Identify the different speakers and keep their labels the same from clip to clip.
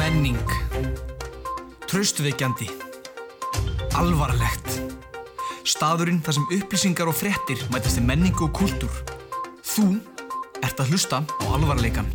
Speaker 1: Menning Traustvekjandi Alvarlegt Staðurinn þar sem upplýsingar og fréttir mætast í menningu og kúltúr Þú ert að hlusta á alvarleikan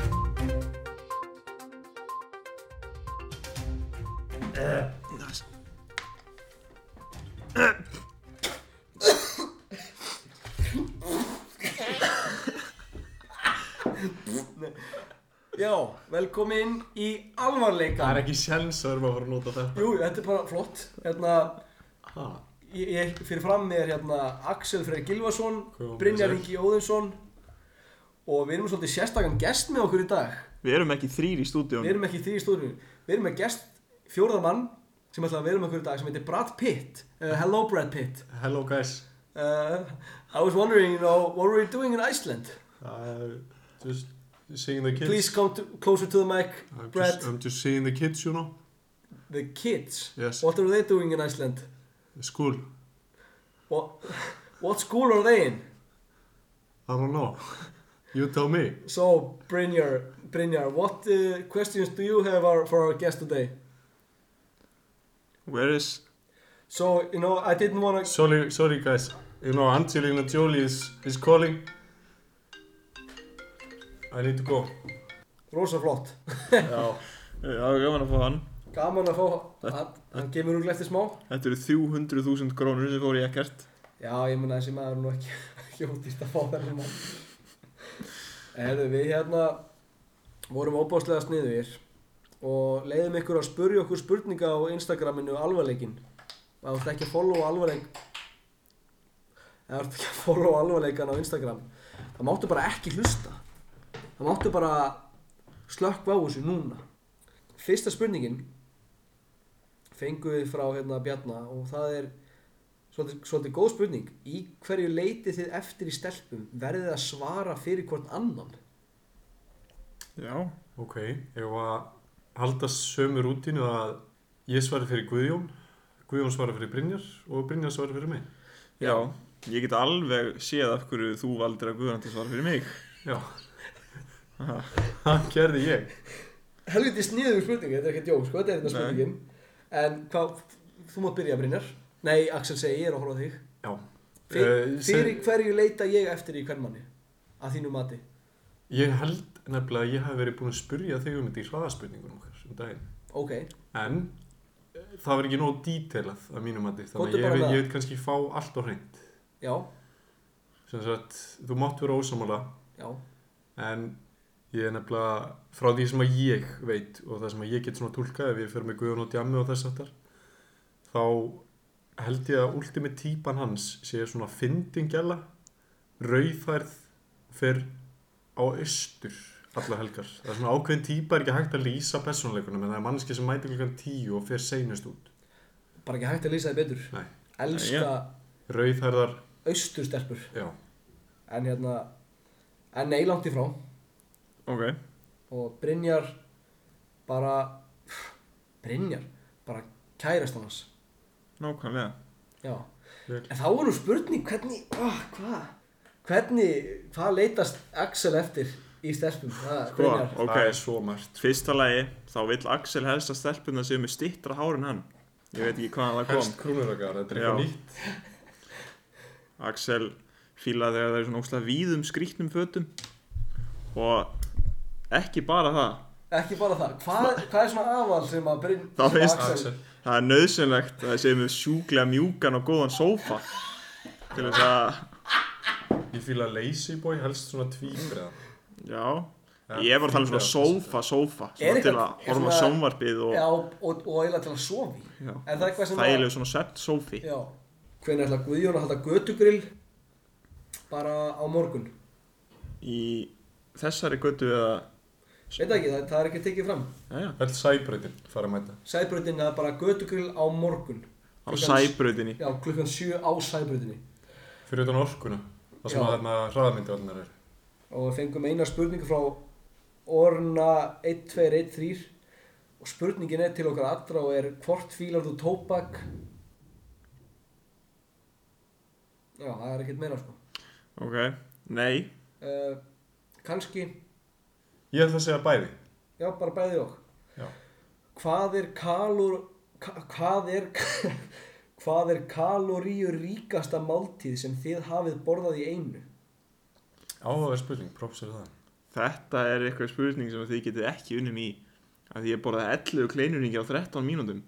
Speaker 2: Já, velkomin í alvarleika
Speaker 3: Það er ekki sjens að við erum að fara að nota þetta.
Speaker 2: Jú, þetta er bara flott Hérna,
Speaker 3: Ha,
Speaker 2: ég, ég fyrir fram með er hérna Axel Freyr Gilvason
Speaker 3: Hvað er hún
Speaker 2: Brynjar
Speaker 3: að
Speaker 2: Ingi Óðinsson Og við erum svolítið sérstakann gest með okkur í dag
Speaker 4: Við erum ekki þrýr í
Speaker 2: Við
Speaker 4: stúdíón
Speaker 2: erum ekki því í stóðinu Við erum með gest, fjórðar mann sem ætla að vera með okkur í dag sem heitir Brad Pitt uh, Hello Brad Pitt
Speaker 3: hello guys.
Speaker 2: uh, I was wondering, you know, what were you doing in Iceland?
Speaker 3: Það er, just seeing the kids.
Speaker 2: Please come to, closer to the mic,
Speaker 3: I'm
Speaker 2: Brad
Speaker 3: just, um, I'm just seeing the kids, you know.
Speaker 2: The kids,
Speaker 3: Yes.
Speaker 2: what are they doing in Iceland?
Speaker 3: School.
Speaker 2: What, what school are they in?
Speaker 3: I don't know. You tell me.
Speaker 2: So, Brynjar, Brynjar, what uh, questions do you have our, for our guest today?
Speaker 4: Where is
Speaker 2: So, you know, I didn't want to...
Speaker 3: Sorry, sorry guys. You know, Angelina Jolie is, is calling. I need to go.
Speaker 2: Rosa flott.
Speaker 3: Já.
Speaker 4: Já, gaman að fá hann
Speaker 2: Gaman að fá... Hann, hann kemur úr eftir smá.
Speaker 4: Þetta eru 300.000 krónur sem fór í ekkert
Speaker 2: Já, ég mun að þessi maður er nú ekki, ekki óttist að fá þennan mann. Herðu, við hérna vorum óbáslega sniðugir og leiðum ykkur að spurja okkur spurninga á Instagraminu alvarleikin. Það vart ekki að followa alvarleik... Það vart ekki að followa alvarleikan á Instagram. Það máttu bara ekki hlusta. Það máttu bara slökkva á þessu núna. Fyrsta spurningin fengum við frá hérna Bjarna og það er svolítið, svolítið góð spurning. Í hverju leitið þið eftir í stelpum? Verðið þið að svara fyrir hvort annan?
Speaker 4: Já
Speaker 3: Ok, ég var að halda sömu rútínu að ég svari fyrir Guðjón, Guðjón svari fyrir Brynjar og Brynjar svari fyrir mig.
Speaker 4: Já, ég get alveg séð af hverju þú valdir að Guðrandi svara fyrir mig
Speaker 3: Já. Það gerði ég.
Speaker 2: Helviti sniðugur spurning, þetta er ekkert jók, sko, þetta er þetta
Speaker 4: Nei.
Speaker 2: spurningin. En hvað, þú mátt byrja Brynjar. Nei, Axel segi, ég er að horfa á þig.
Speaker 3: Já.
Speaker 2: Fyr,
Speaker 3: Eh, sem-
Speaker 2: fyrir hverju leita ég eftir í hvern manni? Að þínu mati.
Speaker 3: Ég held nefnilega að ég hef verið búin að spurja þig um þetta í hraðaspurningunum okkar um daginn.
Speaker 2: Ok,
Speaker 3: En eh, það var ekki nóg dítelað að mínum mati, þannig
Speaker 2: Komdu
Speaker 3: að
Speaker 2: bara
Speaker 3: ég,
Speaker 2: með
Speaker 3: veit-
Speaker 2: það.
Speaker 3: ég veit kannski fá allt á hreint.
Speaker 2: já,
Speaker 3: Sem sagt, þú mátt vera ósamála,
Speaker 2: já,
Speaker 3: en ég er nefnilega frá því sem að ég veit og það sem að ég get svona tólkað ef ég fer með Guðjón og Djammi og þess aftar, þá held ég að últimi típan hans sé svona fyndingjala, rauðfærð, fer á austur alla helgar. Það er svona ákveðin típa, er ekki hægt að lýsa persónuleikunum, en það er mannski sem mætir klukkan tíu og fer seinust út.
Speaker 2: bara ekki hægt að lýsa þið betur.
Speaker 3: Nei,
Speaker 2: Elska
Speaker 3: rauðfærðar,
Speaker 2: austurstelpur.
Speaker 3: já,
Speaker 2: En hérna, en nei, langt í frá.
Speaker 4: Ok
Speaker 2: og Brynjar bara Brynjar, bara kærast hans
Speaker 4: Nákvæmlega
Speaker 2: já,
Speaker 3: Vel.
Speaker 2: en þá er nú spurning hvernig, oh, hvað hvernig, hvað leitast Axel eftir í stelpum, það,
Speaker 4: Sko,
Speaker 2: Brynjar
Speaker 4: Ok.
Speaker 3: það er svo margt.
Speaker 4: Fyrsta lagi, þá vill Axel helst að stelpuna séu með stittra hár en hann Ég veit ekki hvaðan það kom
Speaker 3: Helst krúnurakar, þetta er eitthvað
Speaker 4: Já.
Speaker 3: nýtt.
Speaker 4: Axel fílaði þegar það er svona óslega víðum skrýtnum fötum og ekki bara það
Speaker 2: ekki bara það, hvað, hvað er svona aðval sem að Bryn,
Speaker 4: Þá
Speaker 2: sem að
Speaker 4: finnst
Speaker 2: Axel
Speaker 4: Það er nöðsynlegt að það séum við sjúklega mjúkan og góðan sófa til þess að,
Speaker 3: Ég fýla lazy boy, helst svona tvíbreða.
Speaker 4: já, ég er bara að tala um svona sófa, sófa,
Speaker 2: Er
Speaker 4: svona til
Speaker 2: eitthvað-
Speaker 4: að horfa á
Speaker 2: svona-
Speaker 4: sjónvarpið og
Speaker 2: hérna- já, og, og, og eiginlega til að sofi
Speaker 4: Já.
Speaker 2: er það eitthvað sem
Speaker 4: þægilegu svona sett sófi.
Speaker 2: já, hvernig ætla Guðjón að halda götugrill bara á morgun
Speaker 4: Í þessari götu eða,
Speaker 2: veit ekki, það, það er ekki tekið fram
Speaker 4: já, já,
Speaker 3: Öll sæbreytin fara að mæta.
Speaker 2: Sæbrautin er bara götugrill á morgun
Speaker 4: á sæbröðinni.
Speaker 2: Já, klukkan 7 á sæbrautinni
Speaker 3: Fyrir utan orkuna, það sem
Speaker 2: Já.
Speaker 3: að þarna hraðmyndavallinar er.
Speaker 2: og við fengum eina spurningu frá Orna 1213 og spurningin er til okkar allra og er hvort fílar þú tóbak Já, það er ekkert meira sko
Speaker 4: Ok, nei,
Speaker 2: uh, Kanski,
Speaker 3: Ég ætla að segja bæði.
Speaker 2: já, bara bæði og
Speaker 3: Já.
Speaker 2: Hvað er kalor... ka- Hvað er... Hvað er kaloríu ríkasta máltíð sem þið hafið borðað í einu?
Speaker 3: Áhugaverð spurning, props er það.
Speaker 4: Þetta er eitthvað spurning sem þið getið ekki unnum í að því ég borðaði 11 kleinuringi á 13 mínútum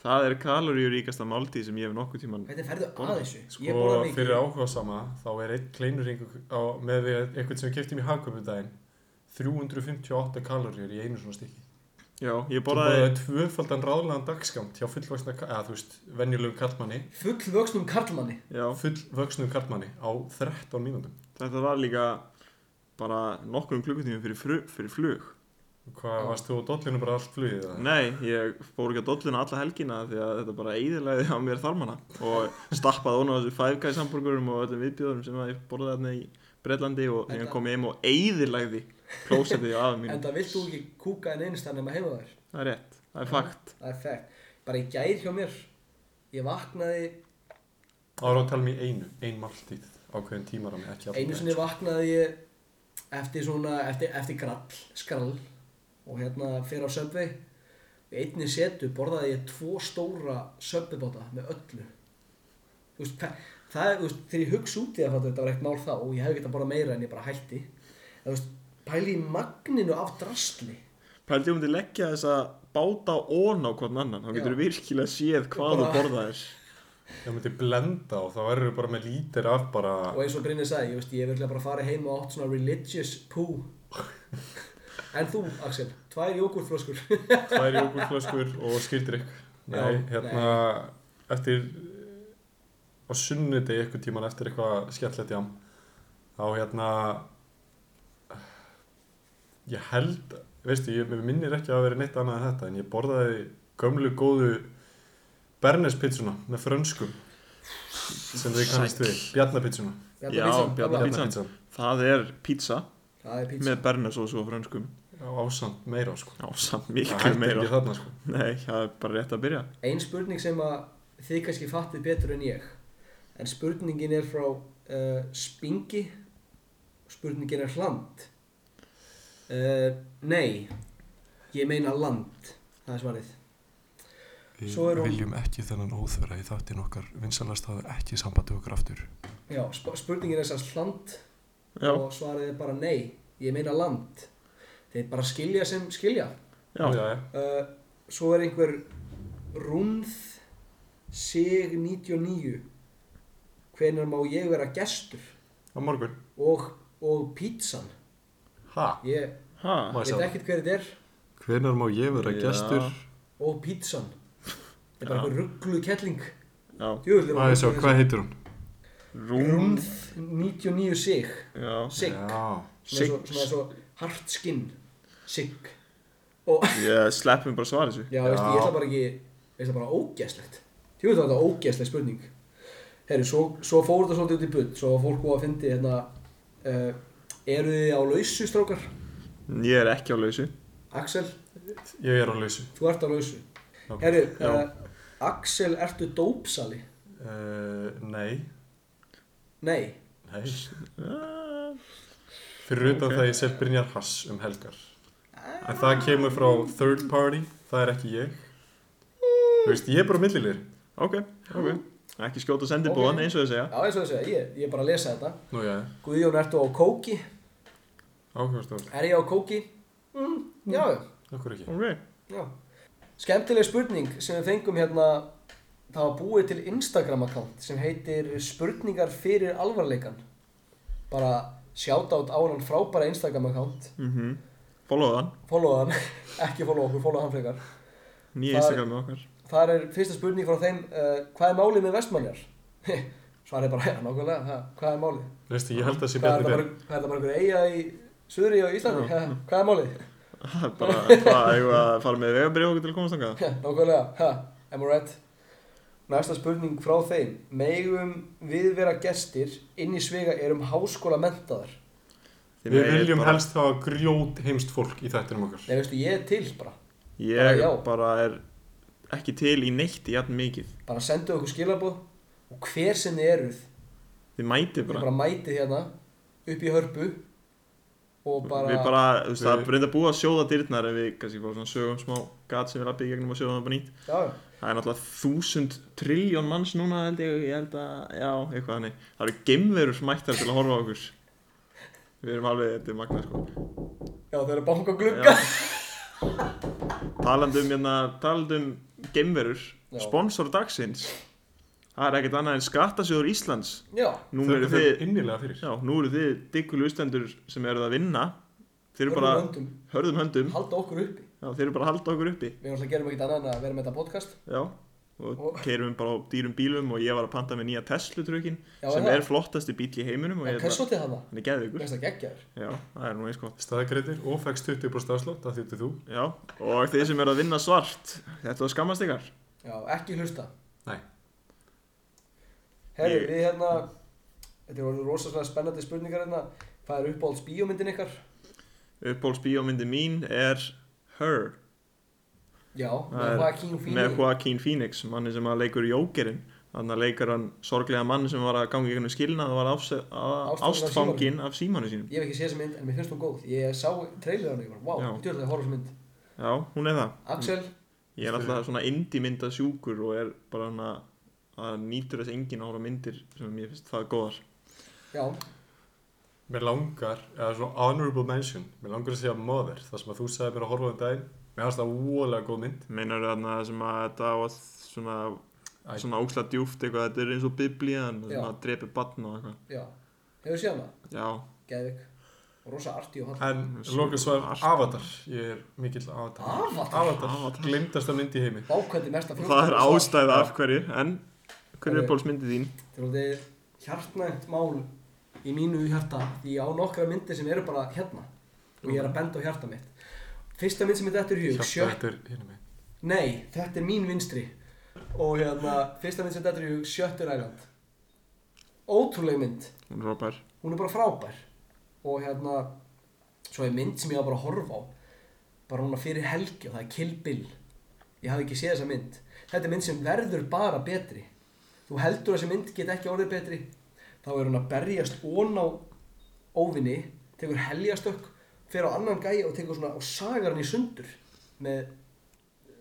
Speaker 4: það er kaloríuríkasta máltíð sem ég hef nokkuð tíman
Speaker 2: Hvernig ferðu að þessu?
Speaker 3: Sko, fyrir áhugasama, þá er einn kleinuring á, með við eitthvað sem við keftum í hagköpu daginn 358 kaloríur í einu svona stykki.
Speaker 4: Já, ég
Speaker 3: Þú
Speaker 4: borðaði
Speaker 3: borðaði tvöfaldan ráðlegan dagskamt hjá fullvaksna, ka- eða þú veist, venjulegu karlmanni,
Speaker 2: Full vöxnum karlmanni
Speaker 4: Já,
Speaker 3: fullvaksnum karlmanni á 13 mínútum.
Speaker 4: þetta var líka bara nokkrum klukkutími fyrir, fru- fyrir flug
Speaker 3: Hvað, varst þú á dollinu bara allt flugið? eða?
Speaker 4: Nei, ég fór ekki að dolluna alla helgina því að þetta bara eiðilegði á mér þarmana og stappaði ofan á þessu Five Guys hamburgurum og öllum viðbjóðurum sem að ég borðaði þarna í Breitlandi og ég
Speaker 2: Þetta-
Speaker 4: kom ég heim og eiðilegði klósetið á
Speaker 2: En
Speaker 4: aðum mínu
Speaker 2: það vilt þú ekki kúka en einst þannig að heima þær
Speaker 4: Það er rétt, það er fakt
Speaker 2: Það er fægt Bara í gær hjá mér Ég vaknaði
Speaker 3: Þá erum við að tala um í einu, ein máltíð, ákveðin tímarammi, ekki allan
Speaker 2: Einu
Speaker 3: daginn,
Speaker 2: sinni
Speaker 3: sko.
Speaker 2: vaknaði ég eftir svona, eftir, eftir grall, skrall og hérna fyrir á söpvi í einni setu borðaði ég tvo stóra söpvibóta með öllu Þú veist, hva, það er, þú veist, þegar ég hugsa út í það fattu, þetta var eitt mál þá og ég hef getað borðað meira en ég bara hætti en þú veist, pæli í magninu af drastli
Speaker 4: Pældi ég myndi leggja þessa báta ón á hvern annan þá getur
Speaker 2: Já.
Speaker 4: þú virkilega séð hvað þú
Speaker 2: Bara-
Speaker 4: borðaðir
Speaker 3: Ef myndi blenda og þá erum við bara með lítir af bara
Speaker 2: og eins og Brynni sagði, ég veist, ég hef virkilega bara farið heim og átt svona religious poo en þú, Axel, tvær jógurtflöskur
Speaker 3: tvær jógurflöskur og skildrykk. Nei,
Speaker 2: Já,
Speaker 3: hérna, eftir, á sunnudegi eitthvað tíman eftir eitthvað skellett jám, þá hérna, ég held, veistu, ég mér minnir ekki að vera neitt annað en þetta, en ég borðaði gömlu góðu Bernes-pítsuna með frönskum sem þið kannast við, Bjarnapítsuna.
Speaker 4: Já, Bjarna pítsan.
Speaker 3: Bjarnapítsan.
Speaker 4: Það er pizza
Speaker 2: Það er pizza
Speaker 4: með bernesósu og frönskum
Speaker 3: Já, ásamt meira sko.
Speaker 4: á samt
Speaker 3: Það
Speaker 4: miklu
Speaker 3: hættir
Speaker 4: meira
Speaker 3: ekki þarna sko.
Speaker 4: Nei, það er bara rétt að byrja
Speaker 2: Ein spurning sem að þið kannski fattið betur en ég En spurningin er frá uh, Spingi Spurningin er hland uh, Nei Ég meina land Það er svarið
Speaker 3: Við
Speaker 2: Svo er hún-
Speaker 3: viljum ekki þennan óþverra í þáttin okkar vinsalast að ekki sambandi okkur aftur.
Speaker 2: Já, sp spurningin er sérst hland
Speaker 4: Já,
Speaker 2: Og svarið er bara nei Ég meina land Þeir bara skilja sem skilja
Speaker 4: já,
Speaker 3: já.
Speaker 2: uh, Svo er einhver Rúnð Sig 99 Hvenær má ég vera gestur?
Speaker 3: Á morgun.
Speaker 2: og, og pítsan
Speaker 3: Ha?
Speaker 2: ég
Speaker 4: ha
Speaker 3: Má ég sjá
Speaker 2: veit
Speaker 3: það?
Speaker 2: ekkert hver þetta er
Speaker 3: Hvenar má ég vera
Speaker 4: Já.
Speaker 3: gestur?
Speaker 2: og pítsan þetta er bara
Speaker 4: Já.
Speaker 2: eitthvað rugglu kettling
Speaker 4: Já,
Speaker 3: Má ég sjá, hvað heitir hún?
Speaker 4: rúm
Speaker 2: Rúnd 99 sig
Speaker 4: Já,
Speaker 2: sig
Speaker 3: Já.
Speaker 2: sem er svo,
Speaker 4: Sig.
Speaker 2: sem er svo hart skinn sig og
Speaker 4: ég sleppum bara svara þessu
Speaker 2: já, veistu, ég ætla bara ekki ég ætla bara ógeðslegt þú veit að þetta er ógeðsleg spurning herru, svo, svo fór þetta svolítið út í budd svo fólk búið að fyndi hérna uh, eru þið á lausu strákar
Speaker 4: Ég er ekki á lausu
Speaker 2: Axel,
Speaker 3: Ég er á lausu.
Speaker 2: þú ert á lausu
Speaker 3: Ok.
Speaker 2: herru,
Speaker 4: Já.
Speaker 2: uh, Axel, ertu dópsali?
Speaker 3: Uh, nei.
Speaker 2: Nei,
Speaker 3: Nei.
Speaker 4: Ah,
Speaker 3: Fyrir utan
Speaker 4: Ok.
Speaker 3: það ég sel Brynjar Hass um helgar. En það kemur frá third party, það er ekki ég. Þú veist, ég er bara millilir.
Speaker 4: Ok, ok Ekki skjóta sendibóðan
Speaker 2: Ok.
Speaker 4: eins og þau segja
Speaker 2: já eins og þess að ég, ég er bara að lesa þetta
Speaker 3: Nú já,
Speaker 2: Guðjón, ertu á kóki?
Speaker 3: áhugast áhugast.
Speaker 2: Er ég á kóki? Mm, já, já,
Speaker 3: Okkur ekki.
Speaker 4: Ok,
Speaker 2: já Skemmtileg spurning sem við fengum hérna Það var búið til Instagram account sem heitir Spurningar fyrir alvarleikan Bara shoutout á hann frábæra Instagram account
Speaker 4: mhm Followa hann,
Speaker 2: Follow hann, ekki follow okkur, follow hann frekar
Speaker 4: nýja
Speaker 2: Það-
Speaker 4: Instagram með okkar
Speaker 2: Þar er fyrsta spurning frá þeim uh, Hvað er málið með vestmannjar? Svarið bara, já, nákvæmlega, ha, hvað er málið?
Speaker 3: Veistu, ég held að sé
Speaker 2: Hvað er
Speaker 3: Bjarni
Speaker 2: þetta
Speaker 3: Ben.
Speaker 2: bara, hvað er þetta bara einhver eiga í Suðri og Íslandi?
Speaker 4: Já.
Speaker 2: Ha, hvað er málið?
Speaker 4: Það er bara, hvað, eigum við að fara með vegabrið okkur til að komast þangað
Speaker 2: Ha, Nákvæmlega, ha, am I right? Næsta spurning frá þeim. Megum við vera gestir inn í svega erum háskóla mentaðar?
Speaker 4: Þið
Speaker 3: Við
Speaker 4: megið
Speaker 3: viljum
Speaker 4: bara-
Speaker 3: helst hafa grjót heimst fólk í þættinum okkar.
Speaker 2: Nei, veistu, ég er til bara.
Speaker 4: Ég
Speaker 2: já.
Speaker 4: bara er ekki til í neitt í jafn mikið
Speaker 2: Bara sendu okkur skilabóð og hver sem þið eruð,
Speaker 4: Þið mætið
Speaker 2: þið
Speaker 4: bara
Speaker 2: bara mætið hérna upp í hörpu og bara,
Speaker 4: Við bara, þú veist, það
Speaker 3: Við-
Speaker 4: er reynda búið að sjóða dyrnar en við kannski bara svona sögum smá gat sem við lappið í gegnum og sjóðum það bara nýtt
Speaker 2: já, já.
Speaker 4: Það er náttúrulega þúsund triljón manns núna held ég, ég held að, já, eitthvað hannig. Það eru gemverur mættar til að horfa á okkur. Við erum alveg, þetta er magna, sko.
Speaker 2: já þeir eru að banka á glugga
Speaker 4: Já. Talandi um, hérna, talandi um gemverur,
Speaker 2: Já.
Speaker 4: sponsor dagsins. Það er ekkert annað en skattasjóður Íslands.
Speaker 2: já,
Speaker 4: Nú
Speaker 3: Þökkum
Speaker 4: eru
Speaker 3: þeim
Speaker 4: þið,
Speaker 3: innilega fyrir
Speaker 4: já, nú eru þið diggulu ustendur sem eruð að vinna. Þeir eru
Speaker 2: hörðum
Speaker 4: bara,
Speaker 2: höndum,
Speaker 4: hörðum höndum,
Speaker 2: halda okkur uppi
Speaker 4: já, þeir eru bara að halda okkur uppi.
Speaker 2: við erum alltaf gerum ekkert annað en að vera með þetta podcast
Speaker 4: Já, og
Speaker 2: Og-
Speaker 4: keirum bara á dýrum bílum og ég var að panta með nýja Tesla trukkin
Speaker 2: Já,
Speaker 4: sem
Speaker 2: er það?
Speaker 4: er flottasti bíl í heiminum og
Speaker 2: en
Speaker 4: ég
Speaker 2: hversu átti það það?
Speaker 4: hann er geðvigur
Speaker 2: Mér finnst það geggjaður
Speaker 4: Já, það er nú eins gott
Speaker 3: staðgreitir og fegst 20% afslátt að þýttu þú
Speaker 4: Já, og þeir sem eru að vinna svart Þetta var skammast ykkar
Speaker 2: Já, ekki hlusta
Speaker 3: Nei.
Speaker 2: Herri,
Speaker 4: Ég-
Speaker 2: við hérna Þetta voru rosalega spennandi spurningar hérna Hvað er uppáhalds bíómyndin ykkar?
Speaker 4: Uppbóls bíómyndi mín er Her
Speaker 2: Já,
Speaker 4: Það
Speaker 2: með
Speaker 4: er-
Speaker 2: Joaquin Phoenix
Speaker 4: með Joaquin Phoenix manni sem að leikur Jókerinn þannig að leikar hann sorglega mann sem var að ganga í gegnum skilnað og var áse- að-
Speaker 2: Ástfanginn af
Speaker 4: ástfanginn af símanu sínum
Speaker 2: Ég hef ekki séð þessa mynd en mér finnst hún góð Ég sá trailer hann ykkur, wow,
Speaker 4: Já. Mm.
Speaker 2: ég tjóðlega horf þessa mynd
Speaker 4: Já, hún er það
Speaker 2: Axel,
Speaker 4: Ég er alltaf svona indie mynda sjúkur og er bara hann að- að nýtur þess engin ára myndir sem mér finnst það góðar.
Speaker 2: já,
Speaker 3: Mér langar, eða svona honorable mention, mér langar að segja Mother, það sem að þú sagði mér að horfa um daginn. Mér fannst það óalega góð mynd.
Speaker 4: Meinar þarna sem að þetta á að svona,
Speaker 3: Æ.
Speaker 4: svona óksla djúft eitthvað, þetta er eins og biblíðan sem
Speaker 2: Já.
Speaker 4: að drepi batn og eitthvað.
Speaker 2: já Hefur séð hana?
Speaker 4: Já,
Speaker 2: Geðvik Rosa arti og hann
Speaker 3: En
Speaker 4: Svo
Speaker 3: lokað svar
Speaker 4: allt.
Speaker 3: Avatar, ég er mikill Avatar.
Speaker 2: Avatar?
Speaker 3: Avatar,
Speaker 4: Avatar.
Speaker 3: glimtasta mynd í heimi.
Speaker 2: Bákvæði mesta
Speaker 4: og það er ástæða af hverju, en hver
Speaker 2: Það
Speaker 4: er
Speaker 2: er-
Speaker 4: uppáhaldsmyndið þín?
Speaker 2: Þetta er hjartnægt mál í mínu hjarta Ég á nokkra myndir sem eru bara hérna og ég er að benda á hjarta mitt Fyrsta mynd sem þetta er
Speaker 4: um
Speaker 2: hug,
Speaker 3: Hjarta
Speaker 2: sjött
Speaker 3: þetta er hérna mig.
Speaker 2: Nei, þetta er mín vinstri og hérna, fyrsta mynd sem þetta er hug, sjöttur æland Ótrúleg mynd
Speaker 4: Hún Robert.
Speaker 2: hún er bara frábær og hérna svo er mynd sem ég var bara að horfa á bara hún fyrir helgi og það er Kill Bill ég hafði ekki séð þessa mynd þetta er mynd sem verður bara betri þú heldur að þessi mynd get ekki orðið betri þá er hún að berjast ón á óvinni, tekur helgastökk fyrir á annan gæja og tekur svona og sagar hann í sundur með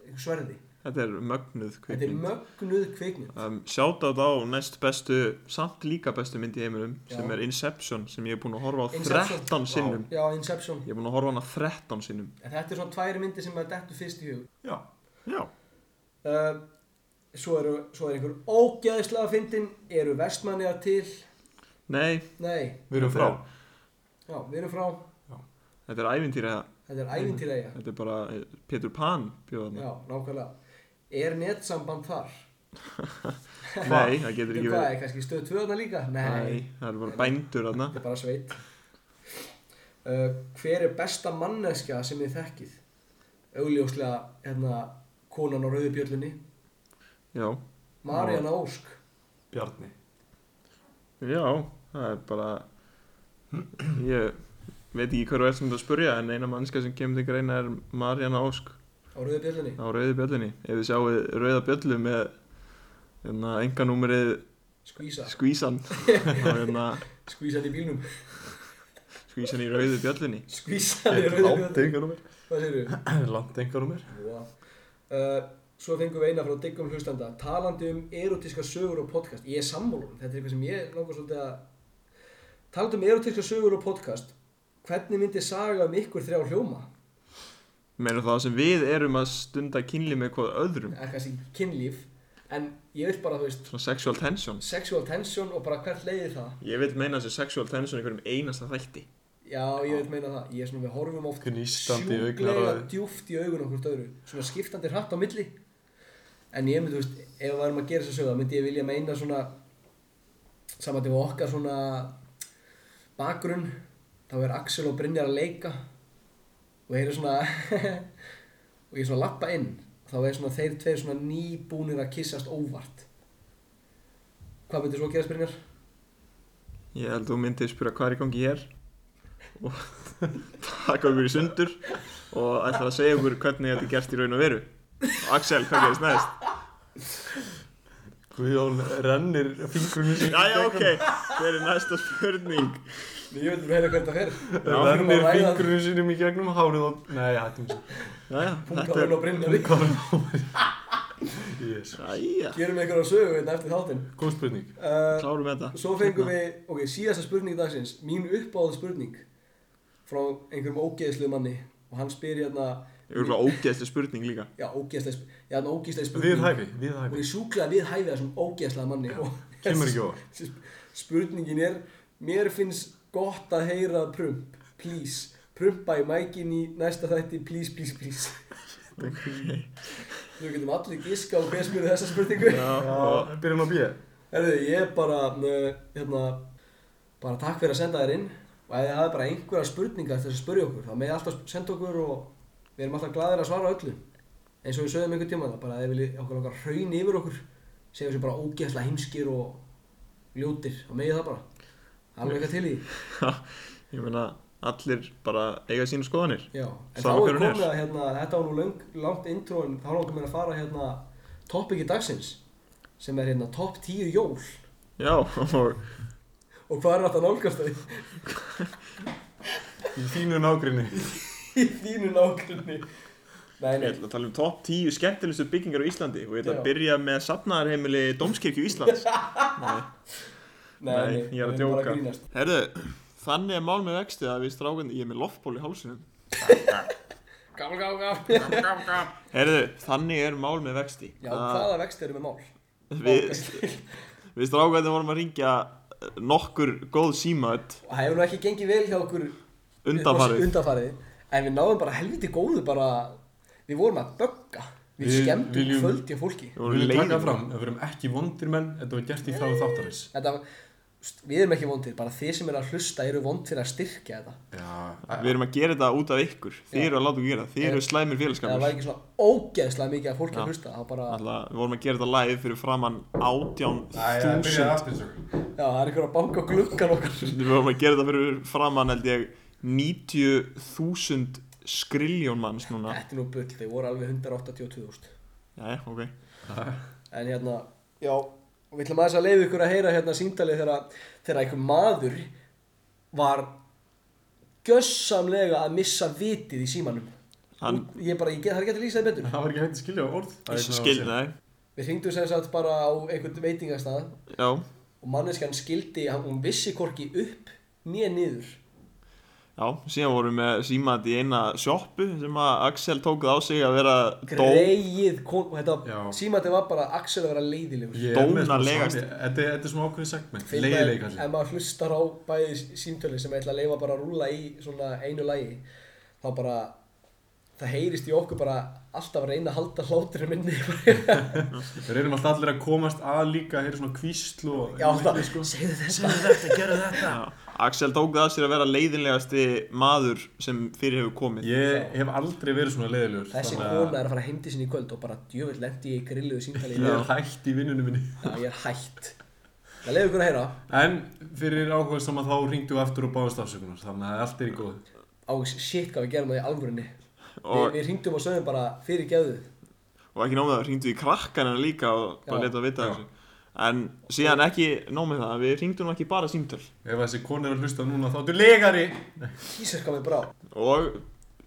Speaker 2: einhver sverði
Speaker 4: Þetta er mögnuð
Speaker 2: þetta er
Speaker 4: kvikmynd.
Speaker 2: mögnuð kvikmynd
Speaker 4: Um, Shoutout á næst bestu, samt líka bestu mynd í heiminum
Speaker 2: Já.
Speaker 4: sem er Inception sem ég er búin að horfa á
Speaker 2: Inception.
Speaker 4: 13 sinnum.
Speaker 2: já, Inception
Speaker 4: Ég er búin að horfa á hana 13 sinnum.
Speaker 2: en þetta er svona tværi myndi sem að dettu fyrst í hug
Speaker 3: Já,
Speaker 4: Já.
Speaker 2: Uh, svo, eru, svo er einhver ógeðislega fyndin eru vestmanniðar til
Speaker 4: Nei,
Speaker 2: nei,
Speaker 3: við erum frá.
Speaker 2: já, við erum frá
Speaker 4: þetta er ævintýra,
Speaker 2: þetta er ævintýræja
Speaker 4: þetta er bara eh, Pétur Pan bjóðan.
Speaker 2: já, nákvæmlega er netsamband þar
Speaker 4: Nei, það
Speaker 2: Veitum
Speaker 4: getur ekki
Speaker 2: hvað
Speaker 4: verið.
Speaker 2: er kannski stöð tvöðna líka
Speaker 4: Nei,
Speaker 2: nei,
Speaker 4: það eru bara bændur þarna.
Speaker 2: þetta er bara sveit uh, hver er besta manneskja sem þið þekkið augljóslega hérna konan á rauðu bjöllunni
Speaker 4: Já,
Speaker 2: Marjana Ósk
Speaker 3: Bjarni.
Speaker 4: já, það er bara, ég veit ekki hvað þú ert sem þú ert að spurja, en eina mannska sem kemur til greina er Marjana Ósk
Speaker 2: á rauðu bjöllunni
Speaker 4: á Rauði Bjöllinni. Ef þið sjáuð Rauða Bjöllu með hérna, enganúmerið
Speaker 2: skvísa,
Speaker 4: skvísan, þá hérna
Speaker 2: skvísan í bílnum
Speaker 4: skvísan í Rauði Bjöllinni. um
Speaker 2: skvísan í rauðu bjöllunni
Speaker 3: enganúmer.
Speaker 2: hvað segirðu?
Speaker 3: Langt enganúmer.
Speaker 2: Wow. Uh, svo fengum við eina frá diggum hlustanda talandi um erotíska sögur og podcast ég er sammálum, þetta er eitthvað sem ég langar svolítið að talandi um erotíska sögur og podcast hvernig myndi saga um ykkur þrjá hljóma
Speaker 4: Meina það sem við erum að stunda kynli með hvað öðrum.
Speaker 2: eða kannski kynlíf en ég vil bara, þú veist,
Speaker 4: Svona sexual tension.
Speaker 2: sexual tension og bara hvert leiði það
Speaker 4: Ég vil meina þessi sexual tension í hverjum einasta þætti.
Speaker 2: já, ég vil meina það, ég er svona, við horfum oft
Speaker 3: Gnístandi í
Speaker 2: sjúklega
Speaker 3: augnaráði.
Speaker 2: djúft í augun okkur öðru svona skiptandi hratt á milli en ég myndi, þú veist, ef við varum að gera þess að sögða myndi ég vilja meina svona saman til okkar svona bakgrunn þá er Axel og Brynjar að leika og þeir eru svona og ég svona lappa inn þá er svona þeir tveir svona nýbúnir að kyssast óvart hvað myndi svo gerast Brynjar?
Speaker 4: Ég held að þú myndið spyrja hvað er í gangi hér og taka okkur í sundur og ætla að segja okkur hvernig þetta er gert í raun og veru. Axel, hvað gerist næst?
Speaker 3: Guðjón rennir fingrunum
Speaker 4: Jæja, ok, hver er næsta spurning?
Speaker 2: Við veitum heila hvernig það fer.
Speaker 3: Það
Speaker 2: Við þurfum að
Speaker 3: lennir
Speaker 2: ræða-
Speaker 3: fingrunum sínum í gegnum hárið og... Nei, hættum sér.
Speaker 4: Jæja, þetta
Speaker 2: Pungaðurinn
Speaker 4: er...
Speaker 2: og brinnari.
Speaker 3: Yes.
Speaker 4: Jæja,
Speaker 2: Gerum einhverja sögu hérna eftir þáttinn.
Speaker 3: Góð spurning.
Speaker 2: Uh,
Speaker 4: klárum þetta.
Speaker 2: svo fengum
Speaker 3: Hérna.
Speaker 2: við, ok, síðasta spurning dagsins, mín uppáð spurning frá einhverjum ógeðslu manni og hann spyr hérna,
Speaker 4: Ég verður bara ógeðslega spurning líka.
Speaker 2: já, ógeðslega, já, hérna ógeðslega spurning.
Speaker 3: Við hæfi, við
Speaker 2: Hún
Speaker 3: hæfi.
Speaker 2: er sjúklega við hæfið þessum ógeðslega manni og
Speaker 3: Kemur ekki ofar.
Speaker 2: spurningin er, mér finnst gott að heyra prump, please, prumpa í mækin í næsta þætti, please, please, please.
Speaker 4: Okay.
Speaker 2: Við getum allir giska á hver spyrir þessa spurningu.
Speaker 4: Já, og
Speaker 3: Já, byrjum á bíða.
Speaker 2: Herðu, ég er bara, uh, hérna, bara takk fyrir að senda þér inn og ef þið hafið bara einhverja spurningar til þess að spyrja okkur, þá meði alltaf senda okkur og við erum alltaf gladir að svara öllu. Eins og við sögum einhvern tíma það, bara ef þið viljið okkur okkar hraun yfir okkur, segjum þessu bara ógeðslega heimskir og ljótir, þá megið það bara. Alveg eitthvað til í. því.
Speaker 4: ég meina, allir bara eiga sína skoðanir.
Speaker 2: Já, en
Speaker 4: Sama
Speaker 2: þá
Speaker 4: hver
Speaker 2: er
Speaker 4: hún er.
Speaker 2: komið að hérna, þetta var nú löng, langt intro en þá langar mér að fara hérna topiki dagsins sem er hérna top 10 jól
Speaker 4: Já, og
Speaker 2: og hvað er þetta nálgast þau?
Speaker 3: Í þínu nágrinni.
Speaker 2: í þínu nákvæmni Nei,
Speaker 4: ég
Speaker 2: nei,
Speaker 4: ætla að tala um top 10 skemmtilegustu byggingar á Íslandi og ég ætla
Speaker 2: Já.
Speaker 4: að byrja með safnaðarheimili Dómskirkju Íslands. Nei.
Speaker 2: nei, nei,
Speaker 4: Nei, ég er að
Speaker 2: við erum bara
Speaker 4: djóka.
Speaker 2: grínast.
Speaker 4: Herðu, þannig er mál með vextið að við strákan, ég er með loftból í hálsunum.
Speaker 2: Gál, gál, gál
Speaker 4: Herðu, þannig er mál með vexti.
Speaker 2: Já,
Speaker 4: að
Speaker 2: hvaða vext eru með mál?
Speaker 4: Ah. Við, við strákan vorum að ringja nokkur góð símaöld
Speaker 2: Og það hefur nú ekki gengið vel hjá okkur
Speaker 4: undanfarið.
Speaker 2: Undanfarið En við náðum bara helviti góðu bara Við vorum að bögga Við,
Speaker 3: Við
Speaker 2: skemmtum
Speaker 3: viljum-
Speaker 2: viljum... kvöldi á fólki
Speaker 4: Við
Speaker 3: Við
Speaker 4: vorum
Speaker 3: viljum taka
Speaker 4: leiðir.
Speaker 3: fram að við erum ekki vondir menn, þetta var gert í þráðu þáttarins.
Speaker 2: Þetta, st- Við erum ekki vondir, bara þið sem eru að hlusta eru vond fyrir að styrkja þetta
Speaker 3: Já,
Speaker 4: Við erum að gera þetta út af ykkur. Þið eru að láta okkur gera það. Þið eru slæmir
Speaker 2: En það
Speaker 4: félagskamur.
Speaker 2: var ekki svona ógeðslega mikið að fólki
Speaker 4: Já.
Speaker 2: að hlusta Það var bara,
Speaker 4: Alltaf, við vorum að gera þetta live fyrir framann
Speaker 3: það
Speaker 4: 18.000
Speaker 3: byrjaði aftur svo.
Speaker 2: já, það er einhver að banka á gluggan okkar
Speaker 4: Við vorum að gera þetta fyrir framann held ég 90.000 skriljón manns núna
Speaker 2: Þetta er nú bull, þeir voru alveg 182.000
Speaker 4: Jæja, ok
Speaker 2: En hérna, já, og við ætlum aðeins að leiða ykkur að heyra hérna síndalið þegar, þegar einhver maður var gössamlega að missa vitið í símanum.
Speaker 4: Hann
Speaker 2: Út- Ég bara, ég get, það er ekki hægt að lýsa það betur.
Speaker 3: Það var ekki hægt að skilja á orð. Það er svona að segja.
Speaker 4: skilnaði
Speaker 2: Við hringdum sem sagt bara á einhvern veitingastað
Speaker 4: Já,
Speaker 2: og manneskjan skildi, hann- hún vissi korki upp nýja niður.
Speaker 4: já, síðan vorum við með símat í eina sjoppu sem að Axel tókuð á sig að vera dó
Speaker 2: Greið, kon, og
Speaker 3: Já.
Speaker 2: þetta símandi var bara Axel að vera leiðilegur.
Speaker 3: Ég er með smá
Speaker 4: Dónalegast.
Speaker 3: sami- Þetta er- þetta er svona ákveðið segment,
Speaker 2: Fyndið
Speaker 3: leiðileg
Speaker 2: er-
Speaker 3: kannski.
Speaker 2: ef maður hlustar á bæði símtöli sem ég ætla að leifa bara að rúla í svona einu lagi þá bara það heyrist í okkur bara alltaf að reyna að halda hláturinn minni
Speaker 3: Við reynum alltaf allir að komast að líka, heyra svona kvísl og...
Speaker 2: já það,
Speaker 3: sko.
Speaker 2: segðu þetta
Speaker 4: Já, Axel tókuð á sig að vera leiðinlegasti maður sem fyrir hefur komið
Speaker 3: Ég hef aldrei verið svona leiðilegur.
Speaker 2: þessi
Speaker 3: þannig að
Speaker 2: kona er að fara heimdi sinni í kvöld og bara djövill lendi ég í grilluðu símtali í
Speaker 3: Ég
Speaker 2: dag.
Speaker 3: er hægt í vinnunum minni.
Speaker 2: já, ég er hætt það leiði ykkur að heyra
Speaker 3: En fyrir ákveð saman þá ringdu við aftur og báðast afsökunar, þannig að allt er í góðu.
Speaker 2: á shit hvað við gerum það í alvörinni
Speaker 4: Og-
Speaker 2: við, við hringdum og sögum bara fyrir geðu
Speaker 4: og ekki nómið það, hringdu í krakkan hennar líka og bara
Speaker 2: Já.
Speaker 4: leta að vita þessu En síðan ekki nómið það, við hringdum nú ekki bara símtöl
Speaker 3: Ef þessi kona er að hlusta núna þá ertu legari!
Speaker 2: hísar hvað við brá
Speaker 4: Og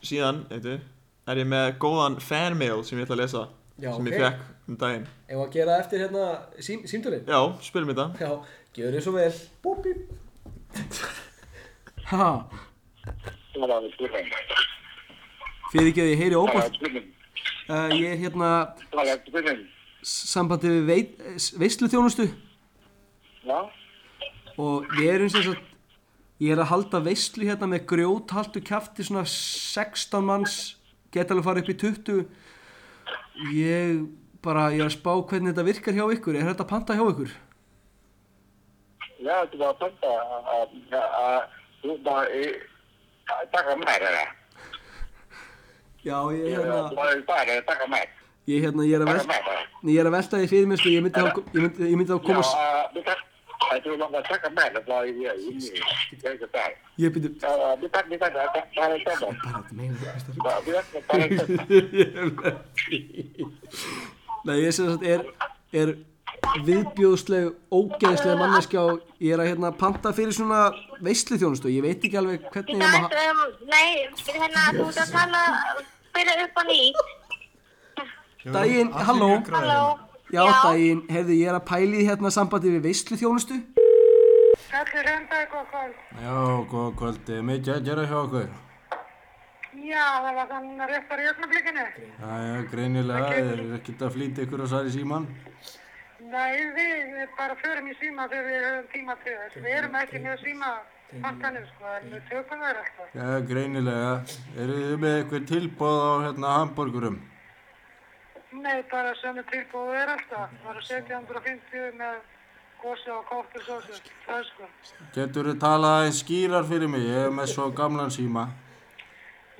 Speaker 4: síðan, eitthvað, er ég með góðan fanmail sem ég ætla að lesa
Speaker 2: Já,
Speaker 4: sem
Speaker 2: ok.
Speaker 4: ég fekk um daginn.
Speaker 2: ef að gera það eftir hérna sím, símtölin
Speaker 4: Já, spilum þetta.
Speaker 2: Já, gjör þið svo vel Búp, búp Haha,
Speaker 5: Það er spurning.
Speaker 2: fyrir ekki að ég heyri
Speaker 5: Það
Speaker 2: óbort
Speaker 5: er spurning.
Speaker 2: uh, Ég er hérna
Speaker 5: Það er spurning.
Speaker 2: sambandi við veit, veislu þjónustu
Speaker 5: Já,
Speaker 2: og við erum sem sagt ég er að halda veislu hérna með grjóthaltu kjafti svona 16 manns geta alveg farið upp í 20 ég bara ég er að spá hvernig þetta virkar hjá ykkur er þetta að panta hjá ykkur?
Speaker 5: já, þú var að panta
Speaker 6: ờ,
Speaker 5: að, að- að, þú var
Speaker 6: ờ,
Speaker 5: að taka mér, eða?
Speaker 2: Já, ég er
Speaker 6: Ờ,
Speaker 5: Þú
Speaker 2: hérna
Speaker 5: var bara að taka mér,
Speaker 2: ég, hérna, ég, er, að
Speaker 5: taka
Speaker 2: velta,
Speaker 5: mér, eða?
Speaker 2: ég er að velta því fyrir mér sko, ég myndi þá ég myndi, ég myndi þá
Speaker 5: Já,
Speaker 2: koma s-
Speaker 5: að, þú takk, að þú var að taka mér, það
Speaker 6: ờ,
Speaker 5: var ég í mér,
Speaker 6: Dạ,
Speaker 5: það er ekki það.
Speaker 2: ég byrju
Speaker 5: Það var, þú takk, þú takk, það er- það er það.
Speaker 2: bara þetta meina þetta veist
Speaker 6: Dạ,
Speaker 5: Það þú takk, það er það.
Speaker 2: Ég er með því. Nei, ég sem sagt er, er viðbjóðsleg, ógeðsleg manneskja og ég er að hérna panta fyrir svona veislu þjónustu, ég veit ekki alveg hvernig ég
Speaker 5: Gat,
Speaker 2: maður...
Speaker 5: um, nei, hérna, þú ert að tala fyrir upp á nýtt.
Speaker 2: Daginn, halló,
Speaker 5: Halló.
Speaker 2: já daginn, heyrðu ég er að pæli hérna sambandi við veislu þjónustu.
Speaker 5: Þetta er enda eitthvað kvöld.
Speaker 3: Já, góða kvöldi, mikið að gera hjá okkur.
Speaker 5: Já, það var þannig að réttar í augnablikinu.
Speaker 3: Jæja, greinilega, þeir eru ekkert að flýta ykkur og sari síman.
Speaker 5: Nei, við bara förum í síma þegar við höfum tíma til þess. Við erum ekki með síma fantanum, sko, en við tökum þær alltaf.
Speaker 3: Jæja, greinilega, eru þið með eitthvað tilbóð á hérna hambúrgurum?
Speaker 5: Nei, bara sem er tilbúið er alltaf. Það eru 750 með gósi og kóttursósu. Það er sko.
Speaker 3: Getur þið talað aðeins skýrar fyrir mig, ég er með svo gamlan síma.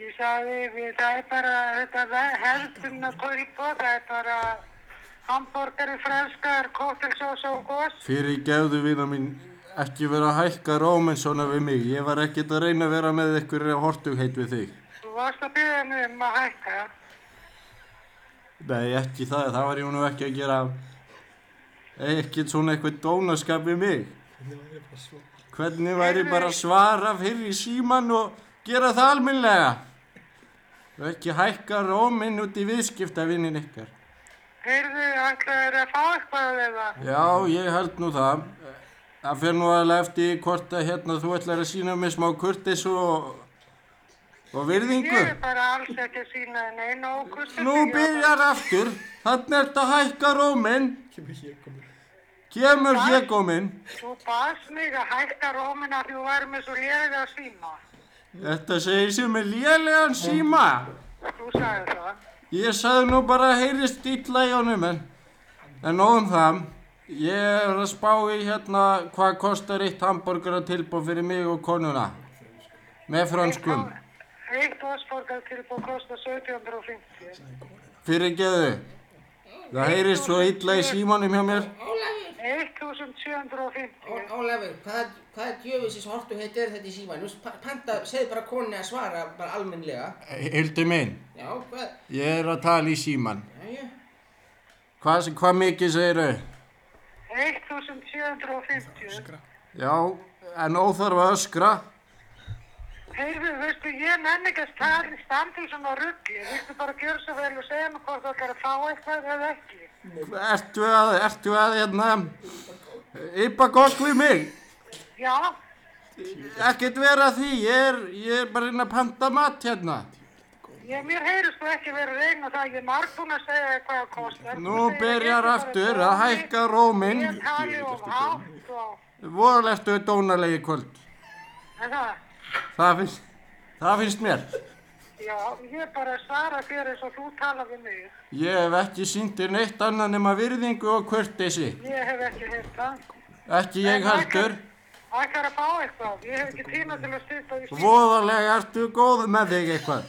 Speaker 5: Ég sagði, við, það er bara, þetta hefðum að tilbúið, það er bara hambúrgari franskar, kóttursósu og gós.
Speaker 3: Fyrir gefðu vina mín, ekki vera að hækka róminn svona við mig, ég var ekkert að reyna að vera með ykkur hortugheit við þig.
Speaker 5: Þú varst að byggja mig um að hækka.
Speaker 3: Nei, ekki það, það var ég nú ekki að gera ekkert svona eitthvað dónaskap við mig. Hvernig væri bara að svara fyrir síman og gera það almennlega? Og ekki hækka róminn út í viðskiptavinnin ykkar.
Speaker 5: Heyrðu, ætlaður að fá eitthvað af þeim það?
Speaker 3: Já, ég held nú það. Það fer nú alveg eftir hvort að hérna þú ætlar að sína mig smá kurtis og, og virðingu.
Speaker 5: Ég er bara alls ekki að sína þið neina ókustur.
Speaker 3: Nú byrjar aftur, þannig ertu að hækka róminn. Kemur hér kominn.
Speaker 5: Þú baðst mig að hækka rómina því þú væri með svo léðið að síma.
Speaker 3: Þetta segir sem er lélegan síma.
Speaker 5: Þú sagði það.
Speaker 3: Ég sagði nú bara að heyrist illa í honum en, en nóðum það. Ég er að spá í hérna hvað kostar eitt hambúrgar tilbúð fyrir mig og konuna. Með franskum.
Speaker 5: Eitt ósborgar tilbúið kostar 1750.
Speaker 3: Fyrir geðu. Það heyrist svo illa í símanum hjá mér.
Speaker 5: 1750.
Speaker 7: Ó- Ólafur, hvað, hvað djöfisins hortu heitir þetta í síma? Nú pa- panta, segð bara konunni að svara, bara almennlega.
Speaker 3: Hildur minn,
Speaker 7: Já, hvað?
Speaker 3: ég er að tala í síman.
Speaker 7: Jæja.
Speaker 3: Hvað hva mikið segiru?
Speaker 5: 1750.
Speaker 3: Já, en óþarfa að öskra.
Speaker 5: Heyrðu, veistu, ég nenni ekki að staðin standi í svona ruggli. Viltu bara að gjöra svo vel og segja mig hvort þú ætlar að fá eitthvað eða ekki.
Speaker 3: Ertu að, ertu að, hérna, ypa gott við mig?
Speaker 5: Já,
Speaker 3: Ekkert vera að því, ég er, ég er bara inn að panta mat hérna.
Speaker 5: Ég, mér heyrist þú ekki verið að reyna það, ég er margbúin að segja þér hvað það kostar.
Speaker 3: Nú byrjar aftur að hækka róminn.
Speaker 5: Ég tali um hátt og,
Speaker 3: Voðalegstu dónalegi kvöld.
Speaker 5: en það,
Speaker 3: Það finnst, það finnst mér.
Speaker 5: já, ég bara svara fyrir eins og þú tala við mig.
Speaker 3: Ég hef ekki sýndir neitt annað nema virðingu og kurteisi.
Speaker 5: Ég hef ekki heyrt það.
Speaker 3: Ekki ég heldur.
Speaker 5: Ætlar að fá eitthvað, ég hef ekki tíma til að stýta í stíl.
Speaker 3: Voðalega ertu góð með þig eitthvað.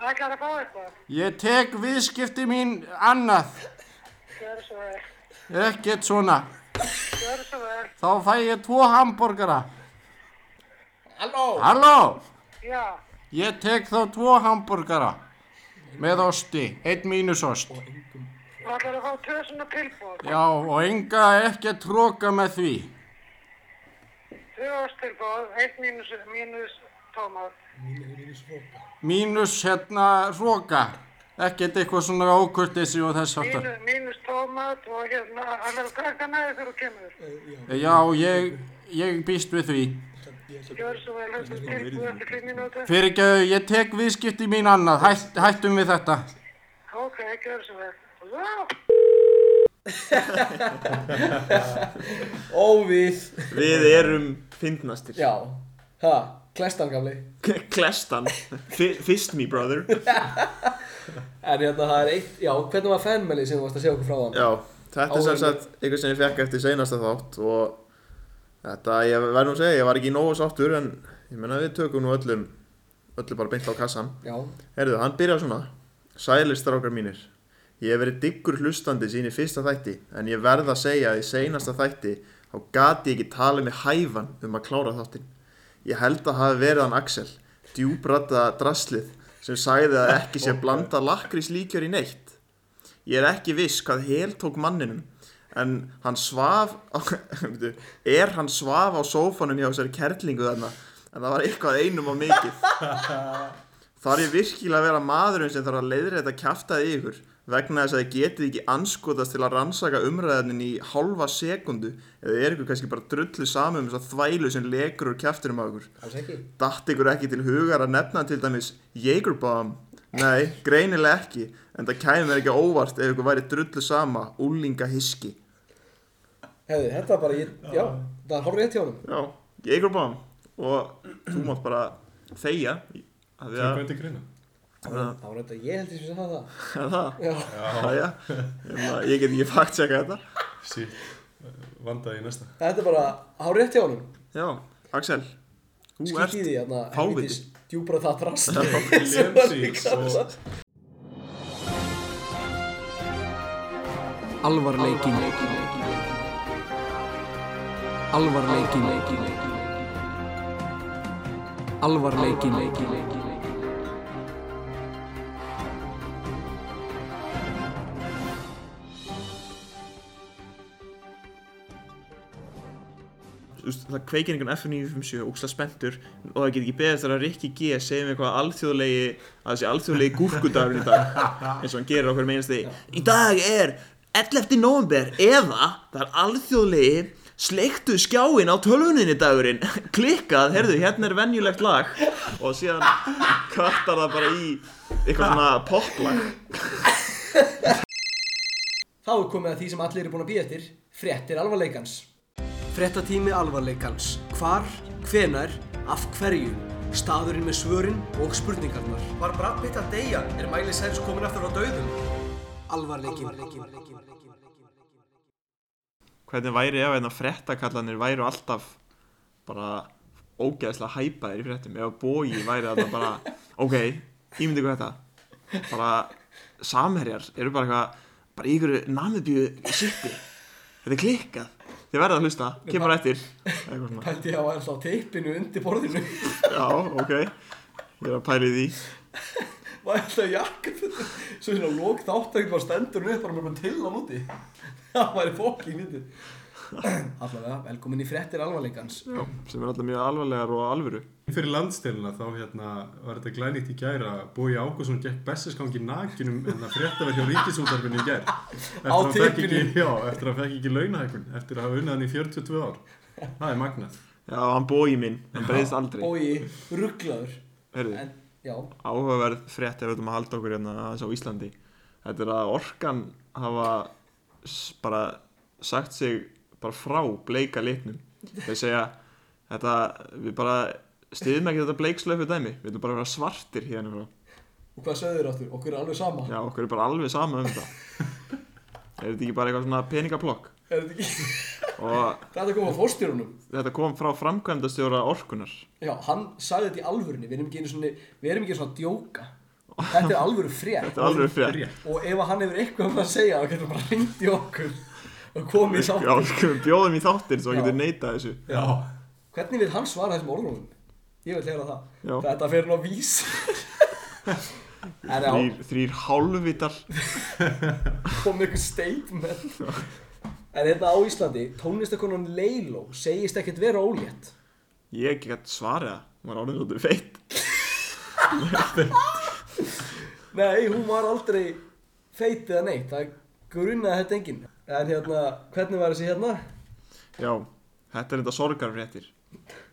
Speaker 5: Ætlar að fá eitthvað,
Speaker 3: Ég tek viðskipti mín annað.
Speaker 5: gjör svo vel,
Speaker 3: Ekkert svona.
Speaker 5: gjör svo vel,
Speaker 3: Þá fæ ég tvo hambúrgara.
Speaker 7: Halló!
Speaker 3: Halló!
Speaker 5: já.
Speaker 3: Ég tek þá tvo hambúrgara með osti, einn mínusost.
Speaker 5: Þú ætlar að fá tösuna tilbúð,
Speaker 3: Já, og enga ekki að tróka með því.
Speaker 5: tös tilbúð, eitt mínus, mínus tómar.
Speaker 3: Mínus hérna róka, ekkert eitthvað svona ókurtisi og þess aftar.
Speaker 5: Mínu, mínus tómat og hérna, ætlar að taka með þér þegar þú kemur.
Speaker 3: Já, ég, ég býst við því.
Speaker 5: Gjör svo vel, þetta er tilbúið eftir fimm mínúti.
Speaker 3: Fyrirgjöðu, ég tek viðskipti mín annað, Hætt, hættum við þetta.
Speaker 5: Ok, gjör svo vel. Vá!
Speaker 2: Óvíð.
Speaker 8: Við erum fyndnastir
Speaker 2: Já, ha, klestan gamli.
Speaker 8: Klestan Fi- Fist me brother
Speaker 2: En hérna það er eitt, já, hvernig var fanmelið sem þú varst að segja okkur frá hann?
Speaker 4: Já, þetta er sem sagt eitthvað sem ég fekk eftir seinasta þátt og þetta, ég verð nú að segja, ég var ekki nógu sáttur en ég menna við tökum nú öllum öllum bara beint á kassan
Speaker 2: Já,
Speaker 4: Herðu, hann byrjar svona Sælir strákar mínir Ég hef verið diggur hlustandi sín í fyrsta þætti en ég verð að segja að í seinasta þætti þá gati ég ekki talið með hæfan um að klára þáttin Ég held að hafi verið hann Axel djúbrata draslið sem sagði að ekki sé blanda lakrís líkjör í neitt
Speaker 9: Ég er ekki viss hvað hel tók manninum En hann svaf á, Bíddu, Er hann svaf á sófanum hjá þessari kerlingu þarna En það var eitthvað einum á mikið Þar ég virkilega að vera maðurinn sem þarf að leiðri þetta kjaftaði ykkur vegna þess að þið getið ekki anskotast til að rannsaka umræðanin í hálfa sekundu eða er ykkur kannski bara drullu saman um þess að þvælu sem lekur úr kjaftinum á ykkur
Speaker 2: Alls ekki.
Speaker 9: Datt ykkur ekki til hugar að nefna til dæmis Jägerbomb? Nei, greinilega ekki en það kæmi mér ekki á óvart ef ykkur væri drullu sama úlinga hiski
Speaker 2: Hefði, þetta var bara, ég, já, það er horrið hjá honum.
Speaker 9: Já, Jägerbomb og þú mátt bara þegja af því
Speaker 3: Það kom
Speaker 9: að
Speaker 3: þetta í greina.
Speaker 2: Það var- það var þetta, ég held ég sem sagði það.
Speaker 9: það
Speaker 2: Já.
Speaker 9: Jæja, Hérna, ég get ekki fakt seka þetta
Speaker 3: Sýtt, vandaði í næsta.
Speaker 2: Þetta er bara hárið hjá honum.
Speaker 9: Já, Axel Þú
Speaker 2: Skýt í
Speaker 9: ert
Speaker 2: hérna, því, þarna,
Speaker 9: fáviti.
Speaker 2: helvítis djúbra það drast. Sem var
Speaker 3: Lemsíks
Speaker 2: líka
Speaker 3: og
Speaker 2: það.
Speaker 1: Alvarleikin Alvarleikin Alvarleikin
Speaker 9: þú veist, það kveikir einhvern F957 óksla spenntur og það getur ekki beðast þar að Rikki G segja mér eitthvað alþjóðlegi að þessi alþjóðlegi gúrkudagurinn í dag eins og hann gerir okkur meginast því í dag er 11. november eða það er alþjóðlegi sleiktu skjáin á tölvuninni dagurinn klikkað, heyrðu, hérna er venjulegt lag og síðan kvartar það bara í eitthvað svona poplag
Speaker 2: Þá er komið að því sem allir eru búin að býja eftir, fréttir alvarleikans. Fréttatími alvarleikans. Hvar, hvenær, af hverju, staðurinn með svörin og spurningarnar. Var Brad Pitt að deyja? Er Miley Cyrus komin aftur á döðum? Alvarleikin.
Speaker 4: Hvernig væri ef einna frettakallanir væru alltaf bara ógeðslega hæpaðir í frettum ef bógi væri þetta bara ok, ímyndi hvað þetta bara samherjar eru bara eitthvað bara í ykkur namibíu sitti þetta er klikkað þið verða að hlusta, kemur eftir eitthvað svona
Speaker 2: Pældi ég að væri alltaf á teipinu undir borðinu.
Speaker 4: Já, ok Ég er að pæla í því
Speaker 2: Var alltaf jakkafötum. Svo svona lók þáttækt var stendur hún upp bara með til á núti. Það væri fokking myndið. Allavega, velkomin í fréttir alvarleikans.
Speaker 4: Já, sem er alltaf mjög alvarlegar og alvöru
Speaker 3: Fyrir landstilina þá hérna var þetta glænýtt í gæra Bói Ágússon gekk bessaskangi nakinum en það fréttaverð hjá ríkisútarfinu í gær eftir
Speaker 2: Á
Speaker 3: að hann fekk ekki,
Speaker 2: teipinu.
Speaker 3: Já, eftir að hann fekk ekki launahækun eftir að hafa unnað hann í 42 ár Það er magnað
Speaker 4: Já, hann bói minn, hann breyðist aldrei
Speaker 2: Bói, rugglaður.
Speaker 4: Herðu,
Speaker 2: En, já,
Speaker 4: áhugaverð frétt ef við ætlum að halda okkur hérna aðeins á Íslandi Þetta er að orkan hafa s- bara sagt sig bara frá bleika litnum Þeir segja, þetta, við bara stiðum ekki þetta bleikslöfu dæmi Við ætlum bara að vera svartir hérna frá
Speaker 2: og hvað sögðu þér áttur? Okkur er alveg sama.
Speaker 4: Já, okkur er bara alveg sama um þetta Er þetta ekki bara eitthvað svona peningaplokk?
Speaker 2: Er þetta ekki?
Speaker 4: Og
Speaker 2: Þetta kom á fórstjórunum.
Speaker 4: þetta kom frá framkvæmdastjóra orkunar
Speaker 2: Já, hann sagði þetta í alvörunni. Við erum ekki einu svona, við erum ekki svona að djóka. Þetta er alvöru frétt.
Speaker 4: Þetta er alveg frétt
Speaker 2: Og ef hann hefur eitthvað um að segja, þá getur hann bara hringt í okkur og komið í sátt.
Speaker 4: Já, við skulum bjóðum í þáttir svo hann
Speaker 2: Já.
Speaker 4: getur neitað þessu
Speaker 2: Já. Hvernig vil hann svara þessum orðunum? Ég vil hlera það.
Speaker 4: Já.
Speaker 2: Þetta fer nú að vísa. en já,
Speaker 4: Þrýr, þrýr hálfvitar
Speaker 2: komið ykkur statement. en hérna á Íslandi, tónlistakonan Leilo segist ekkert vera ólétt.
Speaker 4: Ég get svarið það, maður orðin svolítið feitt
Speaker 2: Nei, hún var aldrei feit eða neitt. Það grunnaði þetta enginn. En hérna, hvernig var þessi hérna?
Speaker 4: Já, þetta er þetta sorgarfréttir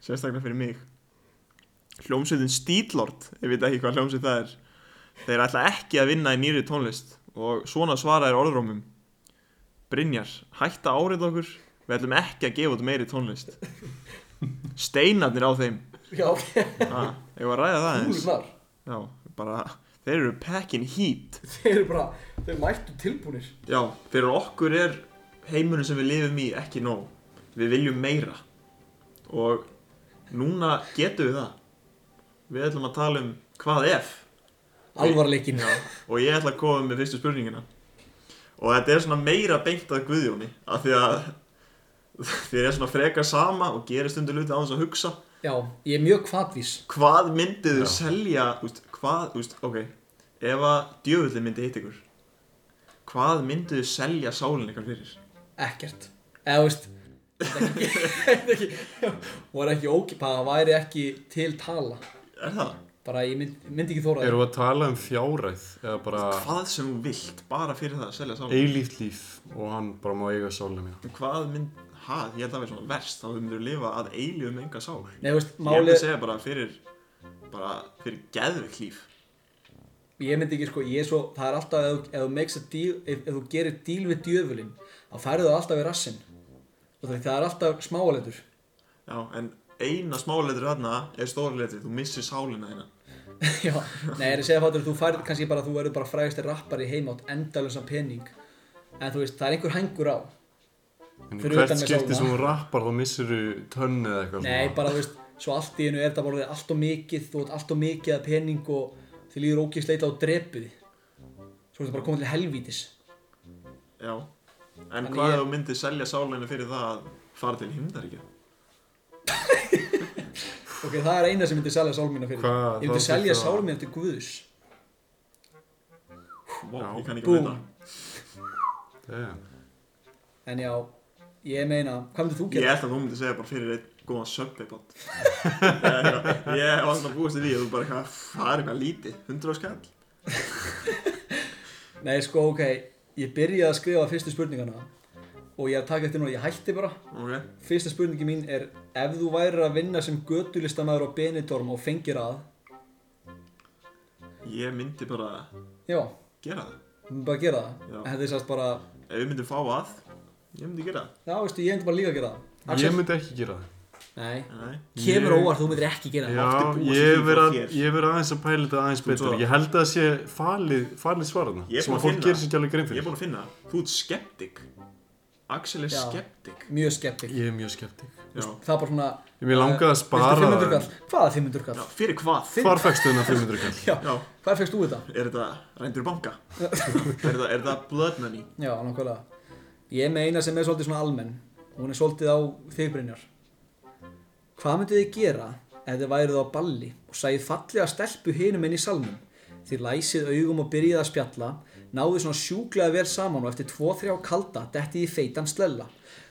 Speaker 4: Sérstaklega fyrir mig Hljómsveitin Stílord Ég veit ekki hvað hljómsveit það er Þeir ætla ekki að vinna í nýri tónlist Og svona svara er orðrómum Brynjar, hætta árið okkur Við ætlum ekki að gefa út meiri tónlist Steinarnir á þeim
Speaker 2: Já, ok.
Speaker 4: ah, Ég var að ræða það eins
Speaker 2: Húlunar.
Speaker 4: Já, bara, þeir eru packing heat
Speaker 2: Þeir eru bara, þeir mættu tilbúnir.
Speaker 4: Já, fyrir okkur er heimurinn sem við lifum í ekki nóg Við viljum meira Og núna getum við það Við ætlum að tala um hvað ef
Speaker 2: Alvarleikin.
Speaker 4: Og ég ætla að koma með fyrstu spurningina Og þetta er svona meira beint að Guðjóni Af því að þér er svona frekar sama og gerir stundu hluti á þess að hugsa
Speaker 2: Já, ég er mjög kvatvís.
Speaker 4: Hvað myndið þau selja, úst, hvað, úst, ok Ef að djöfullin myndi hitt ykkur hvað myndu þið selja sálinn ykkur fyrir?
Speaker 7: Ekkert Eða þú veist Þetta ekki Var ekki ókipa Það væri ekki til tala
Speaker 4: Er það?
Speaker 7: Bara ég mynd, myndi ekki þóra
Speaker 3: Erum við að tala um fjáræð eða bara
Speaker 4: Hvað sem þú vilt, bara fyrir það að selja sálinn?
Speaker 3: eilíft líf og hann bara má eiga sálina mína?
Speaker 4: Hvað mynd, ha, ég held að það vera svona verst, þá myndur við lifa að eilíu um enga sál.
Speaker 7: Nei, þú veist,
Speaker 4: Ég held
Speaker 7: málið
Speaker 4: að segja bara fyrir, bara fyrir geðveikt líf.
Speaker 7: Ég myndi ekki, sko, ég er svo Það er alltaf, ef, þú- ef þú makes a deal ef, ef þú gerir deal við djöfulinn Þá færðu það alltaf við rassinn Og það er alltaf smáalendur
Speaker 4: Já, en eina smáleitri þarna er stórleitri, þú missir sálina þína.
Speaker 7: Já, nei, ég er að segja fattur Þú færð kannski bara, þú verður bara frægasti rappar í heimátt Endalösa pening En þú veist, það er einhver hengur á
Speaker 3: En
Speaker 7: Fyrir
Speaker 3: hvert
Speaker 7: utan með
Speaker 3: skipti
Speaker 7: sálina.
Speaker 3: sem hún rappar þá missir þú tönni eða eitthvað
Speaker 7: Nei,
Speaker 3: svona.
Speaker 7: bara þú veist, svo allt í einu er þetta bara orðið allt og mikið, þú átt allt og mikið að pening og þið líður ógeðsleita og drepuði. Svo er þetta bara komið til helvítis.
Speaker 4: Já. En
Speaker 7: Þannig
Speaker 4: hvað
Speaker 7: ég-
Speaker 4: ef þú myndir selja sálina fyrir það að fara til himnaríkja?
Speaker 7: Ok, það er eina sem myndi selja sál mína fyrir.
Speaker 3: Hvað, þá
Speaker 7: Ég myndi selja
Speaker 3: þurfti
Speaker 7: sál
Speaker 3: að-
Speaker 7: mína til Guðus.
Speaker 4: Vá, ég kann ekki
Speaker 7: Búm.
Speaker 4: veit það.
Speaker 3: Damn.
Speaker 7: En já, ég meina, hvað myndir þú
Speaker 4: Ég
Speaker 7: gera?
Speaker 4: held að þú myndir segja bara fyrir einn góðan söpbeibot. ég var alltaf búist í því að þú bara eitthvað, það er eitthvað lítið, 100 skall.
Speaker 7: Nei, sko, ok, ég byrjaði að skrifa fyrstu spurningana og ég er að taka eftir núna, ég hætti bara.
Speaker 4: Ok,
Speaker 7: Fyrsta spurningi mín er, ef þú værir að vinna sem götulistamæður á Benidorm og fengir að,
Speaker 4: ég myndi bara
Speaker 7: já,
Speaker 4: gera það.
Speaker 7: þú myndir bara gera það.
Speaker 4: Já.
Speaker 7: En þetta er sérst bara,
Speaker 4: Ef við myndum fá að, ég myndi gera það.
Speaker 7: já, veistu, ég myndi bara líka að gera það. Axel?
Speaker 3: Ég myndi ekki gera það.
Speaker 7: Nei,
Speaker 4: Nei.
Speaker 7: kemur
Speaker 3: Ég-
Speaker 7: óvart, þú myndir ekki gera það
Speaker 3: Já,
Speaker 4: búist við
Speaker 3: ég
Speaker 4: því frá
Speaker 3: verið
Speaker 4: þér.
Speaker 3: vera aðeins að pæla þetta aðeins betur.
Speaker 4: svo-
Speaker 3: Ég held að það sé falið, falið svarðna.
Speaker 4: Ég er
Speaker 3: Sem að
Speaker 4: búinn
Speaker 3: fólk
Speaker 4: að finna-
Speaker 3: gerir sér ekki alveg grein
Speaker 4: Ég er
Speaker 3: fyrir.
Speaker 4: búinn að finna, það. þú ert skeptik. Axel er
Speaker 7: Já.
Speaker 4: skeptik.
Speaker 7: Mjög skeptik
Speaker 3: Ég er mjög skeptik.
Speaker 4: Já.
Speaker 7: Það er bara svona
Speaker 3: Ég mér langaði að
Speaker 7: Viltu
Speaker 3: spara
Speaker 7: 500
Speaker 3: það.
Speaker 7: kall? Hvaða 500
Speaker 4: Já,
Speaker 7: kall?
Speaker 4: fyrir hvað?
Speaker 7: Finn-
Speaker 3: Hvar fækstu þennan 500 kall?
Speaker 7: Já,
Speaker 4: Já,
Speaker 7: hvað fegst þú þetta?
Speaker 4: er þetta rændur banka? er, þetta, er þetta blood money?
Speaker 7: Já, nákvæmlega Ég er með eina sem er svolítið svona almenn Hún er svolítið á þig Brynjar Hvað myndið þið gera ef þið værið á balli og sæðið fallega stelpu hinum inn í salnum Þið læsið augum og byrjið að spjalla náðuð svona sjúklega vel saman og eftir 2-3 kalda dettið í feitan slella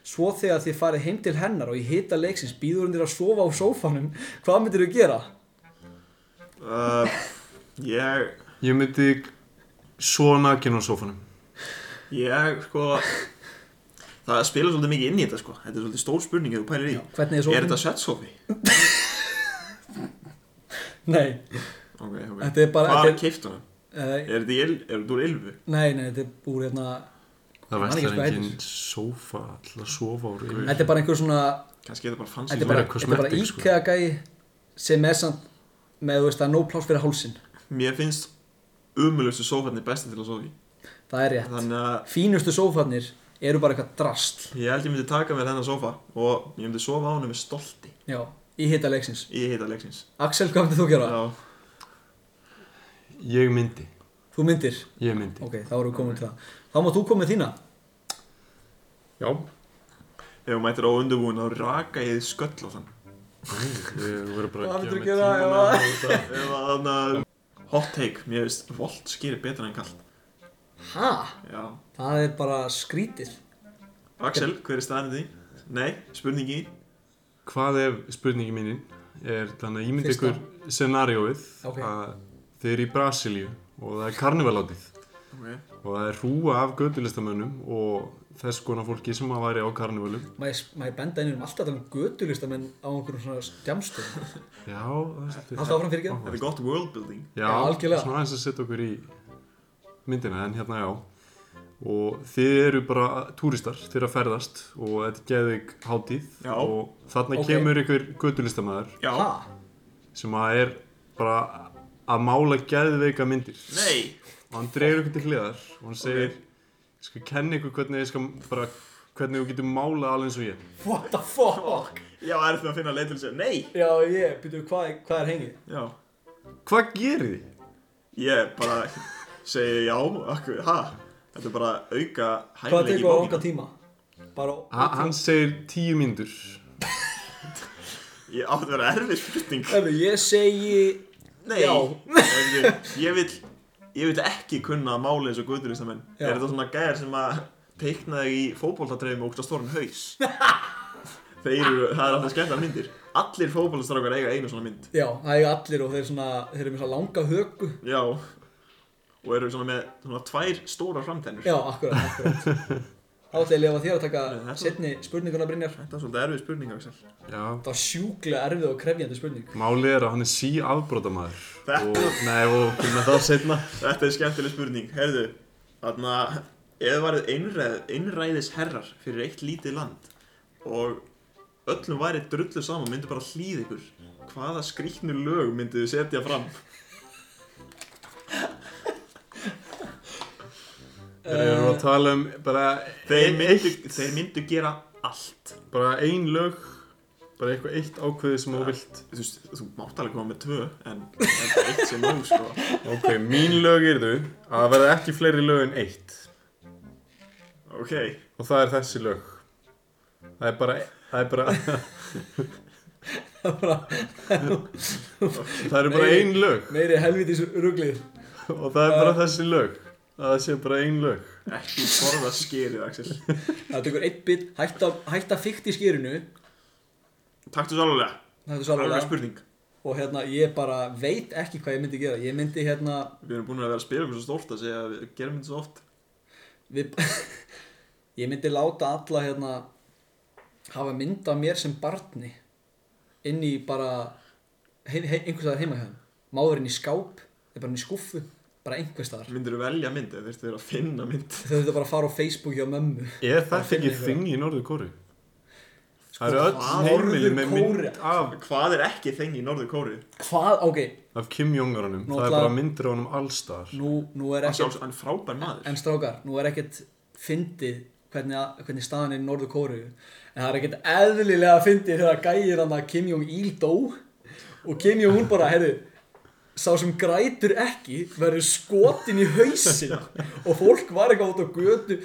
Speaker 7: Svo þegar þið farið heim til hennar og í hita leiksins býður hún þér að sofa á sófanum Hvað myndir þið gera?
Speaker 4: Uh, ég,
Speaker 3: Ég myndi svo nakin á sófanum.
Speaker 4: ég, sko, það spila svolítið mikið inn í þetta, sko. Þetta er svolítið stór spurning ef þú pælir í.
Speaker 7: Hvernig er
Speaker 4: er
Speaker 7: sófanum?
Speaker 4: þetta svetsofi?
Speaker 7: Nei,
Speaker 4: Ok, ok.
Speaker 7: Þetta er bara-
Speaker 4: Hvað
Speaker 7: þetta
Speaker 4: er
Speaker 7: er-
Speaker 4: keift hana?
Speaker 7: uh,
Speaker 4: Er þetta í il- er þetta úr ylfu?
Speaker 7: nei, nei, þetta er búið hérna
Speaker 3: Það
Speaker 7: man ekki
Speaker 3: veist það
Speaker 7: hvað
Speaker 3: engin
Speaker 7: heitir.
Speaker 3: sófa alltaf að sofa úr yfir.
Speaker 7: Þetta er bara einhver svona
Speaker 4: Kannski er þetta bara fancy.
Speaker 7: Þetta er
Speaker 3: bara
Speaker 7: bara, þetta er bara
Speaker 3: kosmetik, sko.
Speaker 7: íkega gæi sem er samt með, þú veist, það er nóg pláss fyrir hálsin
Speaker 4: Mér finnst umulustu sófarnir besti til að sofa í.
Speaker 7: Það er rétt
Speaker 4: Þannig að
Speaker 7: Fínustu sófarnir eru bara eitthvað drastl
Speaker 4: Ég held ég myndi taka mér þennan sófa og ég myndi sofa á henni með stolti
Speaker 7: Já, í hita leiksins
Speaker 4: í heita leiksins.
Speaker 7: Axel, hvað myndir þú gera?
Speaker 4: Já,
Speaker 3: Ég myndi.
Speaker 7: Þú myndir?
Speaker 3: Ég myndi.
Speaker 7: Ok, þá erum við komin til það Þá mátt þú komið þína
Speaker 3: Já.
Speaker 4: ef hún mætir á undurbúin þá raka ég þið sköll á þann.
Speaker 3: Ég verður bara
Speaker 7: Hvað
Speaker 3: að gefa mig
Speaker 7: myndirðu gera,
Speaker 3: tíma
Speaker 7: já?
Speaker 3: með þetta.
Speaker 4: Ef að þannig að hot take, mér finnst volt skýri betra en kallt.
Speaker 7: Ha?
Speaker 4: Já.
Speaker 7: Það er bara skrítið
Speaker 4: Axel, hver er staðan í því? Nei, spurningi.
Speaker 3: Hvað ef spurningi mín er þannig að ég myndi
Speaker 7: Fyrsta.
Speaker 3: ykkur scenarióið
Speaker 7: Ok.
Speaker 3: að þið eru í Brasilíu og það er karnivalátið
Speaker 4: Ok.
Speaker 3: og það er hrúa af götulistamönnum og þess konar fólki sem að væri á karnivalum.
Speaker 7: Má ég má ég benda einum alltaf um götulistamenn á einhverjum svona stjamstöðum
Speaker 3: Já, það er svolítið.
Speaker 7: Alltaf áfram fyrir
Speaker 4: Þetta er gott world building.
Speaker 3: Já,
Speaker 7: Já, algjörlega.
Speaker 3: svona aðeins að setja okkur í myndina, en hérna já. Og þið eru bara túristar, þið eru að ferðast og þetta er geðvig hátíð
Speaker 4: Já.
Speaker 3: og þarna
Speaker 7: Ok.
Speaker 3: kemur ykkur götulistamöður
Speaker 4: Já.
Speaker 7: Ha?
Speaker 3: sem að er bara að mála geðveika myndir.
Speaker 4: Nei.
Speaker 3: og hann dregur ykkur til hliðar og hann segir ég skal kenna ykkur hvernig ég skal bara hvernig þú getur málað alveg eins og ég
Speaker 7: What the fuck?
Speaker 4: Fuck. Já, er þetta að finna leið til þess að nei.
Speaker 7: Já, ég, byrju, hvað, hvað er hengið?
Speaker 4: Já.
Speaker 3: hvað gerir þið?
Speaker 4: Ég bara segi já, akkur, ha? Þetta er bara auka
Speaker 7: Hvað
Speaker 4: hæfileiki í
Speaker 7: tekur á langa
Speaker 4: bókina.
Speaker 7: tíma? Bara
Speaker 3: Ha, hann segir tíu myndur
Speaker 4: Ég átti að vera erfið spurning.
Speaker 7: Herru, ég segi
Speaker 4: Nei,
Speaker 7: Já.
Speaker 4: Heyrðu, ég vil ég vil ekki kunna að mála eins og guðuristamenn
Speaker 7: Já.
Speaker 4: Er þetta svona gæjar sem að teikna þig í fótboltadreifum og ógsta stóran um haus? Þeir eru, það er alltaf skemmtilega myndir Allir fótboltastrákar eiga einu svona mynd
Speaker 7: Já, það eru allir og þeir, svona, þeir eru með svona langa höku
Speaker 4: Já Og eru svona með svona tvær stórar framtennur
Speaker 7: Já, akkurat, akkurat Þá ætla ég að lefa þér að
Speaker 4: Nei,
Speaker 7: taka
Speaker 4: þetta-
Speaker 7: setni spurninguna Brynjar
Speaker 4: Þetta er svolítið erfið spurning, Axel
Speaker 3: Já,
Speaker 7: Það var sjúklega erfið og krefjandi spurning
Speaker 3: málið er að hann er sí afbrótamaður.
Speaker 4: Þetta-
Speaker 3: Og, nei, og fyrir með það setna.
Speaker 4: Hérna, Þetta er skemmtileg spurning, heyrðu Þarna, ef það varð einræð, einræðis herrar fyrir eitt lítið land og öllum væri drullu saman, myndu bara hlýð ykkur hvaða skrýtnu lög myndu þið setja fram?
Speaker 3: Þeir eru að tala um bara,
Speaker 4: Þeir myndu, þeir myndu gera allt
Speaker 3: bara ein lög, bara eitthvað eitt ákveði sem þú vilt.
Speaker 4: Þú veist, þú mátt alveg koma með tvö en, en eitt sem nóg, sko
Speaker 3: Ok, mín lög eru að verða ekki fleiri lög en eitt.
Speaker 4: Ok,
Speaker 3: Og það er þessi lög. Það er bara, það er bara, það eru bara
Speaker 7: Nei.
Speaker 3: ein lög.
Speaker 7: Meiri helvitis ruglið
Speaker 3: Og það er bara þessi lög. Að það sé bara ein lög.
Speaker 4: ekki borða skerið, Axel
Speaker 7: Það tekur eitt bit, hætta, hætta fikt í skýrinu
Speaker 4: Takk þú sálega,
Speaker 7: Það er
Speaker 4: alveg
Speaker 7: svarlega
Speaker 4: spurning
Speaker 7: Og hérna, ég bara veit ekki hvað ég myndi gera Ég myndi hérna
Speaker 4: Við erum búin að vera að spila okkur svo stórt að segja að við gerum þetta svo oft
Speaker 7: við, Ég myndi láta alla hérna Hafa mynd af mér sem barni Inn í bara he, he, Einhverstaðar heima hjá þeim. Máður inn í skáp Eða bara inn í skúffu Bara einhverstaðar
Speaker 4: Myndur þú velja mynd eða þurftu þér að finna mynd
Speaker 7: Þau þurftu bara að fara á Facebook hjá mömmu
Speaker 3: Er þetta
Speaker 7: finna
Speaker 3: ekki
Speaker 7: einhverja.
Speaker 3: þing í Norður Kóru? Það eru
Speaker 7: Sko, hvað?
Speaker 3: öll heimili með
Speaker 7: Norður-Kórea?
Speaker 3: mynd af,
Speaker 4: Hvað er ekki þengi í norðu kóru?
Speaker 7: Hvað, ok,
Speaker 3: af Kim Jong-unum.
Speaker 7: Nú
Speaker 3: Það er
Speaker 7: ætla-
Speaker 3: bara myndir á honum allstar.
Speaker 7: nú, nú er
Speaker 4: Hann
Speaker 7: ekkert
Speaker 4: sjálfs- hann er frábær maður
Speaker 7: En strákar, nú er ekkert fyndið hvernig, að- hvernig staðan er í Norður Kóru en það er ekkert eðlilega fyndið þegar gæir hann að Kim Jong-il dó og Kim Jong-un bara, heyrðu sá sem grætur ekki verður skotin í hausin og fólk var eitthvað út á götu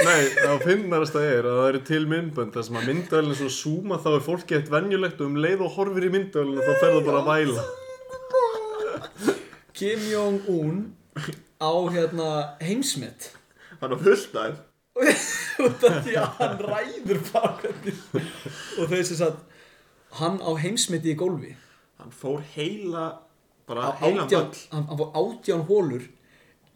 Speaker 3: Nei, það finnarasta er að það eru til myndbönd þar sem að myndavælinn svo súma þá er fólki eitt venjulegt og um leið og horfir í myndavælinn þá fer það bara að væla.
Speaker 7: Kim Jong-un á hérna heimsmet
Speaker 4: Hann er fullt af þeim.
Speaker 7: út af því að hann ræður bara hvernig og þau sem sagt hann á heimsmeti í gólfi
Speaker 4: Hann fór heila bara
Speaker 7: á
Speaker 4: heila
Speaker 7: átján, hann, hann fór átján hólur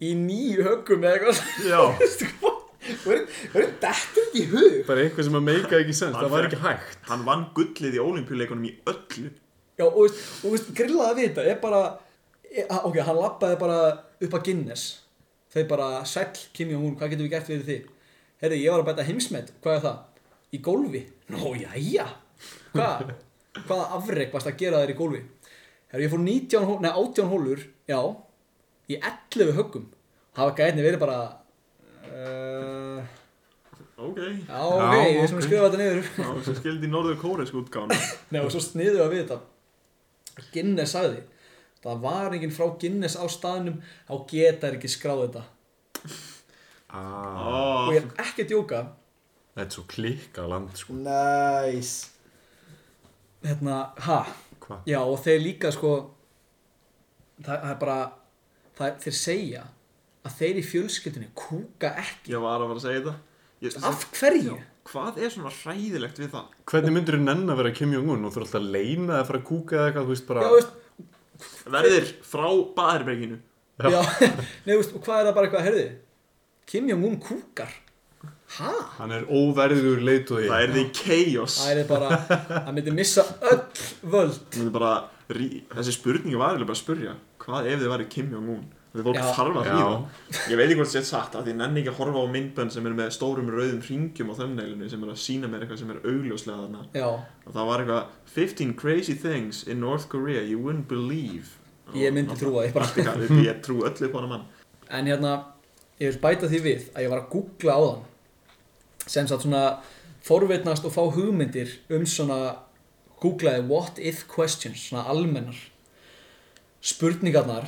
Speaker 7: í nýju höggum eða eitthvað
Speaker 3: Já.
Speaker 7: Veistu hvað? verður þetta ekki í hug
Speaker 3: Bara eitthvað sem að meika ekki sens, það var ekki hægt.
Speaker 4: Hann vann gullið í ólimpíuleikunum í öllu
Speaker 7: já og veist, og veist grillaði við þetta er bara er, ha- ok, hann lappaði bara upp að Guinness þau bara sæll Kim Jong-un hvað getum við gert fyrir þig herri ég var að bæta heimsmet hvað er það í gólfi nú jæja hvað hvaða afreg varst að gera þér í gólfi herri ég fór 19 hó- nei, 18 hólur já í 11 höggum hafa gæðinni verið bara uh,
Speaker 4: Ok
Speaker 7: Já, ok, ég er sem að skrifa þetta niður
Speaker 4: Já, sem skildi í norðu kóru sko útgána
Speaker 7: Nei, og svo sniðu að við þetta Guinness sagði Það var enginn frá Guinness á staðnum Þá geta þær ekki skráð þetta
Speaker 3: Ah,
Speaker 7: Og
Speaker 4: oh,
Speaker 7: ég er ekki að djóka
Speaker 3: þetta er svo klikka land, sko.
Speaker 7: Nice Hérna, ha
Speaker 3: Hva?
Speaker 7: Já, og þeir líka sko Það, það er bara það, er- Þeir segja að þeir í fjölskyldunni kúka ekki
Speaker 4: Ég var að fara að segja þetta ég,
Speaker 7: Af hverju?
Speaker 4: Hvað er svona hræðilegt við það?
Speaker 3: Hvernig myndir þú nenn að vera Kim Jong-un og þú er alltaf að leina eða fara að kúka eða eitthvað, þú veist bara...
Speaker 7: Já, veist,
Speaker 4: Verðir frá baðherberginu
Speaker 3: Já.
Speaker 7: já, nei, veist, og hvað er það bara eitthvað, herði Kim Jong-un kúkar Hæ?
Speaker 3: Hann er óverður leituði.
Speaker 4: Það er því chaos
Speaker 7: Það er bara, það myndi missa öll völd
Speaker 4: Það er bara, rí- þessi spurningi var eiginlega bara að spurja Hvað ef þið væri Kim Jong-un? Þegar fólk
Speaker 7: Já.
Speaker 4: þarf að
Speaker 3: Já.
Speaker 4: hlýða Ég veit ekki hvort þetta er satt af Því ég nenni ekki að horfa á myndbönn sem er með stórum rauðum ringjum á þömmneilinu sem er að sína mér eitthvað sem er augljóslega þarna
Speaker 7: Já,
Speaker 4: og það var eitthvað 15 crazy things in North Korea you wouldn't believe Og
Speaker 7: Ég myndi
Speaker 4: náttúrulega- Allt í
Speaker 7: trúa því bara.
Speaker 4: galið, Ég trú öllu upp á hana mann
Speaker 7: en hérna Ég vil bæta því við að ég var að googla á þann Sem satt svona Forvitnast og fá hugmyndir Um svona, googlaði What if questions, svona almennar Spurningarnar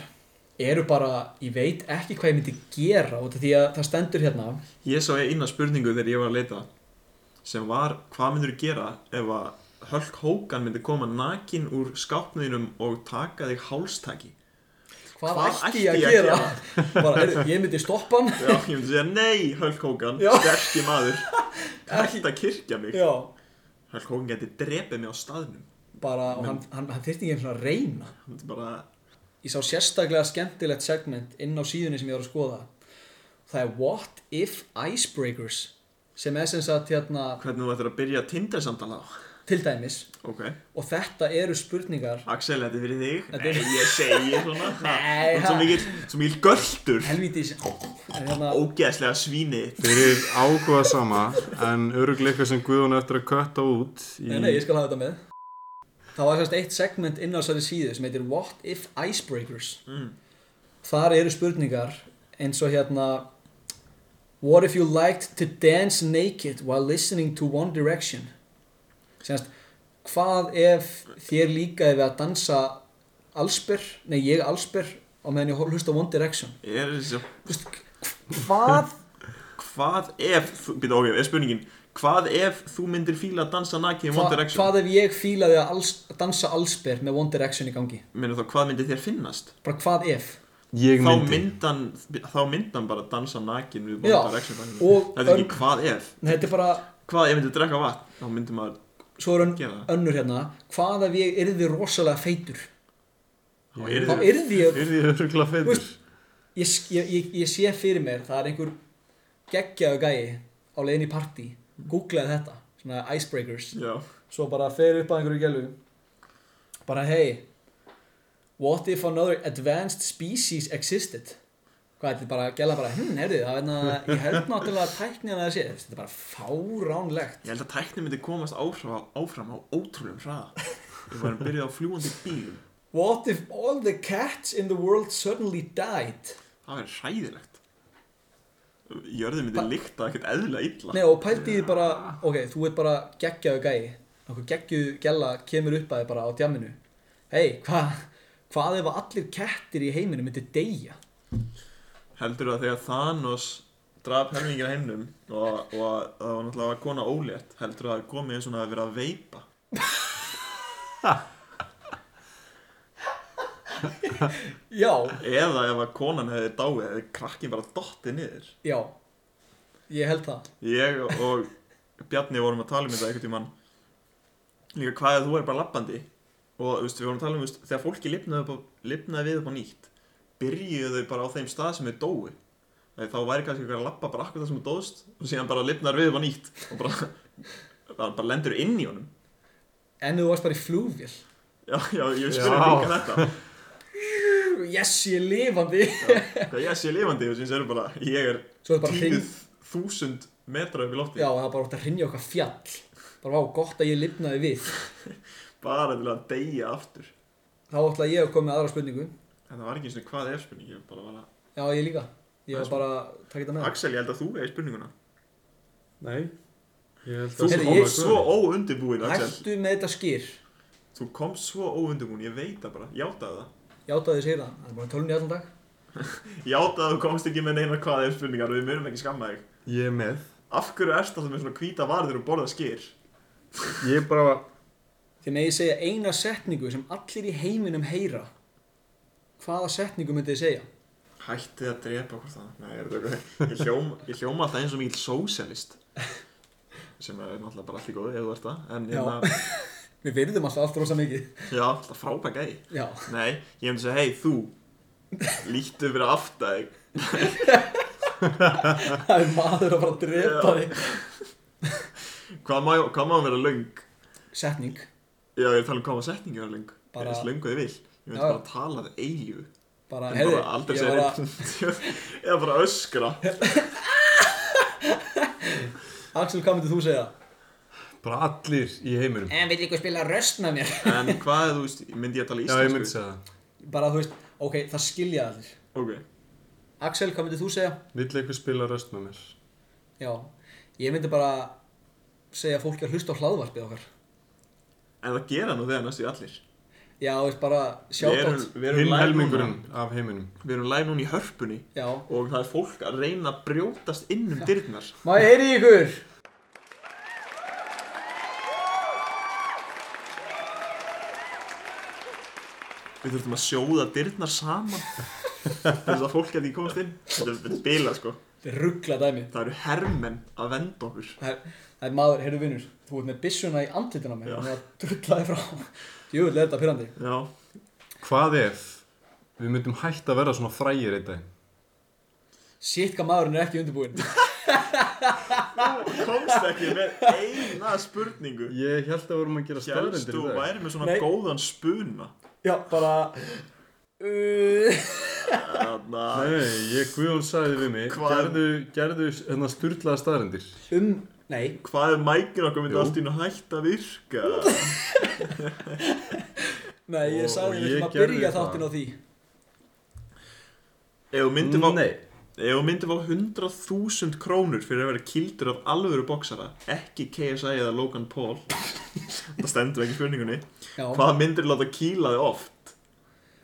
Speaker 7: Eru bara, ég veit ekki hvað ég myndi gera út af Því að það stendur hérna
Speaker 4: Ég sá eina spurningu þegar ég var að leita sem var hvað myndur þú gera ef að Hulk Hogan myndi koma nakin úr skápnöðinum og taka þig hálstaki
Speaker 7: hvað ætti ég að gera bara, heyrðu, ég myndi stoppa hann
Speaker 4: Já, ég myndi segja, nei, Hulk Hogan,
Speaker 7: Já.
Speaker 4: sterski maður,
Speaker 7: Ekki-
Speaker 4: þetta kirkja mig.
Speaker 7: já,
Speaker 4: Hulk Hogan geti drepið mig á staðnum.
Speaker 7: bara, og hann, hann, hann þyrfti ekki einu svona að reyna
Speaker 4: Hann myndi bara,
Speaker 7: ég sá sérstaklega skemmtilegt segment inn á síðunni sem ég var að skoða það er What If Icebreakers sem er sem sagt hérna
Speaker 4: hvernig þú ættir að byrja Tinder samtala á?
Speaker 7: til dæmis
Speaker 4: Ok,
Speaker 7: og þetta eru spurningar
Speaker 4: Axel, þetta er fyrir þig.
Speaker 7: Þetta er-
Speaker 4: Nei, ég segi svona.
Speaker 7: Nei,
Speaker 4: Þú ert svo
Speaker 7: ha.
Speaker 4: mikill, svo mikill göldur.
Speaker 7: helvítis en hérna,
Speaker 4: Ógeðslega svínið.
Speaker 3: Fyrir áhuga sama en örugleika sem Guðun eftir að kötta út í...
Speaker 7: nei, nei, ég skal hafa þetta með það var semst eitt segment inn á þessari síðu sem heitir What If Icebreakers
Speaker 4: Mm.
Speaker 7: þar eru spurningar eins og hérna What if you liked to dance naked while listening to One Direction semst hvað ef þér líkaði við að dansa allsber, nei ég allsber á meðan ég hlusta á One Direction
Speaker 4: Er þessi,
Speaker 7: Þú veist, hvað
Speaker 4: hvað ef, þú- býta ok, er spurningin, hvað ef þú myndir fíla að dansa nakið í One
Speaker 7: Hva,
Speaker 4: Direction?
Speaker 7: hvað ef ég fílaði að alls, dansa allsber með One Direction í gangi?
Speaker 4: Meina þá, hvað myndir þér finnast?
Speaker 7: Bara hvað ef?
Speaker 3: Ég
Speaker 4: Þá
Speaker 3: myndi.
Speaker 4: myndan, þá myndan bara dansa nakin við
Speaker 7: Já,
Speaker 4: One Direction.
Speaker 7: og-
Speaker 4: Þetta er ekki hvað ef.
Speaker 7: Nei, þetta er bara,
Speaker 4: Hvað, ég myndi drekka vatn, þá myndi maður
Speaker 7: svo er ön,
Speaker 4: gera það.
Speaker 7: önnur hérna, hvað ef ég yrði rosalega feitur?
Speaker 3: Þá
Speaker 7: Þá yrði ég,
Speaker 3: Yrði ég öruglega feitur.
Speaker 7: ég, sk- ég, ég, ég sé fyrir mér, það er einhver geggjaðu gæi á leiðin í partí, googlaði þetta, svona icebreakers.
Speaker 4: Já.
Speaker 7: Svo bara fer upp að einhverju gælu. Bara hey, what if another advanced species existed? Hvað þetta er bara, gæla bara, hm, heyrðu, það er hérna, ég held náttúrulega tæknina þessi, þetta er bara fáránlegt.
Speaker 4: Ég held að tækni myndi komast áfram, áfram á ótrúlegum hraða. Við varum byrjuð á fljúandi bílum.
Speaker 7: What if all the cats in the world suddenly died?
Speaker 4: Það verður hræðilegt. Jörðin myndi líkta ekkert eðlilega illa.
Speaker 7: Nei og pældi þið bara, ok, þú ert bara geggjaðu gæi Nákvæm geggjuð gæla kemur upp að þið bara á djamminu Hei, hvað, hvað ef að allir kettir í heiminu myndi deyja?
Speaker 4: Heldur að þegar Thanos draf helmingir heimnum og, og að það var náttúrulega kona ólétt, heldur að það komið eins og hún hafi verið að veipa.
Speaker 7: Já,
Speaker 4: Eða ef að konan hefði dáið, hefði krakkin bara dottið niður.
Speaker 7: já, ég held það
Speaker 4: Ég og Bjarni vorum að tala um þetta einhvern tímann Líka hvað að þú er bara lappandi Og þú veist, við vorum að tala um þú veist, Þegar fólki lifnaði, upp á, lifnaði við upp á nýtt Byrjuðu þau bara á þeim stað sem þau dói Þegar þá væri kannski einhver að lappa bara akkur það sem þú dóðst Og síðan bara lifnar við upp á nýtt Og bara, bara, bara lendur inn í honum
Speaker 7: En þú varst bara í flugvél
Speaker 4: Já, já, ég
Speaker 3: Já.
Speaker 4: spurði líka þetta
Speaker 7: Yes, ég er lifandi
Speaker 4: Hvað ég sé lifandi og síðan sér bara Ég er
Speaker 7: Svo er bara hring,
Speaker 4: tíu þúsund metra upp í lofti
Speaker 7: já, það er bara ótt að hrinja okkar fjall Bara vá, gott að ég lifnaði við
Speaker 4: Bara til að deyja aftur
Speaker 7: Þá ætla ég að koma með aðra spurningu
Speaker 4: En það var ekki eins og hvað er spurning Ég bara var að
Speaker 7: Já, ég líka, ég var bara að taka þetta með
Speaker 4: Axel, ég held að þú veið spurninguna.
Speaker 3: Nei. Ég held
Speaker 4: Þú
Speaker 3: að
Speaker 7: Heyrðu,
Speaker 3: koma
Speaker 7: ég-
Speaker 4: komst
Speaker 3: að
Speaker 4: svo
Speaker 3: Guðun.
Speaker 4: óundibúin, Axel.
Speaker 7: Hættu með þetta skýr
Speaker 4: Þú komst svo óundibúin, ég veit það bara. Játaðu það.
Speaker 7: Játaði segir það, það er bara tölun í allan dag
Speaker 4: Játaðu að þú komst ekki með neina hvað er spurningar og við mögum ekki skamma þig.
Speaker 3: Ég er með.
Speaker 4: Af hverju erst alltaf með svona hvíta varður og borða skyr?
Speaker 3: Ég er bara...
Speaker 7: Þið megið segja eina setningu sem allir í heiminum heyra. Hvaða setningu myndið þið segja?
Speaker 4: Hættið að drepa hvort það. Nei, er þetta eitthvað. Ég hljóma, ég hljóma alltaf eins og mikil sósialist. Sem er náttúrulega bara allt í góðu ef þú ert það. En
Speaker 7: Já.
Speaker 4: hérna,
Speaker 7: Við virðum alltaf allt rosa mikið.
Speaker 4: já, alltaf frábæk gæði.
Speaker 7: Já.
Speaker 4: Nei, ég hefndi að segja, hei þú, líttu fyrir aftæg.
Speaker 7: Það er maður að fara að drepa
Speaker 4: Já.
Speaker 7: þig.
Speaker 4: Hvað má, hvað má vera löng?
Speaker 7: Setning.
Speaker 4: Já, ég er að tala um hvaða setningi var löng
Speaker 7: Bara-
Speaker 4: bara... Ég er slöngu ég vil Ég myndi
Speaker 7: Já.
Speaker 4: bara tala það eilífu
Speaker 7: Bara,
Speaker 4: En
Speaker 7: heyrðu,
Speaker 4: bara aldrei
Speaker 7: ég
Speaker 4: segja
Speaker 7: var að...
Speaker 4: neitt Eða bara öskra
Speaker 7: Axel, hvað myndið þú segja?
Speaker 3: Bara allir í heimurum.
Speaker 10: En vill ykkur spila röst með mér?
Speaker 4: En hvað, er, þú veist, myndi ég að tala
Speaker 3: Já,
Speaker 4: íslensku?
Speaker 3: ég myndi segja það.
Speaker 7: Bara, þú veist, ok, það skilja allir.
Speaker 4: Ok,
Speaker 7: Axel, hvað myndið þú segja?
Speaker 3: Vill eitthvað spila röst með mér.
Speaker 7: Já. Ég myndi bara segja fólki að hlusta á hlaðvarpið okkar.
Speaker 4: en það gera nú þegar næstu í allir
Speaker 7: Já, þú veist, bara
Speaker 4: Við erum,
Speaker 7: sjátt.
Speaker 4: við erum
Speaker 3: Hinn
Speaker 4: live núna
Speaker 3: helmingurinn af heiminum.
Speaker 4: Við erum live núna í hörpunni
Speaker 7: Já.
Speaker 4: Og það er fólk að reyna að brjótast inn um dyrnar
Speaker 7: Má ég heyri í ykkur?
Speaker 4: Við Við þurftum að sjóða dyrnar saman Þess að fólk geti ekki komast inn Þetta er- þetta er bila sko
Speaker 7: Þetta er ruggla dæmi.
Speaker 4: Það eru hermenn að venda okkur
Speaker 7: Það er, það er maður, heyrðu vinnur, þú ert með byssuna í andlitina á mér,
Speaker 4: Já.
Speaker 7: þannig að drullaði frá. Jöfull er þetta pyrrandi.
Speaker 4: Já,
Speaker 3: Hvað ef við myndum hætt að vera svona frægir einn daginn?
Speaker 7: Sitt hvað maðurinn er ekki undirbúinn.
Speaker 4: Þú komst ekki með eina spurningu
Speaker 3: Ég held að við vorum að gera
Speaker 4: Hélst
Speaker 3: staðrendir
Speaker 4: þú
Speaker 3: í dag.
Speaker 4: væri með svona
Speaker 7: Nei.
Speaker 4: góðan spuna
Speaker 7: Já, bara... Uh,
Speaker 4: Þarna
Speaker 3: Nei, ég Guðjón sagði við mig,
Speaker 4: Hvað-
Speaker 3: gerðu, gerðu hérna sturlaða staðrendir.
Speaker 7: um... Nei,
Speaker 4: Hvað ef mækir okkar myndi
Speaker 3: Jú.
Speaker 4: allt í nú hætt að virka?
Speaker 7: nei,
Speaker 3: Og-
Speaker 7: ég
Speaker 3: og
Speaker 7: sagði
Speaker 3: ég
Speaker 7: þér ekki að
Speaker 3: gerði
Speaker 7: byrja
Speaker 3: það.
Speaker 7: þáttinn á því.
Speaker 4: Ef þú myndir fá
Speaker 3: Nei.
Speaker 4: Ef þú myndir fá 100.000 krónur fyrir að vera kildur af alvöru boksara Ekki KSI eða Logan Paul Það stendur ekki í spurningunni
Speaker 7: Já,
Speaker 4: Hvað myndir láta kýla þig oft?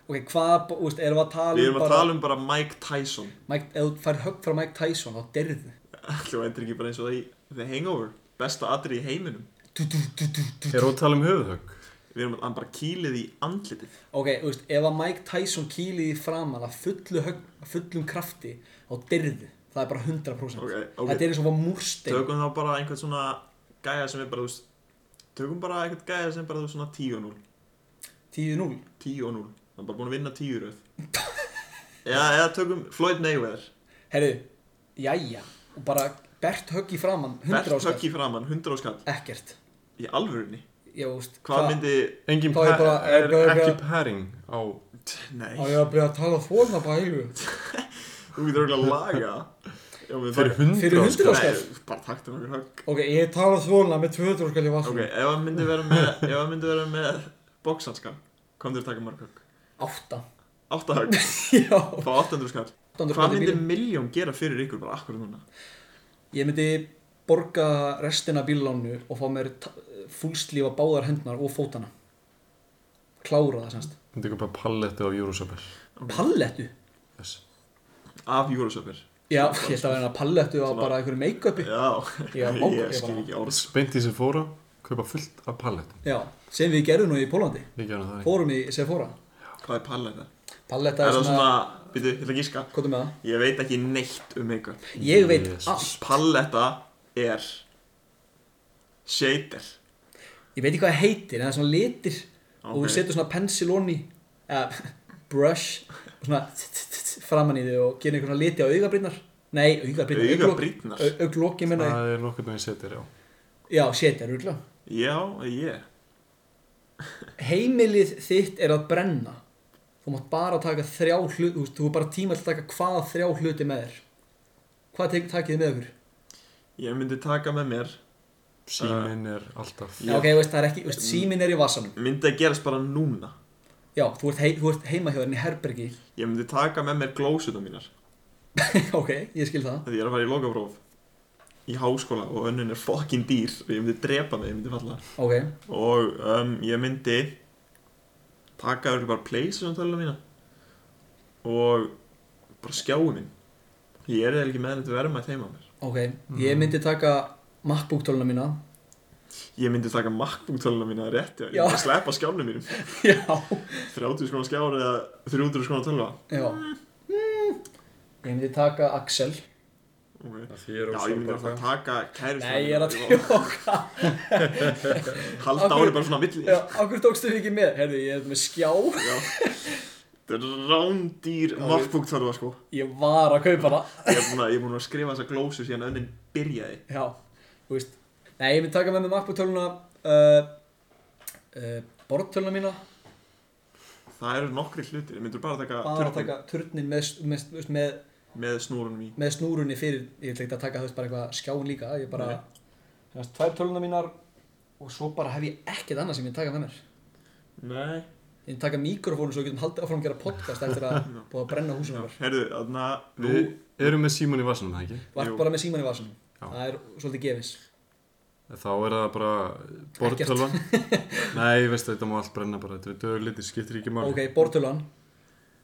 Speaker 7: ok, hvað, þú veist, erum við að tala
Speaker 4: Við erum að tala um bara Mike Tyson
Speaker 7: Mike, ef þú fær högg frá Mike Tyson, þá derðu.
Speaker 4: Alltaf endur ekki bara eins og það í The Hangover Besta atri í heiminum
Speaker 3: Er hún að tala um höfuðhögg?
Speaker 4: Við erum að hann bara kýlið í andlitið
Speaker 7: Ok, þú veist, ef að Mike Tyson kýlið í framan að fullu högg, að fullum krafti, þá derðu. Það er bara 100%.
Speaker 4: Ok, ok.
Speaker 7: Þetta er eins og var múrstein.
Speaker 4: Tökum þá bara einhvern svona gæja sem er bara þú veist Tökum bara einhvern gæja sem bara þú veist svona 10-0
Speaker 7: 10-0.
Speaker 4: 10-0 Hann er bara búin að vinna 10 röð Já, eða tökum Floyd Mayweather
Speaker 7: Herru, jæja Og bara bert högg í framann 100
Speaker 4: Bert
Speaker 7: áskall
Speaker 4: högg í framann, 100 áskall
Speaker 7: Ekkert
Speaker 4: Í alvörinni
Speaker 7: Ég veist
Speaker 4: Hvað myndi
Speaker 3: Engin
Speaker 7: Þá er
Speaker 3: pa-
Speaker 7: bara-
Speaker 3: er
Speaker 7: bara-
Speaker 3: ekki pæring á...
Speaker 4: Nei,
Speaker 7: Á ég að byrja að tala svona bara heilu
Speaker 4: þú getur auðvitað að laga það. Já, við
Speaker 3: Fyrir
Speaker 4: þarf-
Speaker 7: Fyrir
Speaker 3: hundra
Speaker 7: 100 áskall
Speaker 4: Nei, bara taktum okkur högg
Speaker 7: Ok, ég tala svona með 200 áskall í
Speaker 4: Ok,
Speaker 7: vassum
Speaker 4: ef hann myndi vera með, ef hann myndi vera með bóksanska, kom þér að taka mörg högg.
Speaker 7: Átta
Speaker 4: Átta högg,
Speaker 7: Já
Speaker 4: fá 800 skall. Hvað
Speaker 7: 800 kall í
Speaker 4: myndi
Speaker 7: bílinn.
Speaker 4: miljón gera fyrir ykkur bara akkur núna?
Speaker 7: Ég myndi borga restina af bíllánu og fá mér ta- fúlslífa báðar hendnar og fótana Klára það semst
Speaker 3: Þetta er bara palletti á Júrúsabell.
Speaker 7: Pallettu?
Speaker 3: Yes.
Speaker 4: Af Júrasöpir.
Speaker 7: Já, ég held að vera pallettu á bara einhverju make-upi
Speaker 4: Já,
Speaker 7: Já,
Speaker 4: ég,
Speaker 7: ok, bara.
Speaker 4: skil ekki orðs.
Speaker 3: Beint í sem fóra, kaupa fullt af pallettum.
Speaker 7: Já, sem við gerðum nú í Pólandi
Speaker 3: Við gerum það ekki.
Speaker 7: Fórum í Sephora
Speaker 4: Hvað er palletta?
Speaker 7: Palletta
Speaker 4: Er það svona, býtu, ég ætla að gíska.
Speaker 7: Hvað er með það?
Speaker 4: Ég veit ekki neitt um make-up.
Speaker 7: Ég veit
Speaker 3: Yes.
Speaker 7: allt
Speaker 4: Palletta er shader.
Speaker 7: Ég veit ekki hvað það heitir En það er svona litir Og þú
Speaker 4: Ok.
Speaker 7: setur svona pensil onni Eða brush Og svona t- t- t- t- Framan í þig Og gerir einhverjum liti á augabrýrnar Nei, augabrýrnar
Speaker 4: Augabrýrnar?
Speaker 7: Auglokki minna ég.
Speaker 3: Það er nokkur með setir, já.
Speaker 7: Já, setja rúgla
Speaker 4: Já, ég.
Speaker 7: Heimilið þitt er að brenna Þú mátt bara taka þrjá hluti Þú veist, þú er bara tíma til að taka hvaða þrjá hluti með þér Hvað tek, takið þið með ykkur?
Speaker 4: Ég myndi taka með mér.
Speaker 3: Síminn er alltaf.
Speaker 7: Já, ok, þú veist, það er ekki þú veist, Símin er í vasanum
Speaker 4: Myndi að gerast bara núna.
Speaker 7: Já, þú ert, hei, þú ert heima hjá þér í herbergi
Speaker 4: Ég myndi taka með mér glósuna mínar.
Speaker 7: Ok, ég skil það
Speaker 4: Þegar ég er að fara í lokapróf í háskóla og önnun er fokkin dýr og ég myndi drepa mig, ég myndi falla
Speaker 7: Ok,
Speaker 4: og um, ég myndi taka öll bara playstation töluna mína og bara skjáu minn ég er eða ekki með þetta verma þeim á mér
Speaker 7: ok Ég myndi taka MacBook töluna mína
Speaker 4: ég myndi taka MacBook töluna mína rétt já, ég
Speaker 7: Já.
Speaker 4: myndi sleppa skjánum mínum
Speaker 7: Já
Speaker 4: 30 skona skjár eða 300 skona tölva
Speaker 7: Já Mm. Ég myndi taka Axel
Speaker 4: okay.
Speaker 3: Því er
Speaker 4: já, ég myndi alltaf taka kærist
Speaker 7: Nei, ég er að tjóka
Speaker 4: halda
Speaker 7: Af hverju-
Speaker 4: ári bara svona á milli
Speaker 7: Já, okkur tókstu þig ekki með Herðu, ég er með skjá
Speaker 4: þetta er rándýr MacBook tölva sko
Speaker 7: Ég var að kaupa hana
Speaker 4: Ég er búinn að, ég er búin að skrifa þessa glósu síðan önnin byrjaði.
Speaker 7: Já, þú veist Nei, ég myndi taka með mig MacBook töluna uh, uh, Bortöluna mína
Speaker 4: Það eru nokkri hlutir, ég myndur bara taka
Speaker 7: Bara að taka turnin með, með, þú veist, með,
Speaker 4: með snúrunum í.
Speaker 7: með snúrunni fyrir Ég ætla ekki að taka þú veist bara eitthvað skjáin líka Ég bara Þannig að tvær töluna mínar Og svo bara hef ég ekkert annað sem ég myndi taka með mér
Speaker 4: Nei.
Speaker 7: Ég myndi taka mikrofónu svo við getum haldið áfram að gera podcast Eftir að búið að brenna húsum okkar
Speaker 4: Herðu, þarna, nú,
Speaker 3: Við erum með síminn í vasanum, það ekki?
Speaker 7: Var
Speaker 4: Jú.
Speaker 7: bara með síman í vasanum
Speaker 3: Já.
Speaker 7: Það er svolítið gefins
Speaker 3: Þá er það bara borðtölvan. Nei, ég veist að þetta má allt brenna bara. Þetta er döglitir, skiptir ekki máli.
Speaker 7: Ok, bortöluan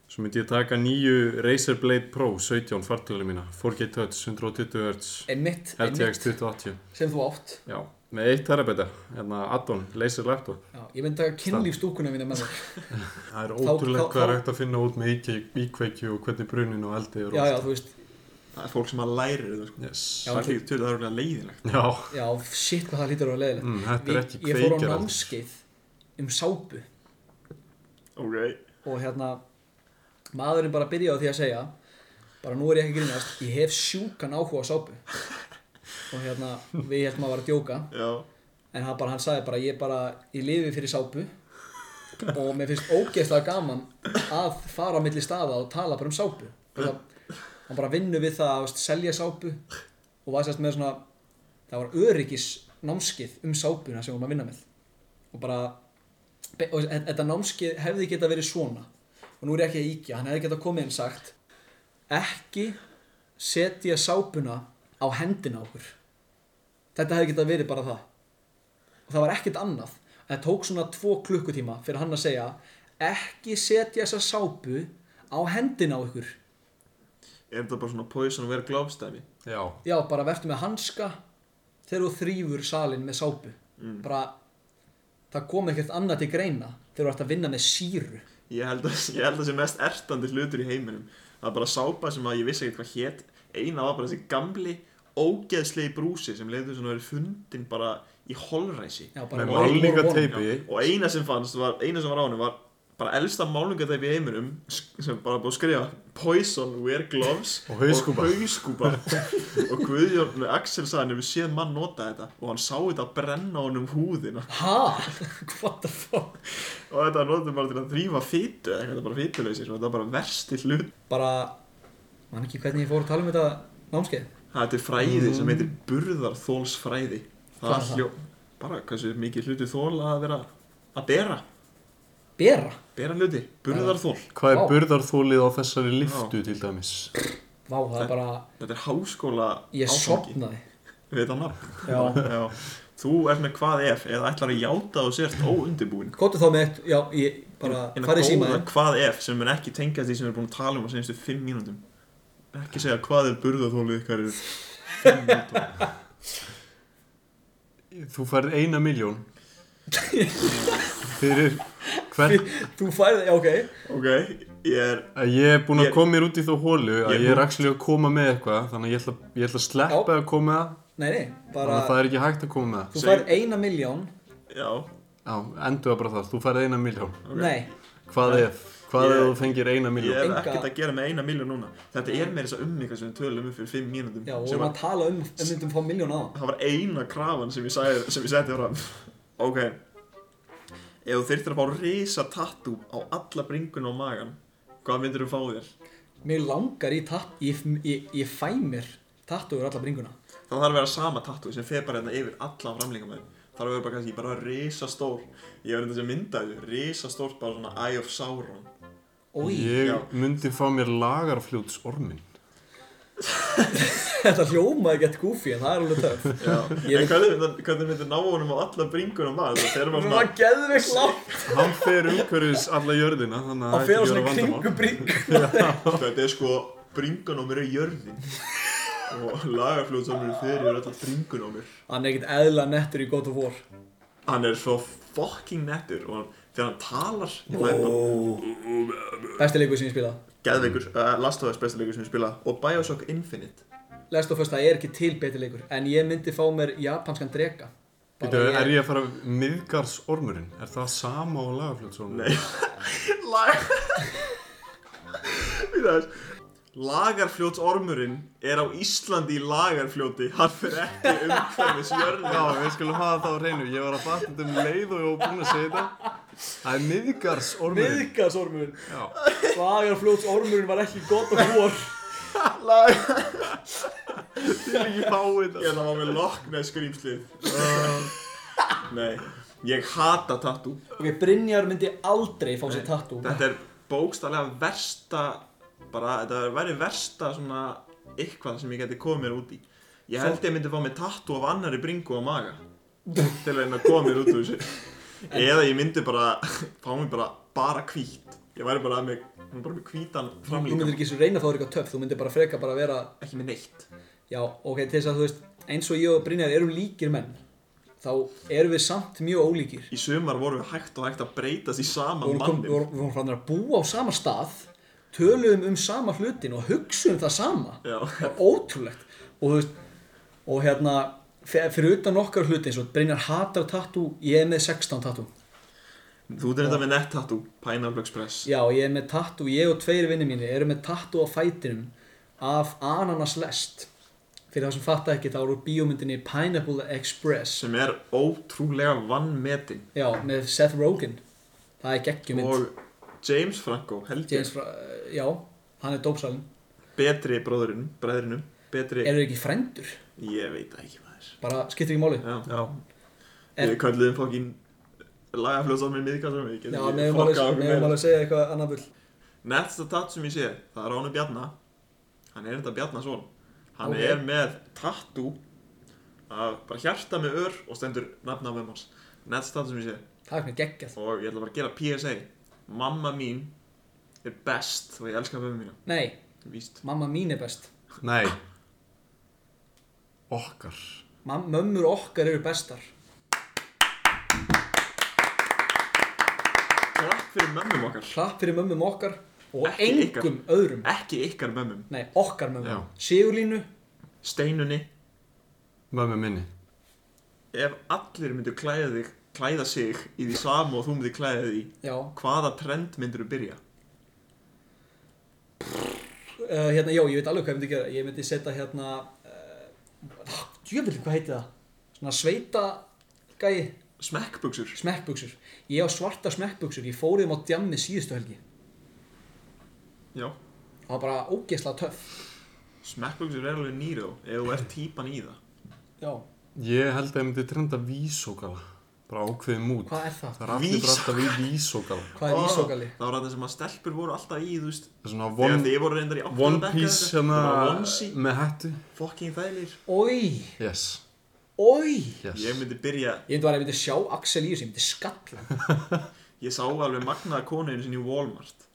Speaker 3: Svo myndi ég taka nýju Razer Blade Pro 17 fartölu mína. 4G Touch, 120 Hz,
Speaker 7: Einmitt, einmitt
Speaker 3: RTX 2080.
Speaker 7: sem þú átt
Speaker 3: Já. Með eitt terabæta, hérna add-on, laser laptop.
Speaker 7: Já, ég myndi að kynlífstúkuna mína með það.
Speaker 3: Það er
Speaker 7: Þá-
Speaker 3: ótrúlegt
Speaker 7: þá-
Speaker 3: hvað er
Speaker 7: þá-
Speaker 3: hægt að finna út með íkveik- íkveikju og hvernig brunin og eldi er
Speaker 7: Já, já,
Speaker 3: og
Speaker 7: þú veist,
Speaker 4: Það er fólk sem að læri þetta sko.
Speaker 3: Yes.
Speaker 7: Já,
Speaker 4: Það er
Speaker 7: þú-
Speaker 4: líka tölur örugglega leiðilegt.
Speaker 3: Já,
Speaker 7: já, shit hvað það lítur að vera leiðilegt.
Speaker 3: mm, þetta er
Speaker 7: Við-
Speaker 3: ekki
Speaker 7: Ég fór á
Speaker 3: kveikjar.
Speaker 7: námskeið um sápu
Speaker 4: Ok.
Speaker 7: og hérna maðurinn bara byrjaði á því að segja bara nú er ég ekki að grínast, ég hef sjúkan áhuga á sápu og hérna við heldum að vera að djóka
Speaker 4: Já.
Speaker 7: en hann, bara, hann sagði bara ég bara ég lifi fyrir sápu og mér finnst ógeðslega gaman að fara á milli staða og tala bara um sápu Og það, hann bara vinnu við það að veist, selja sápu og var sérst með svona það var öryggis námskið um sápuna sem hún var að vinna með og bara be- og þe- þetta námskið hefði geta verið svona og nú er ég ekki að íkja, hann hefði geta komið inn sagt ekki setja sápuna á hendina á okkur þetta hefði geta verið bara það og það var ekkert annað það tók svona tvo klukkutíma fyrir hann að segja ekki setja þessa sápu á hendina á ykkur
Speaker 4: Er þetta bara svona poison og vera glófstæmi?
Speaker 3: Já,
Speaker 7: já, bara verður með hanska þegar þú þrýfur salin með sápu bara það kom ekkert annað til greina þegar þú ert að vinna með síru
Speaker 4: Ég held að ég held að sé mest ertandi hlutur í heiminum. Það er bara sápa sem að ég vissi ekkert hvað hét. Eina var bara þessi gamli, ógeðslegi brúsi sem leiður svona verið fundin bara í holræsi.
Speaker 7: já,
Speaker 3: með
Speaker 7: Oral
Speaker 3: málningateipi.
Speaker 4: Og eina sem fannst, var, eina sem var á henni var bara elsta málningatæp í heiminum sk- sem bara búið að skrifa Poison, wear gloves
Speaker 3: Og hauskúpa.
Speaker 4: og, hauskúpa. og Guðjón með Axel sagði hann hefur séð mann nota þetta og hann sá þetta brenna honum húðina
Speaker 7: One. ha, what the fuck
Speaker 4: og þetta notum bara til að þrýfa fytu eða eitthvað, þetta er bara fytulausir og þetta er bara versti hlut
Speaker 7: bara, man ekki hvernig ég fór að tala um þetta námskeið
Speaker 4: það er til fræði sem heitir burðarþólsfræði það
Speaker 7: Mm. Hvað er
Speaker 4: er hljó bara hversu mikið hluti þól að vera að bera,
Speaker 7: bera,
Speaker 4: bera hluti, burðarþól
Speaker 3: Hvað er
Speaker 7: Vá.
Speaker 3: burðarþólið á þessari liftu til dæmis?
Speaker 7: vá, það er bara
Speaker 4: þetta er háskóla
Speaker 7: ég
Speaker 4: áfangi.
Speaker 7: sopnaði
Speaker 4: við þetta nafn
Speaker 7: já
Speaker 4: Já. þú ert með hvað ef eða ætlar að játa og sért óundibúin
Speaker 7: Kóttu þá með eitt, já, ég bara farið síma
Speaker 4: góða
Speaker 7: þér
Speaker 4: hvað ef sem mun ekki tengast því sem við erum búin að tala um á senstu fimm mínútum ekki segja hvað er burðarþólið ykkar er fimm mínútum
Speaker 3: Þú færð eina miljón. Fyrir hvern...
Speaker 7: Þú færði, já, ok
Speaker 4: Ok, ég er
Speaker 3: að Ég er búinn
Speaker 4: Ég-
Speaker 3: að koma mér út í þá hólu að
Speaker 4: Ég-
Speaker 3: ég er actually að koma með eitthvað þannig að ég ætla, ég ætla að sleppa að koma með það
Speaker 7: Nei, nei,
Speaker 3: þannig
Speaker 7: bara
Speaker 3: að það er ekki hægt að koma með það
Speaker 7: Þú færði eina miljón
Speaker 4: Já,
Speaker 3: Já, endur það bara þar, þú færði eina miljón
Speaker 7: Nei,
Speaker 3: Hvað ef? Hvað
Speaker 4: Ég-
Speaker 3: ef þú fengir eina
Speaker 4: ég
Speaker 3: miljón?
Speaker 4: er
Speaker 7: Enga-
Speaker 4: ekkert að gera með eina miljón núna Þetta er meira þess að um eitthvað sem við tölum um fyrir fimm mínútum
Speaker 7: já, og
Speaker 4: sem
Speaker 7: vorum að tala um um myndum fá miljón á
Speaker 4: Það var eina krafan sem ég, sagði, sem ég seti fram Ok Ef þú þyrftir að fá risa tattoo á alla bringuna á magan Hvað myndir þú fá þér?
Speaker 7: Mér langar í tatt, ég, ég, ég fæ mér tattu úr alla bringuna
Speaker 4: Það þarf að vera sama tattoo sem fer bara hérna yfir allan framlíka með Það þarf að vera bara kannski bara risa stór Ég verður þetta sem myndaði Risa stórt bara svona Eye of Sauron
Speaker 7: Ói,
Speaker 3: Ég
Speaker 4: já.
Speaker 3: myndi fá mér lagarfljóts ormin
Speaker 7: þetta hljómaði gett goofy en það er alveg töf
Speaker 4: Já
Speaker 7: Ég-
Speaker 4: En hvernig, myndi- hvernig myndir ná honum á alla bringuna á magan? Það fer bara svona
Speaker 7: Það geður við látt
Speaker 3: Hann fer umhverfis alla jörðina þannig
Speaker 7: að
Speaker 3: að það
Speaker 7: fyrir
Speaker 3: er
Speaker 7: svona
Speaker 3: ekki að vera vandamál
Speaker 7: kringu bring
Speaker 4: Þetta er sko bringan á mér er jörðin og lagarfljóðsamurinn fyrir er alltaf bringun á mér
Speaker 7: Hann er ekkert eðla nettur í God of War
Speaker 4: Hann er svo fucking nettur og hann, þegar hann talar ég fæði bara
Speaker 7: Besti leikur sem ég spila
Speaker 4: Geðveikur, uh, Last of Us besta leikur sem ég spila og Bioshock Infinite
Speaker 7: Last of Us, það er ekki til betri leikur En ég myndi fá mér japanskan drega Bara
Speaker 3: Býtu, er ég að fara miðgars ormurinn? Er það sama á lagarfljóts ormin?
Speaker 4: Nei Lag Við þess Lagarfljótsormurinn er á Íslandi í lagarfljóti Hann fyrir ekki umhverfis
Speaker 3: Já,
Speaker 4: jörðin
Speaker 3: við skulum hafa það á reynu Ég var að fatta þetta um leið og ég var búinn að segja þetta Það er miðgars ormurinn
Speaker 7: Miðgasormurinn
Speaker 3: Já.
Speaker 7: Lagarfljóts ormurinn var ekki God of War
Speaker 4: Lag
Speaker 3: Ég vil ekki fá þetta
Speaker 4: Ég ætla að fá mér lokna skrýmslið Uh, Nei, ég hata tattoo
Speaker 7: Ok, Brynjar myndi aldrei fá sér tattoo
Speaker 4: Þetta er bókstallega versta bara, þetta væri versta svona eitthvað sem ég geti komið mér út í Ég held ég myndi fá mér tattoo af annari bringu á maga til að reyna að koma mér út úr þessu Eða ég myndi bara fá mér bara, bara hvít Ég væri bara með, bara með hvítan
Speaker 7: Þú
Speaker 4: framlíka
Speaker 7: myndir ekki svo reyna að fá þér eitthvað töff Þú myndir bara freka bara vera
Speaker 4: ekki með neitt
Speaker 7: Já, ok, til þess að þú veist Eins og ég og Brynjar erum líkir menn þá erum við samt mjög ólíkir
Speaker 4: Í sumar vorum við hægt og hægt að breytast í sama
Speaker 7: við vorum, kom, við
Speaker 4: mannin
Speaker 7: vorum, við vorum farin að búa á sama stað töluðum um sama hlutin og hugsuðum það sama
Speaker 4: Já.
Speaker 7: það var ótrúlegt og, þú veist, og hérna f- fyrir utan okkar hlutin svo Brynjar hatar tattoo, ég er með 16 tattoo
Speaker 4: Þú ert þetta með nettattoo, Pineapple Express
Speaker 7: já, ég er með tattoo, ég og tveir vinnir mínir eru með tattoo á fætinum af ananas lest fyrir það sem fatta ekki, þá eru bíómyndinni Pineapple Express
Speaker 4: sem er ótrúlega vannmetin
Speaker 7: já, með Seth Rogen það er geggjumynd
Speaker 4: og James Franco held ég
Speaker 7: James, Fra- já, hann er dópsalinn
Speaker 4: betri bróðurinn, bræðurinnum betri,
Speaker 7: eru ekki frendur,
Speaker 4: ég veit það ekki maður
Speaker 7: bara skiptir ekki máli
Speaker 4: já,
Speaker 3: Já,
Speaker 4: við kölluðum fokkin lagafljóðsam með miðkassum við
Speaker 7: Já,
Speaker 4: getum ekki
Speaker 7: meðum alveg,
Speaker 4: fokkað okkur
Speaker 7: meðum
Speaker 4: meira.
Speaker 7: alveg segja eitthvað annað bull
Speaker 4: Nettsta tatt sem ég sé, það er Ránu Bjarna Hann er þetta Bjarna svon Hann
Speaker 7: Ok.
Speaker 4: er með tattu af bara hjarta með ör og stendur nafna með hans Nettsta tatt sem ég sé
Speaker 7: Það er mér geggjað
Speaker 4: og ég ætla bara að gera PSA Mamma mín er best og ég elska mömmu mína
Speaker 7: Nei,
Speaker 4: Víst
Speaker 7: mamma mín er best
Speaker 11: Nei Okkar
Speaker 7: Mam Mömmur okkar eru bestar
Speaker 4: Klapp fyrir mömmum okkar
Speaker 7: Klapp fyrir mömmum okkar og
Speaker 4: Ekki
Speaker 7: engum öðrum
Speaker 4: Ekki ykkar mömmum
Speaker 7: Nei, okkar mömmum
Speaker 11: Já.
Speaker 7: Sigurlínu
Speaker 4: Steinunni
Speaker 11: Mömmu minni
Speaker 4: Ef allir myndu klæða þig klæða sig í því sama og þú myndir klæða þig í
Speaker 7: Já,
Speaker 4: hvaða trend myndir þú byrja?
Speaker 7: uh, hérna, já, ég veit alveg hvað ég myndi gera Ég myndi setja hérna uh, Djöfull, hvað heiti það? Svona sveita gæi
Speaker 4: Smekkbuxur
Speaker 7: Smekkbuxur Ég á svarta smekkbuxur Ég fór þeim á djammi síðustu helgi
Speaker 4: Já
Speaker 7: Það var bara ógeðslega töff
Speaker 4: Smekkbuxur er alveg nýrjó ef þú ert típan í það
Speaker 7: Já,
Speaker 11: Ég held að ég myndi trenda vísókala Bara ákveðið mút
Speaker 7: hvað er það?
Speaker 11: Það er allir bara alltaf í vísókala
Speaker 7: Hvað
Speaker 4: Ah.
Speaker 7: er ísókali?
Speaker 4: Það var þetta sem að stelpur voru alltaf í, þú veist
Speaker 11: Það er svona
Speaker 4: Þegar
Speaker 11: one,
Speaker 4: þið voru reyndar í áttunda
Speaker 11: one
Speaker 4: bekk eða
Speaker 11: piece
Speaker 4: eitthvað,
Speaker 11: hérna
Speaker 4: það var onesie,
Speaker 11: með hættu
Speaker 4: Fucking þælir
Speaker 7: Ói,
Speaker 11: Yes,
Speaker 7: ói
Speaker 11: yes
Speaker 4: Ég myndi byrja
Speaker 7: Ég myndi bara að myndi sjá Axel í þessu, ég myndi skalla hann.
Speaker 4: Ég sá alveg magnaða konu einu sinni í Walmart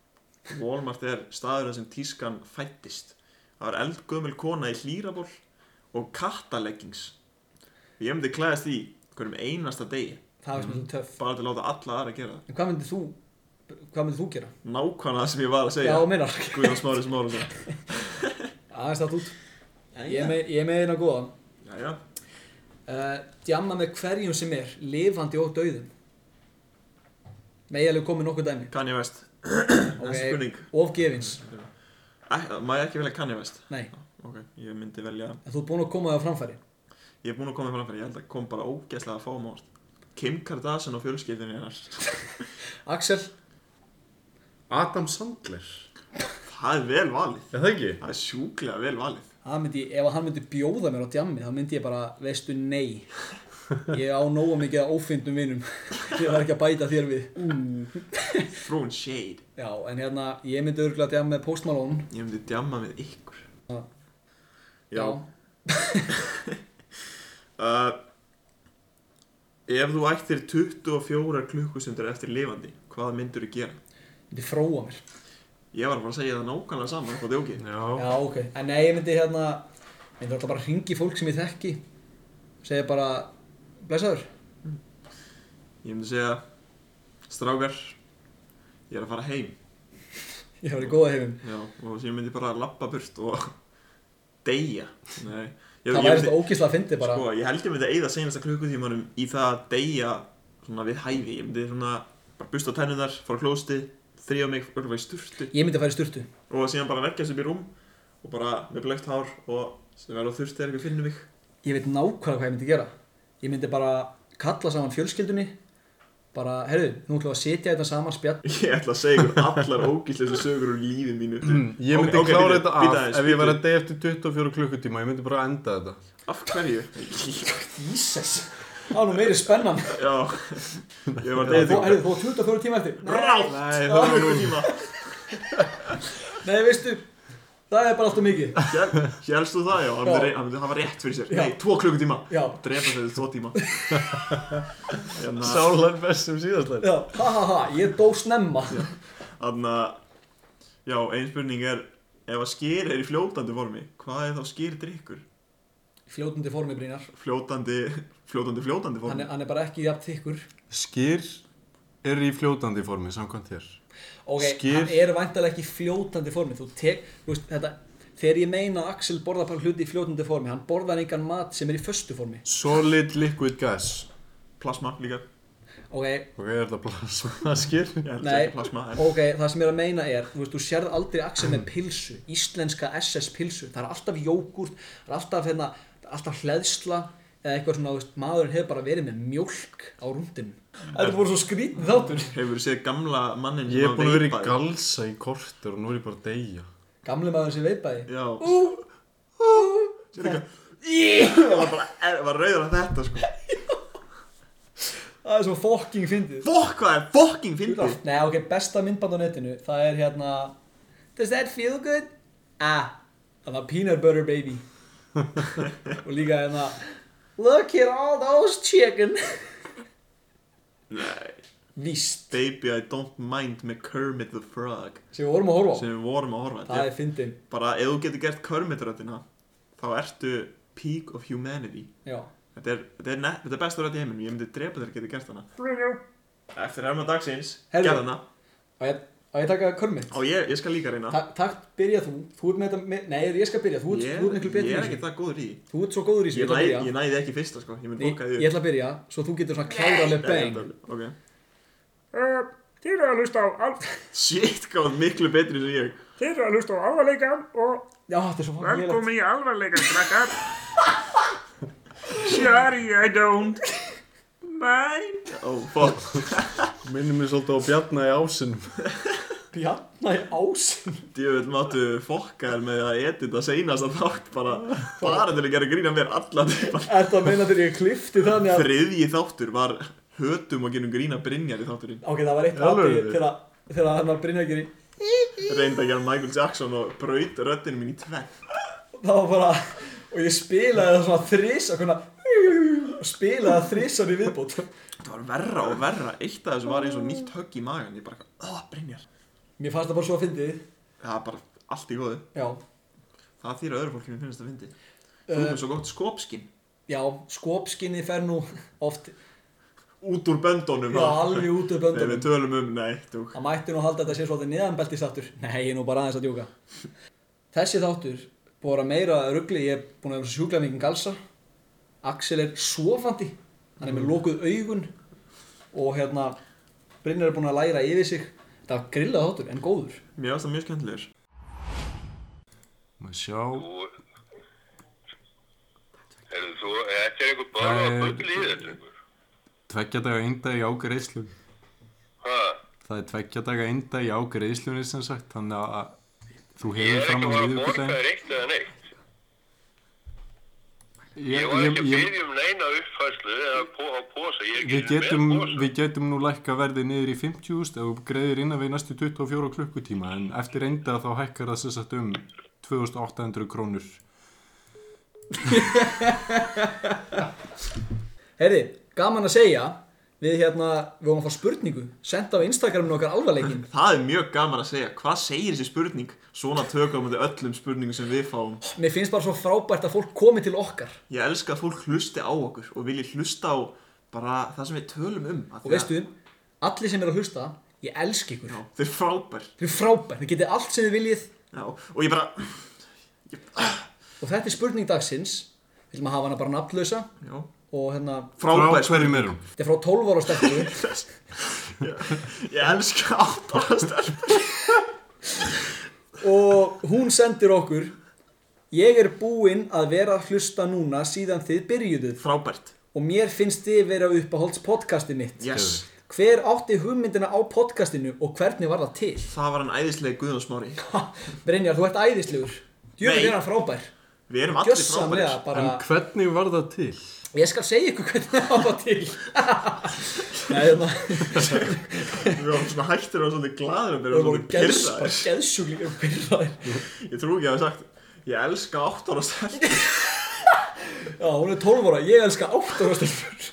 Speaker 4: Walmart er staður þar sem tískan fættist Það var eldgömmel kona í hlýraból og kattaleggings Ég myndi klæðast í hverjum einasta degi
Speaker 7: Það var svolítið töff
Speaker 4: bara til að láta alla aðra gera
Speaker 7: En hvað myndið þú, hvað myndið þú gera?
Speaker 4: það Nákvæmlega það sem ég var að
Speaker 7: Já,
Speaker 4: segja
Speaker 7: þú meinar
Speaker 4: Guðjón Smári Smári
Speaker 7: Aðeins það út Ég er með- ég er með eina góðan
Speaker 4: Jæja,
Speaker 7: uh, Djamma með hverjum sem er, lifandi og dauðum Með ég alveg komið nokkuð dæmi
Speaker 4: Kanye West Næsta
Speaker 7: Ok,
Speaker 4: spurning
Speaker 7: Of gefins,
Speaker 4: Æ, Má ég ekki velja Kanye West?
Speaker 7: nei
Speaker 4: Ok, ég myndi velja
Speaker 7: En þú ert búinn að koma það á framfæri
Speaker 4: Ég er búinn að koma með framfæri, ég held að kom bara ógeðslega að fá mást Kim Kardashian og fjölskyldinni hennar
Speaker 7: Axel,
Speaker 3: Adam Sandler
Speaker 4: Það er vel valið
Speaker 3: Er það ekki?
Speaker 4: Það er sjúklega vel valið
Speaker 7: það myndi, ef hann myndi bjóða mér á djammi Þá myndi ég bara, veistu, nei Ég á nóga mikið að ófindum vinum Ég var ekki að bæta þér við
Speaker 4: Throne Shade
Speaker 7: Já, en hérna, ég myndi örgulega djamma með Post Malone
Speaker 4: Ég myndi djamma með ykkur
Speaker 7: Já,
Speaker 4: uh, Ef þú ættir 24 klukkustundur eftir lifandi Hvað myndur þú gera?
Speaker 7: myndi fróa mér
Speaker 4: Ég var bara að segja það nákvæmlega saman Hvað þjóki?
Speaker 11: Já,
Speaker 7: Já, ok, en nei, ég myndi hérna myndi alltaf bara hringi fólk sem ég þekki segja bara blessaður,
Speaker 4: Ég myndi segja Strákar Ég er að fara heim
Speaker 7: ég var í góða hefum
Speaker 4: Já, og ég myndi bara lappa burt og deyja Nei, ég,
Speaker 7: það
Speaker 4: ég
Speaker 7: væri
Speaker 4: myndi-
Speaker 7: þetta ógísla að fyndi bara
Speaker 4: Sko, ég held ég myndi eigða seinasta klukkutímanum í það að deyja svona við hæfi, ég myndi svona bara busta tennunar, fara klósti, þrýja mig örfa í sturtu
Speaker 7: ég myndi að fara í sturtu
Speaker 4: og síðan bara leggjast upp í rúm og bara með blökt hár og sem verður þurfti er ekki að finna mig
Speaker 7: ég veit nákvæmlega hvað ég myndi gera ég myndi bara kalla saman fjölskyldunni bara, herru, nú ætlum við að setja þetta saman spjall
Speaker 4: Ég ætla að segja ykkur allar ógíslega sögur úr lífi mínu
Speaker 11: ég myndi
Speaker 4: Ok, ok,
Speaker 11: klára
Speaker 4: bíddu,
Speaker 11: þetta
Speaker 4: bíddu
Speaker 11: af
Speaker 4: aðeins,
Speaker 11: ef ég væri
Speaker 4: bíddu.
Speaker 11: að degi eftir 24 klukkutíma, ég myndi bara enda þetta.
Speaker 4: Af hverju?
Speaker 7: Jesus, það var nú meiri spennan
Speaker 4: Já, ég var að deyja
Speaker 7: Þú-
Speaker 4: þig
Speaker 7: herru, þú var 24 tíma eftir
Speaker 4: Rátt!
Speaker 11: Nei,
Speaker 4: Það var klukkutíma
Speaker 7: nei, veistu, það er bara alltaf mikið
Speaker 4: Hélstu það, já, hann
Speaker 7: Já.
Speaker 4: myndi- hann myndi hafa rétt fyrir sér
Speaker 7: Já.
Speaker 4: Nei, tvo klukkutíma
Speaker 7: já,
Speaker 4: Drepa þau tvo tíma Hérna-
Speaker 3: Sálan best um sem síðastlega
Speaker 7: já, ha ha ha, ég dó snemma
Speaker 4: Þannig að, já, ein spurning er Ef að skyr er í fljótandi formi, hvað er þá skyr drikkur?
Speaker 7: fljótandi formi Brynjar
Speaker 4: Fljótandi, fljótandi, fljótandi
Speaker 7: hann
Speaker 4: form
Speaker 7: er, hann er bara ekki jafn þykkur
Speaker 3: Skyr er í fljótandi formi samkvæmt þér.
Speaker 7: ok,
Speaker 3: Skyr-
Speaker 7: hann er væntalega ekki í fljótandi formi þú tek, þú veist, þetta þegar ég meina að Axel borðar bara hluti í fljótandi formi hann borðar engan mat sem er í föstu formi
Speaker 3: Solid liquid gas.
Speaker 4: Plasma líka
Speaker 7: ok,
Speaker 3: Ok, er þetta plasma skyr?
Speaker 4: Ég held
Speaker 7: Nei.
Speaker 4: ekki plasma en
Speaker 7: Ok, það sem ég er að meina er, þú veist, þú sérð aldrei Axel með pilsu, íslenska SS pilsu, það er alltaf jógurt, það er alltaf, hérna, alltaf hleðsla eða eitthvað svona, þú veist, maðurinn hefur bara verið með mjólk á rúndinum. Þetta er bara svo skrítið þáttur.
Speaker 4: Hefur séð gamla mannin
Speaker 3: Ég er búin að vera í
Speaker 4: veipaði?
Speaker 3: galsa í kortur og nú er ég bara að deyja.
Speaker 7: Gamli maður sem veipaði.
Speaker 4: Já Ú Sér ekki Það var bara, er- var rauður að þetta sko
Speaker 7: Það er svo fokking fyndið.
Speaker 4: Fokk hvað er fokking fyndið
Speaker 7: Nei, ok, besta myndband á netinu, það er hérna, Does that feel good? Ah, það var Peanut Butter Baby. Og líka hérna, Look at all those chicken.
Speaker 4: Nei
Speaker 7: Víst,
Speaker 4: Baby I don't mind með Kermit the Frog
Speaker 7: sem við vorum að horfa á.
Speaker 4: sem við vorum að horfa
Speaker 7: Það
Speaker 4: Ég-
Speaker 7: er fyndin,
Speaker 4: bara ef þú getur gert körmitröðina þá ertu peak of humanity
Speaker 7: já.
Speaker 4: þetta er, þetta er, net, þetta er besta rödd í heiminum ég myndi drepa þér að geta gert hana eftir herma dagsins,
Speaker 7: Herðu.
Speaker 4: gerð hana
Speaker 7: Á ég, á ég taka körmið?
Speaker 4: og ég, ég skal líka reyna
Speaker 7: Ta takk, byrja þú. Þú ert með þetta, með, nei, ég skal byrja. Þú ert,
Speaker 4: ég,
Speaker 7: þú ert miklu
Speaker 4: ég
Speaker 7: betur í
Speaker 4: er
Speaker 7: þessu.
Speaker 4: ekki það góður í því.
Speaker 7: Þú ert svo góður í þessu,
Speaker 4: ég,
Speaker 7: ég ætla að
Speaker 4: næ,
Speaker 7: byrja.
Speaker 4: ég næði því ekki fyrsta sko, ég myndi
Speaker 7: Ég,
Speaker 4: bóka því
Speaker 7: ég ætla að byrja, svo þú getur svona klára með bang.
Speaker 4: okay.
Speaker 5: Uh, þið eru að hlusta á, al-
Speaker 4: shit, gáð miklu betri sem ég
Speaker 5: þið eru að hlusta á alvarleikan og
Speaker 7: Já, þetta er svo fannig lélegt.
Speaker 5: velkomin í alvarleikan, krakkar. Sorry, I don't mind.
Speaker 4: oh fuck,
Speaker 3: Minnum mér svolítið á Bjarna í ásinum.
Speaker 7: Bjarna í ásinn.
Speaker 4: djöfull máttu fokkaðir með að edita seinasta þátt bara, bara til að gera grína mér alla tíma
Speaker 7: Er það að meina þegar ég klifti þannig að...
Speaker 4: þriðji þáttur var hötum og genum grína Brynjar í þátturinn
Speaker 7: Ok, það var eitt
Speaker 3: Alveg.
Speaker 7: atrið þegar þegar hann var Brynjargeri.
Speaker 4: reynda að gera Michael Jackson og braut röddinu mín í tvenn
Speaker 7: Það var bara... Og ég spilaði það svona þrís, að konar... Spilaði það þrísan í viðbót.
Speaker 4: það var verra og verra eitt af þessu var eins og nýtt högg í magan ég bara, oh Brynjar
Speaker 7: Mér fannst það bara svo að fyndið.
Speaker 4: það var bara allt í góðu
Speaker 7: Já.
Speaker 4: það þýra öðru fólkinu finnst það fyndi þú
Speaker 3: Eh.
Speaker 4: erum svo gott skópskinn
Speaker 7: Já, skopskinni fer nú oft...
Speaker 4: út úr böndunum
Speaker 7: Já, alveg út af
Speaker 4: þegar
Speaker 7: böndunum.
Speaker 4: við tölum um, nei, tjók
Speaker 7: Það mætti nú halda að þetta sé svolítið neðanbeltisáttur. Nei, ég er nú bara aðeins að djóka. Þessi þáttur, búið að vera meira ruggli, ég er búin að vera sjúklega mikið galsa. Axel er svofandi, hann er með lokuð augun og hérna, Brynjar er búin að læra yfir sig. Þetta var grillað þáttur, en góður.
Speaker 4: mér finnst það mjög skemmtilegur
Speaker 3: Má sjá.
Speaker 6: Heyrðu, þú, þetta er einhver bara að bögli í þetta einhver.
Speaker 3: Tveggja daga ynda í ágreiðslun.
Speaker 6: Ha,
Speaker 3: Það er tveggja daga ynda í ágreiðslunni sem sagt, þannig að þú
Speaker 6: ég
Speaker 3: hefur
Speaker 6: er
Speaker 3: fram á
Speaker 6: ekki að fara að borga
Speaker 3: miðvikudaginn.
Speaker 6: þér eitt eða neitt.
Speaker 3: Ég,
Speaker 6: Ég var
Speaker 3: ég,
Speaker 6: ekki að
Speaker 3: ég,
Speaker 6: byrja um neina uppfæslu eða pó, á posa, ég er
Speaker 3: við,
Speaker 6: ekki
Speaker 3: getum,
Speaker 6: með posa.
Speaker 3: við getum nú lækka verðið niður í 50.000 ef þú greiðir innan við næstu 24 klukkutíma en eftir enda þá hækkar það sem sagt um 2800 krónur.
Speaker 7: Herri, gaman að segja, við hérna, við vorum að fá spurningu, senda á Instagraminu okkar alvarleikin.
Speaker 4: Það er mjög gaman að segja, hvað segir þessi spurning? Svona tökum við öllum spurningum sem við fáum.
Speaker 7: Mér finnst bara svo frábært að fólk komi til okkar.
Speaker 4: Ég elska að fólk hlusti á okkur og vilji hlusta á bara það sem við tölum um. af því
Speaker 7: Og veistu, allir sem er að hlusta, ég elsk ykkur.
Speaker 4: Já, þau er frábær.
Speaker 7: Þið er frábær, þið getið allt sem þið viljið
Speaker 4: Já, og ég bara,
Speaker 7: og þetta er spurning dagsins. Við viljum að hafa hana bara nafnlausa
Speaker 4: já,
Speaker 7: og hérna,
Speaker 3: Frá
Speaker 4: frábær.
Speaker 3: hverjum erum?
Speaker 7: þetta er frá 12 ára stelpu.
Speaker 4: Ég elska ábara stelpur.
Speaker 7: og hún sendir okkur, ég er búinn að vera að hlusta núna síðan þið byrjuðuð
Speaker 4: Frábært.
Speaker 7: og mér finnst þið vera uppáhalds podcastið mitt.
Speaker 4: Yes.
Speaker 7: Hver átti hugmyndina á podcastinu og hvernig var það til?
Speaker 4: Það var hann æðislega Guðjónsmári.
Speaker 7: Ha, Brynjar, þú ert æðislegur. Djöfum
Speaker 4: Nei.
Speaker 7: er hann frábær.
Speaker 4: Við erum allir
Speaker 7: Gjössamlega
Speaker 4: frábærir.
Speaker 7: bara...
Speaker 3: En hvernig var það til?
Speaker 7: Ég skal segja ykkur hvernig það var til Nei, hérna
Speaker 4: Við vorum svona hættir og svona gladur að
Speaker 7: Það
Speaker 4: byrja
Speaker 7: voru
Speaker 4: svona
Speaker 7: geðs, bara
Speaker 4: pyrraðir.
Speaker 7: geðsjúklingar pyrraðir
Speaker 4: Ég trú ekki að hafa sagt, ég elska ábara stelpur.
Speaker 7: Já, hún er 12 ára, ég elska 8 ára stelpur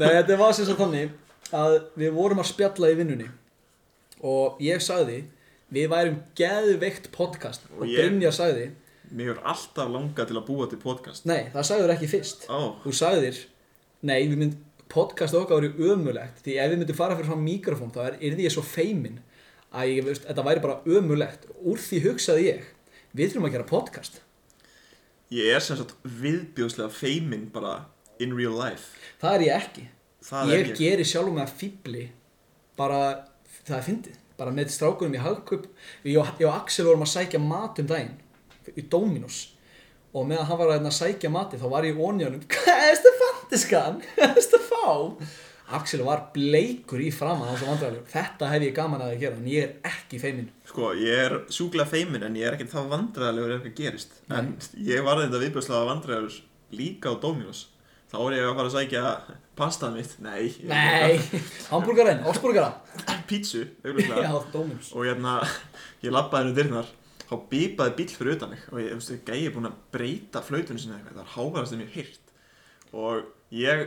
Speaker 7: Nei, þetta var sem sagt þannig að við vorum að spjalla í vinnunni og ég sagði við værum geðveikt podcast og,
Speaker 4: Og ég-
Speaker 7: Brynjar sagði
Speaker 4: Mér er alltaf langað til að búa til podcast
Speaker 7: Nei, það sagður ekki fyrst
Speaker 4: Ó.
Speaker 7: Þú sagðir, nei, við mynd, podcast okkar verið ömulegt Því ef við myndum fara fyrir svona mikrofón þá er, yrði ég svo feimin að ég, veist, þetta væri bara ömulegt Úr því hugsaði ég, við þurfum að gera podcast
Speaker 4: Ég er sem sagt viðbjóðslega feimin bara in real life
Speaker 7: Það er ég ekki
Speaker 4: Það
Speaker 7: Ég,
Speaker 4: er ég
Speaker 7: geri sjálf með að fýbli bara, það er fyndið bara með strákunum í hagkaup ég og, ég og Axel vorum að sækja mat um daginn í Dominos og meðan hann var að hérna sækja mati þá var ég í onjónum hvað er þetta fantiskan? hvað er þetta fá? Axel var bleikur í framan hans og vandræðilegur þetta hef ég gaman að að gera en ég er ekki feiminn
Speaker 4: Sko, ég er sjúklega feimin en ég er ekkert það vandræðalegur ef eitthvað gerist En ég var þetta viðbjóðslega vandræðalegur líka á Dominos Þá er ég að fara að sækja pastað mitt Nei ég-
Speaker 7: nei, hambúrgarinn, ósbúrgara
Speaker 4: Pítsu, auðvitað
Speaker 7: já, Dominos
Speaker 4: og hérna, ég labbaði henni dyrnar þá bípaði bíl fyrir utan mig og ég, þú veist, gæi er búinn að breyta flautunni sinni eða eitthvað, það var hávarast sem ég hef heyrt og ég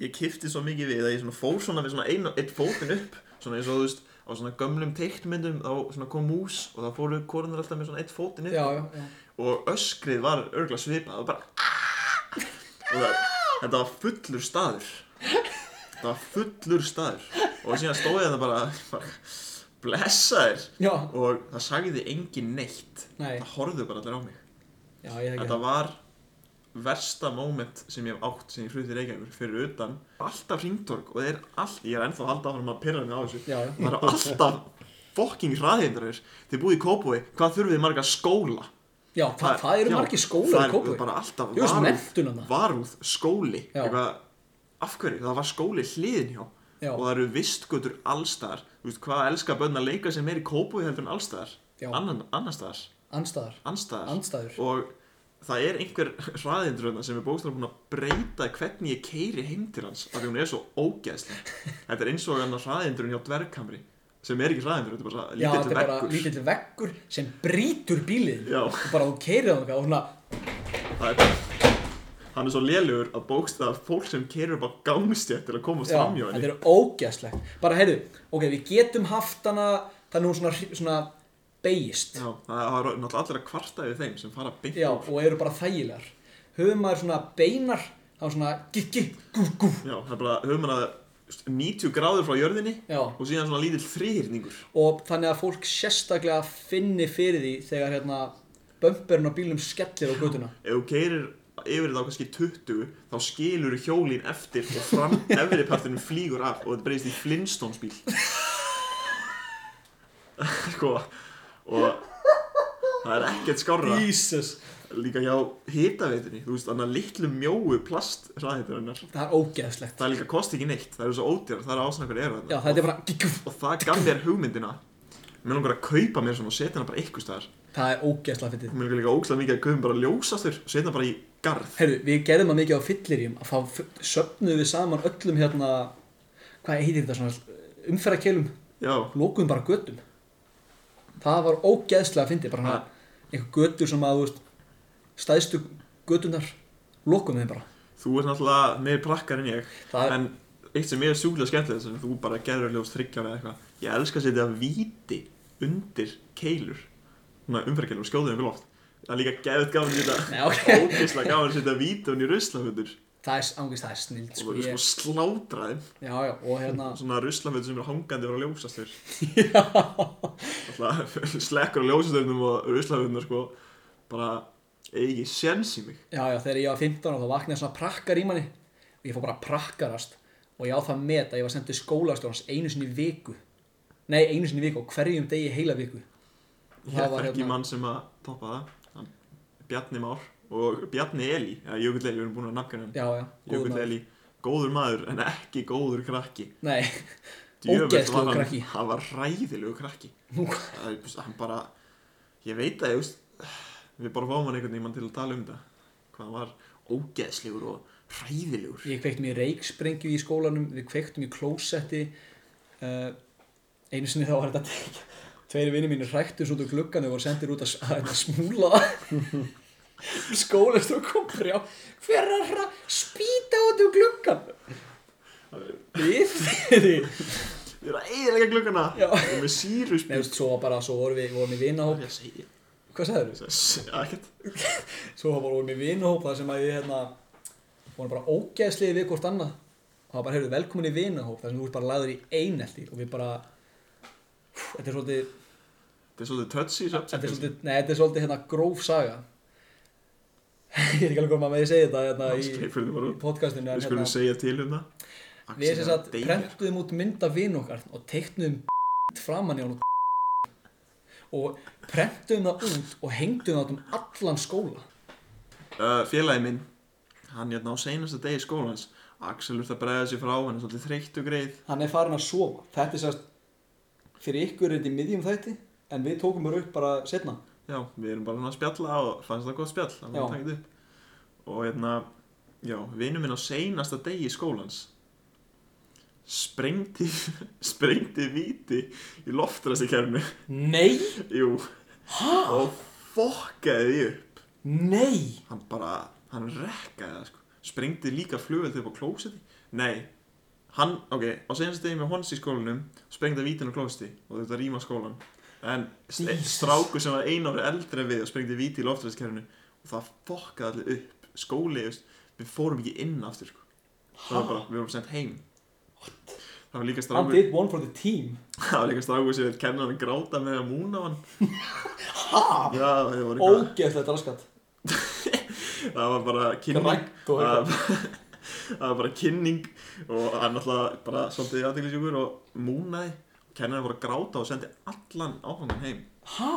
Speaker 4: ég kifti svo mikið við að ég svona fór svona við svona ein, eitt fótinn upp svona eins og þú veist, á svona gömlum teiktmyndum þá svona kom mús og þá fóru korunar alltaf með svona eitt fótinn upp
Speaker 7: já, já, já.
Speaker 4: og öskrið var örgla svipað og bara "Ah!" og það, þetta var fullur staður þetta var fullur staður og síðan stóði þetta bara, bara blessa þér
Speaker 7: já,
Speaker 4: og það sagði engin neitt
Speaker 7: Nei.
Speaker 4: það horfðu bara allir á mig
Speaker 7: já, ég er
Speaker 4: þetta
Speaker 7: ekki
Speaker 4: var versta moment sem ég hef átt sem ég flutti í Reykjavík fyrir utan alltaf ringtorg og það er all ég er ennþá að halda áfram að pyrra mig á þessu
Speaker 7: Já, já.
Speaker 4: það eru alltaf fokking hraðhindrar þið búið í Kópói, hvað þurfið þið marga skóla
Speaker 7: já, hvað, hvað eru
Speaker 4: já,
Speaker 7: margir
Speaker 4: það
Speaker 7: skólar í
Speaker 4: er
Speaker 7: kópu?
Speaker 4: bara alltaf
Speaker 7: Jú, þessu menntun
Speaker 4: varúð,
Speaker 7: þarna.
Speaker 4: varúð skóli
Speaker 7: Já.
Speaker 4: eitthvað, af hverju, það var skóli hliðin hjá
Speaker 7: Já.
Speaker 4: og það eru vistgötur allstaðar þú veist hvað elska börn að leika sem er í kópu heldur en allstaðar
Speaker 7: Já.
Speaker 4: Annan, annarstaðar,
Speaker 7: anstaðar
Speaker 4: anstaðar
Speaker 7: Andstæður.
Speaker 4: og það er einhver hraðindröðna sem er bókstæðan búin að breyta hvernig ég keiri heim til hans af því hún er svo ógeðslega þetta er eins og hann hraðindröðn hjá dvergkamri sem er ekki hraðindröðn, þetta er bara
Speaker 7: Já, þetta
Speaker 4: lítill
Speaker 7: er bara
Speaker 4: veggur
Speaker 7: lítill veggur sem brýtur bílið
Speaker 4: Já.
Speaker 7: og bara þú keirir það og svona
Speaker 4: Það er bara Hann er svo lélugur að bókstaða fólk sem kerur upp á gangstjætt til að komast
Speaker 7: já,
Speaker 4: fram hjá
Speaker 7: þetta
Speaker 4: henni
Speaker 7: er ógæslegt bara heyrðu, ok, við getum haft hana þannig hún svona, hri- svona beigist já.
Speaker 4: Já, það var náttúrulega allir að kvarta yfir þeim sem fara beint úr.
Speaker 7: og eru bara þægilegar höfum maður svona beinar þá svona gikki, gú, gú
Speaker 4: Já, það er bara, höfum hann að 90 gráður frá jörðinni
Speaker 7: Já.
Speaker 4: og síðan svona lítill þrýhyrningur
Speaker 7: og þannig að fólk sérstaklega finni fyrir því þegar hérna bömperinn á bílum skellir á göduna
Speaker 4: Ef þú keirir yfir þá kannski 20 þá skilur hjólin eftir og fram efri partinu flýgur af og þetta breyðist í Flintstones bíl Sko og það er ekkert skárra
Speaker 7: Jesus,
Speaker 4: líka hjá hitaveitunni þú veist, þannig að litlu mjóu plast hraðhitarinnar,
Speaker 7: það er ógæslegt
Speaker 4: það er líka kosti ekki neitt það eru svo ódýrar, það eru ástæðan hverju eru
Speaker 7: já,
Speaker 4: þarna
Speaker 7: þetta er bara gikku,
Speaker 4: og það gaf mér hugmyndina mér langar að kaupa mér svona og setja hana bara eitthvað staðar
Speaker 7: það er ógæslegt fyrir
Speaker 4: mér langar líka ógslag mikið að kaupa bara ljósastur og setja hana bara í garð
Speaker 7: Herru, við gerðum það mikið á fylliríum að þá f- söfnuðum við saman öllum hérna hvað heitir þetta svona umferðarkelum,
Speaker 4: já,
Speaker 7: lókuðum bara göttum það var ógeðslega að fyndi bara
Speaker 4: Ha.
Speaker 7: hana, einhver göttur sem að þú veist, stæðstu göttunar lókuðum þeim bara
Speaker 4: þú ert náttúrulega meir prakkar en ég
Speaker 7: Það er-
Speaker 4: en eitt sem ég er sjúklega skemmtilegt sem þú bara gerður ljós þryggja með eitthvað ég elska að setja víti undir keilur svona umferðkeilur og skjóðum við loft það er líka geðut gaman að
Speaker 7: Nei,
Speaker 4: setja
Speaker 7: ok.
Speaker 4: ógeðslega gaman að setja víti hún í ruslafötur
Speaker 7: það er ángist, það er snild
Speaker 4: og
Speaker 7: sko,
Speaker 4: þú sko
Speaker 7: ég,
Speaker 4: slátra þeim
Speaker 7: já, já, og hérna
Speaker 4: svona ruslafötur sem eru hangandi frá ljósastur
Speaker 7: já,
Speaker 4: alltaf slekkur á ljósasturnum og ruslaföturnar sko bara eigi ekki séns í mig
Speaker 7: já, já, þegar ég var 15 og þá vaknaði svona prakkar í manni og ég fór bara að prakkarast og ég á það með að ég var sendið skólastjórnans einu sinni í viku nei, einu sinni í viku og hverjum degi í heila viku Og
Speaker 4: ég
Speaker 7: það var
Speaker 4: er ekki
Speaker 7: hérna-
Speaker 4: mann sem að toppa það hann, Bjarni Már og Bjarni Eli eða Jökull Eli, við erum búin að nafna hann
Speaker 7: já, já, góður
Speaker 4: Jökull
Speaker 7: maður.
Speaker 4: Eli, góður maður en ekki góður krakki
Speaker 7: Nei,
Speaker 4: Djöfull
Speaker 7: Ógeðslegur
Speaker 4: var hann-
Speaker 7: krakki.
Speaker 4: hann var ræðilegu krakki það er, hann bara ég veit að ég veist við bara fáum hann einhvern tímann til að tala um þetta hvað hann var ógeðslegur og ræðilegur
Speaker 7: ég kveiktum í reiksprengju í skólanum, við kveiktum í klósetti uh, einu sinni þá var þetta tveiri vinni mínir hræktus út úr gluggan og voru sendir út að, s- að, að smúla skólastur kom frjá hver er að hra, spýta út úr gluggan við fyrir
Speaker 4: Ég er að eiginlega klukkana
Speaker 7: Já.
Speaker 4: og með sírus
Speaker 7: Nei, þú veist, svo var bara, svo vorum við, vorum við vinahóp
Speaker 4: ég að segja
Speaker 7: Hvað sagðir þú?
Speaker 4: Ekkert
Speaker 7: Svo var vorum við vinahópa þar sem að við hérna vorum bara ógeðsliði við hvort annað og það var bara, heyrðu, velkomin í vinahóp þar sem þú ert bara lagður í einelti og við bara Úff, þetta er svolítið
Speaker 4: Þetta er svolítið touchy
Speaker 7: þetta er
Speaker 4: subject
Speaker 7: svolítið, nei, þetta er svolítið hérna gróf saga ég er ekki alveg komað með að ég segi þetta hérna
Speaker 4: Ná,
Speaker 7: í,
Speaker 4: skreið fyrir þetta bara
Speaker 7: í
Speaker 4: út.
Speaker 7: podcastinu en
Speaker 4: Við skulum
Speaker 7: hérna,
Speaker 4: segja til um það
Speaker 7: við sem sagt
Speaker 4: deyr.
Speaker 7: prentuðum út mynda vin okkar og teiknuðum framan í hann og og prentuðum það út og hengduðum það út um allan skóla
Speaker 4: uh, Félagi minn Hann hérna á seinasta degi skólans Axel urt að bregða sér frá Hann er svolítið þreytt og greið
Speaker 7: hann er farin að sofa þetta er sérst fyrir ykkur er þetta í miðjum þætti en við tókum bara upp bara setna
Speaker 4: Já, við erum bara svona að spjalla og fannst það gott spjall þannig að
Speaker 7: Já.
Speaker 4: taka þetta upp og hérna, já, vinur minn á seinasta degi skólans sprengdi sprengdi víti í loftrastikjærnu
Speaker 7: nei,
Speaker 4: Jú og fokkaði því upp
Speaker 7: nei
Speaker 4: hann bara, hann rekkaði það sko sprengdi líka flugveldi upp á klósetti Nei, hann, ok, á seinasta degi með hans í skólanum sprengdi að vítin á klósetti og þetta rýma skólan en st-
Speaker 7: Jesus.
Speaker 4: strákur sem var einu ári eldri en við og sprengdi víti í loftræðskerfinu og það fokkaði allir upp skóli, just, við fórum ekki inn aftur sko. það var bara, við vorum sendt heim What? það var líka
Speaker 7: hann
Speaker 4: strákur
Speaker 7: did one for the team
Speaker 4: það var líka strákur sem við kennan að gráta með að múna á hann já, það var eitthvað
Speaker 7: ógeðslega raskat
Speaker 4: það var bara kynning
Speaker 7: Grænt og
Speaker 4: það það var bara kynning og hann náttúrulega bara svolítið aðteglisjúkur og múnaði og kennarinn voru að gráta og sendi allan áfangan heim
Speaker 7: ha?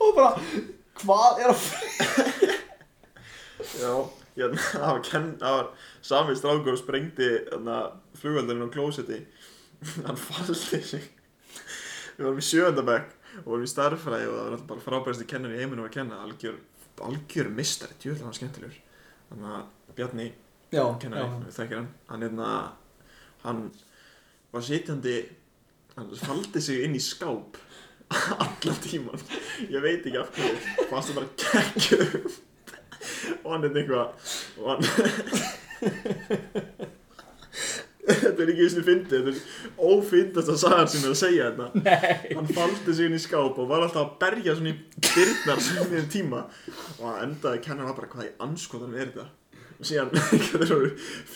Speaker 7: og bara hvað er að
Speaker 4: já hérna, það var, kenn, það var sami strákur og sprengdi flugöldarinn á klósetti hann faldi sig við vorum í sjööndabæk og vorum í starffræði og það var alltaf bara frábærasti kennar í heiminum að kenna algjör, algjör mistari, djúðlega hann var skemmtilegur þannig að Bjarni
Speaker 7: já, já.
Speaker 4: kennari, við þekkir hann hann, hérna, hann var sitjandi hann faldi sig inn í skáp allan tíman ég veit ekki af hverju fannst það bara kekkjur og hann er eitthvað og hann þetta er ekki eins og fyndi þetta er ófyndast að sagan sem er að segja þetta Nei. hann faldi sig inn í skáp og var alltaf að berja svona í dyrnar svona í tíma og hann endaði kennan bara hvað í anskotan er þetta og síðan getur þú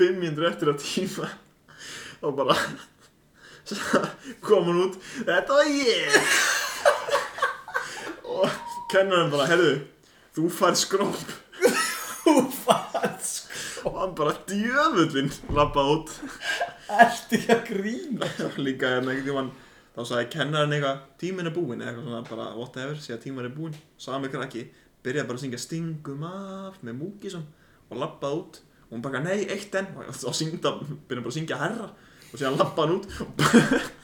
Speaker 4: 500 eftir að tíma og bara kom hann út þetta var ég og kennarinn bara herðu, þú fær skróp þú fær skróp og hann bara djöfullinn lappaði út
Speaker 7: ertu ekki að grína
Speaker 4: Og líka hérna einhvern tímann þá sagði kennarinn eitthvað tíminn er búinn eða eitthvað svona bara whatever segja tíminn er búinn sami krakki byrjaði bara að syngja stingum af með múkisum og lappaði út og hún bara nei eitt enn og þá syngda byrjaði bara að syngja herra og síðan lappaði hann út og-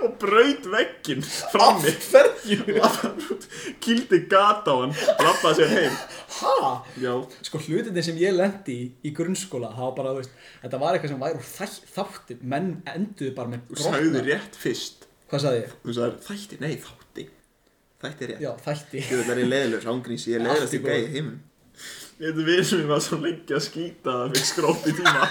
Speaker 4: og braut vegginn frammi
Speaker 7: ferðjú
Speaker 4: lappaði hann út kýldi gata á hann lappaði sér heim
Speaker 7: ha?
Speaker 4: já
Speaker 7: sko hlutinni sem ég lendi í, í grunnskóla það var bara, þú veist, þetta var eitthvað sem væri úr þæ- þáttum, menn enduðu bara með
Speaker 4: þú sagði
Speaker 7: brotna,
Speaker 4: rétt fyrst
Speaker 7: hvað sagði ég?
Speaker 4: þú sagði þætti nei þátti þætti er rétt
Speaker 7: já, þætti
Speaker 4: Ég veit að það er leðilegur ángrís, ég er leðilegast í
Speaker 7: Allt í
Speaker 4: gæði
Speaker 7: góðu.
Speaker 4: heim Ég veit að við sem var svo lengi að skýta að við skróp í tíma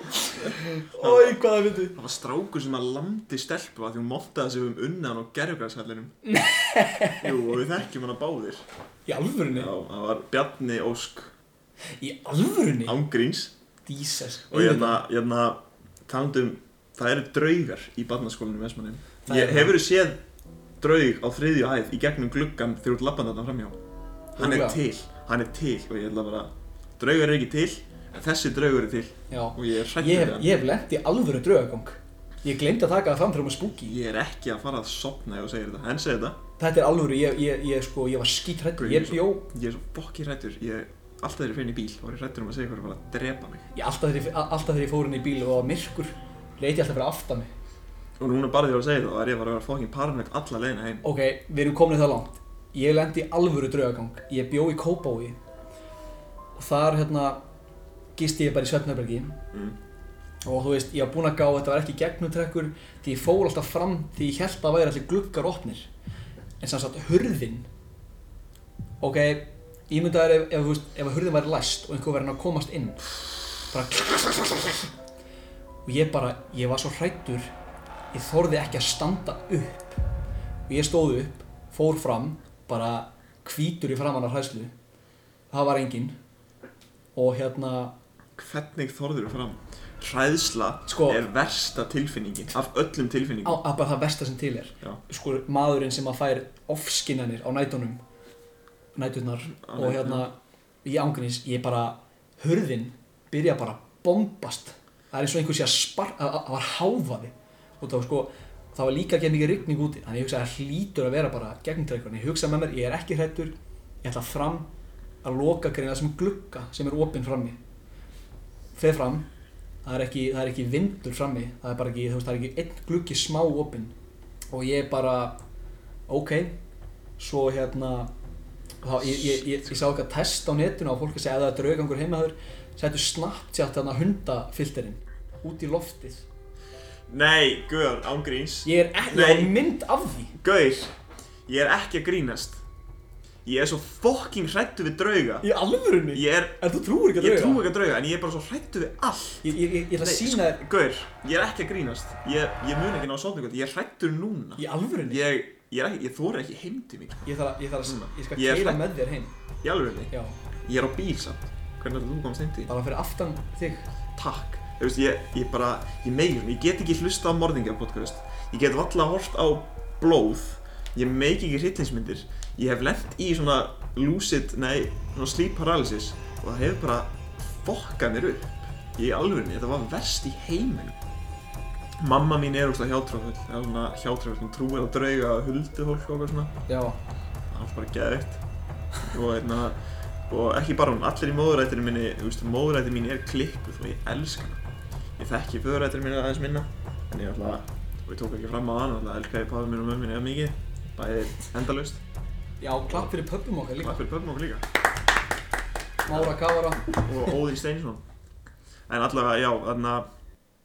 Speaker 7: oi, hvað það myndi
Speaker 4: Það var strákur sem að landi stelpu að því hún montaði sig um unnan og gerjugræshallinum Jú, og við þekkjum hana báðir Já,
Speaker 7: í alvörunni,
Speaker 4: það var Bjarni Ósk
Speaker 7: í alvörunni
Speaker 4: ángríns
Speaker 7: dísas,
Speaker 4: og hérna, hérna, talandum það eru draugar í barnaskólanum Vesmanum
Speaker 7: Það
Speaker 4: Ég
Speaker 7: er-
Speaker 4: hefur séð draug á þriðju hæð í gegnum gluggan þegar út lappan þarna framhjá Hann er
Speaker 7: Örugglega.
Speaker 4: til, hann er til og ég ætla bara draugar eru ekki til, en þessi draugur er til
Speaker 7: já,
Speaker 4: og ég er hrættur
Speaker 7: ég hef,
Speaker 4: við hann
Speaker 7: ég hef lent í alvöru draugagang ég gleymd að taka það fram fyrir maður spooky
Speaker 4: Ég er ekki að fara að sopna ef þú segir þetta, hann segir þetta
Speaker 7: þetta er alvöru, ég, ég, ég sko, ég var skítrætt
Speaker 4: Grunur
Speaker 7: ég
Speaker 4: svo.
Speaker 7: bjó,
Speaker 4: Ég er svo bokki hrættur, ég alltaf þegar ég fyrir inn í bíl og er hrættur um að segja hvað er að fara að drepa mig
Speaker 7: ég alltaf þegar ég- alltaf þegar ég fór inn í bíl og það var myrkur leiti ég alltaf fyrir aftan mig
Speaker 4: Og núna bara því að segja það, þá er ég bara að vera fokkin paranoid alla leiðina heim
Speaker 7: Ok, við erum komin það langt. Ég lendi í alvöru draugagang. Ég bjó í Kópái og þar hérna gisti ég bara í Svefnherbergi og þú veist, ég var búinn að gá að þetta var ekki gegnumtrekkur því ég fór alltaf fram því ég held að væri allir gluggar opnir en sem sagt hurðin ok, ímyndaður ef, ef, þú veist, ef að hurðin væri læst og einhver verið að komast inn bara og ég bara, ég var svo hrættur ég þorði ekki að standa upp og ég stóð upp fór fram, bara hvítur í framann af hræslu það var enginn og hérna,
Speaker 4: Hvernig þorður þú fram? Hræðsla
Speaker 7: Sko-
Speaker 4: er versta tilfinningin af öllum
Speaker 7: á,
Speaker 4: tilfinningum.
Speaker 7: að bara það versta sem til er
Speaker 4: Já.
Speaker 7: sko, maðurinn sem að fær ofskinanir á nætunum næturnar
Speaker 4: Á
Speaker 7: og hérna í ángrins, ég bara hurðin byrja bara að bombast það er eins og einhver sé að spar að, að, að var háfaði og það var sko það var líka ekki mikið rigning úti þannig ég hugsaði að það hlýtur að vera bara gegntrekkur en ég hugsaði með mér, ég er ekki hrættur ég ætla fram að loka greina sem glugga sem er opinn frammi fer fram það er ekki, það er ekki vindur frammi það er bara ekki, þú veist, það er ekki einn gluggi smá opinn og ég bara ok, svo hérna þá, ég, ég, ég, ég sá eitthvað test á netinu á fólk að segja að það er draugangur heimaður settu Snapchat þarna hundafilterinn út í loftið
Speaker 4: Nei, Guður, ángríns.
Speaker 7: ég er ekki, ég
Speaker 4: Nei.
Speaker 7: er mynd af því
Speaker 4: Guður, ég er ekki að grínast. Ég er svo fokking hrættu við drauga.
Speaker 7: í alvörunni,
Speaker 4: Ég er,
Speaker 7: en þú trúir ekki að
Speaker 4: ég
Speaker 7: drauga
Speaker 4: trú ekki sko. að drauga, en ég er bara svo hrættu við allt.
Speaker 7: ég, ég, ég, ég ætla að sína þér
Speaker 4: Guður, ég er ekki að grínast. Ég, ég mun ekki ná að sofna gott, ég er hrættur núna.
Speaker 7: í alvörunni,
Speaker 4: Ég, ég, er ekki, ég þóra ekki heim til mín.
Speaker 7: ég þarf að, ég þarf að, ég skal
Speaker 4: Ég er
Speaker 7: keira
Speaker 4: hrædd.
Speaker 7: með þér heim
Speaker 4: Í alveg,
Speaker 7: já,
Speaker 4: ég er á bíl samt. Hvernig ætlar þú komast heim til þín?
Speaker 7: bara fyrir aftan þig
Speaker 4: takk Þú veist, ég, ég bara, ég meigum, ég get ekki hlusta á morðingja podcast Ég get valla hort á blóð Ég meik ekki hryllingsmyndir Ég hef lent í svona lucid, nei, svona sleep paralysis Og það hefur bara fokkað mér upp Ég í alvörinni, þetta var verst í heiminum Mamma mín er úrslega hjátrúfull Það er svona hjátrúfull, hún trúir á drauga og hulduhólk og eitthvað svona
Speaker 7: já,
Speaker 4: allt bara geðveikt og, einna, og ekki bara hún, allir í móðurættinu minni þú veist, móðurættinu mín er klikkuð og ég elska hana ég þekki föðurættinu mín aðeins minna en ég alltaf, og ég tók ekki fram á hann alltaf elskaði pabbi mín og mömmin eða mikið bæði endalaust,
Speaker 7: já, klapp fyrir pöppum okkar líka
Speaker 4: takk fyrir pöfum okkur líka
Speaker 7: Mára Kavara
Speaker 4: og Óðinn Steinsson en allavega, já, þarna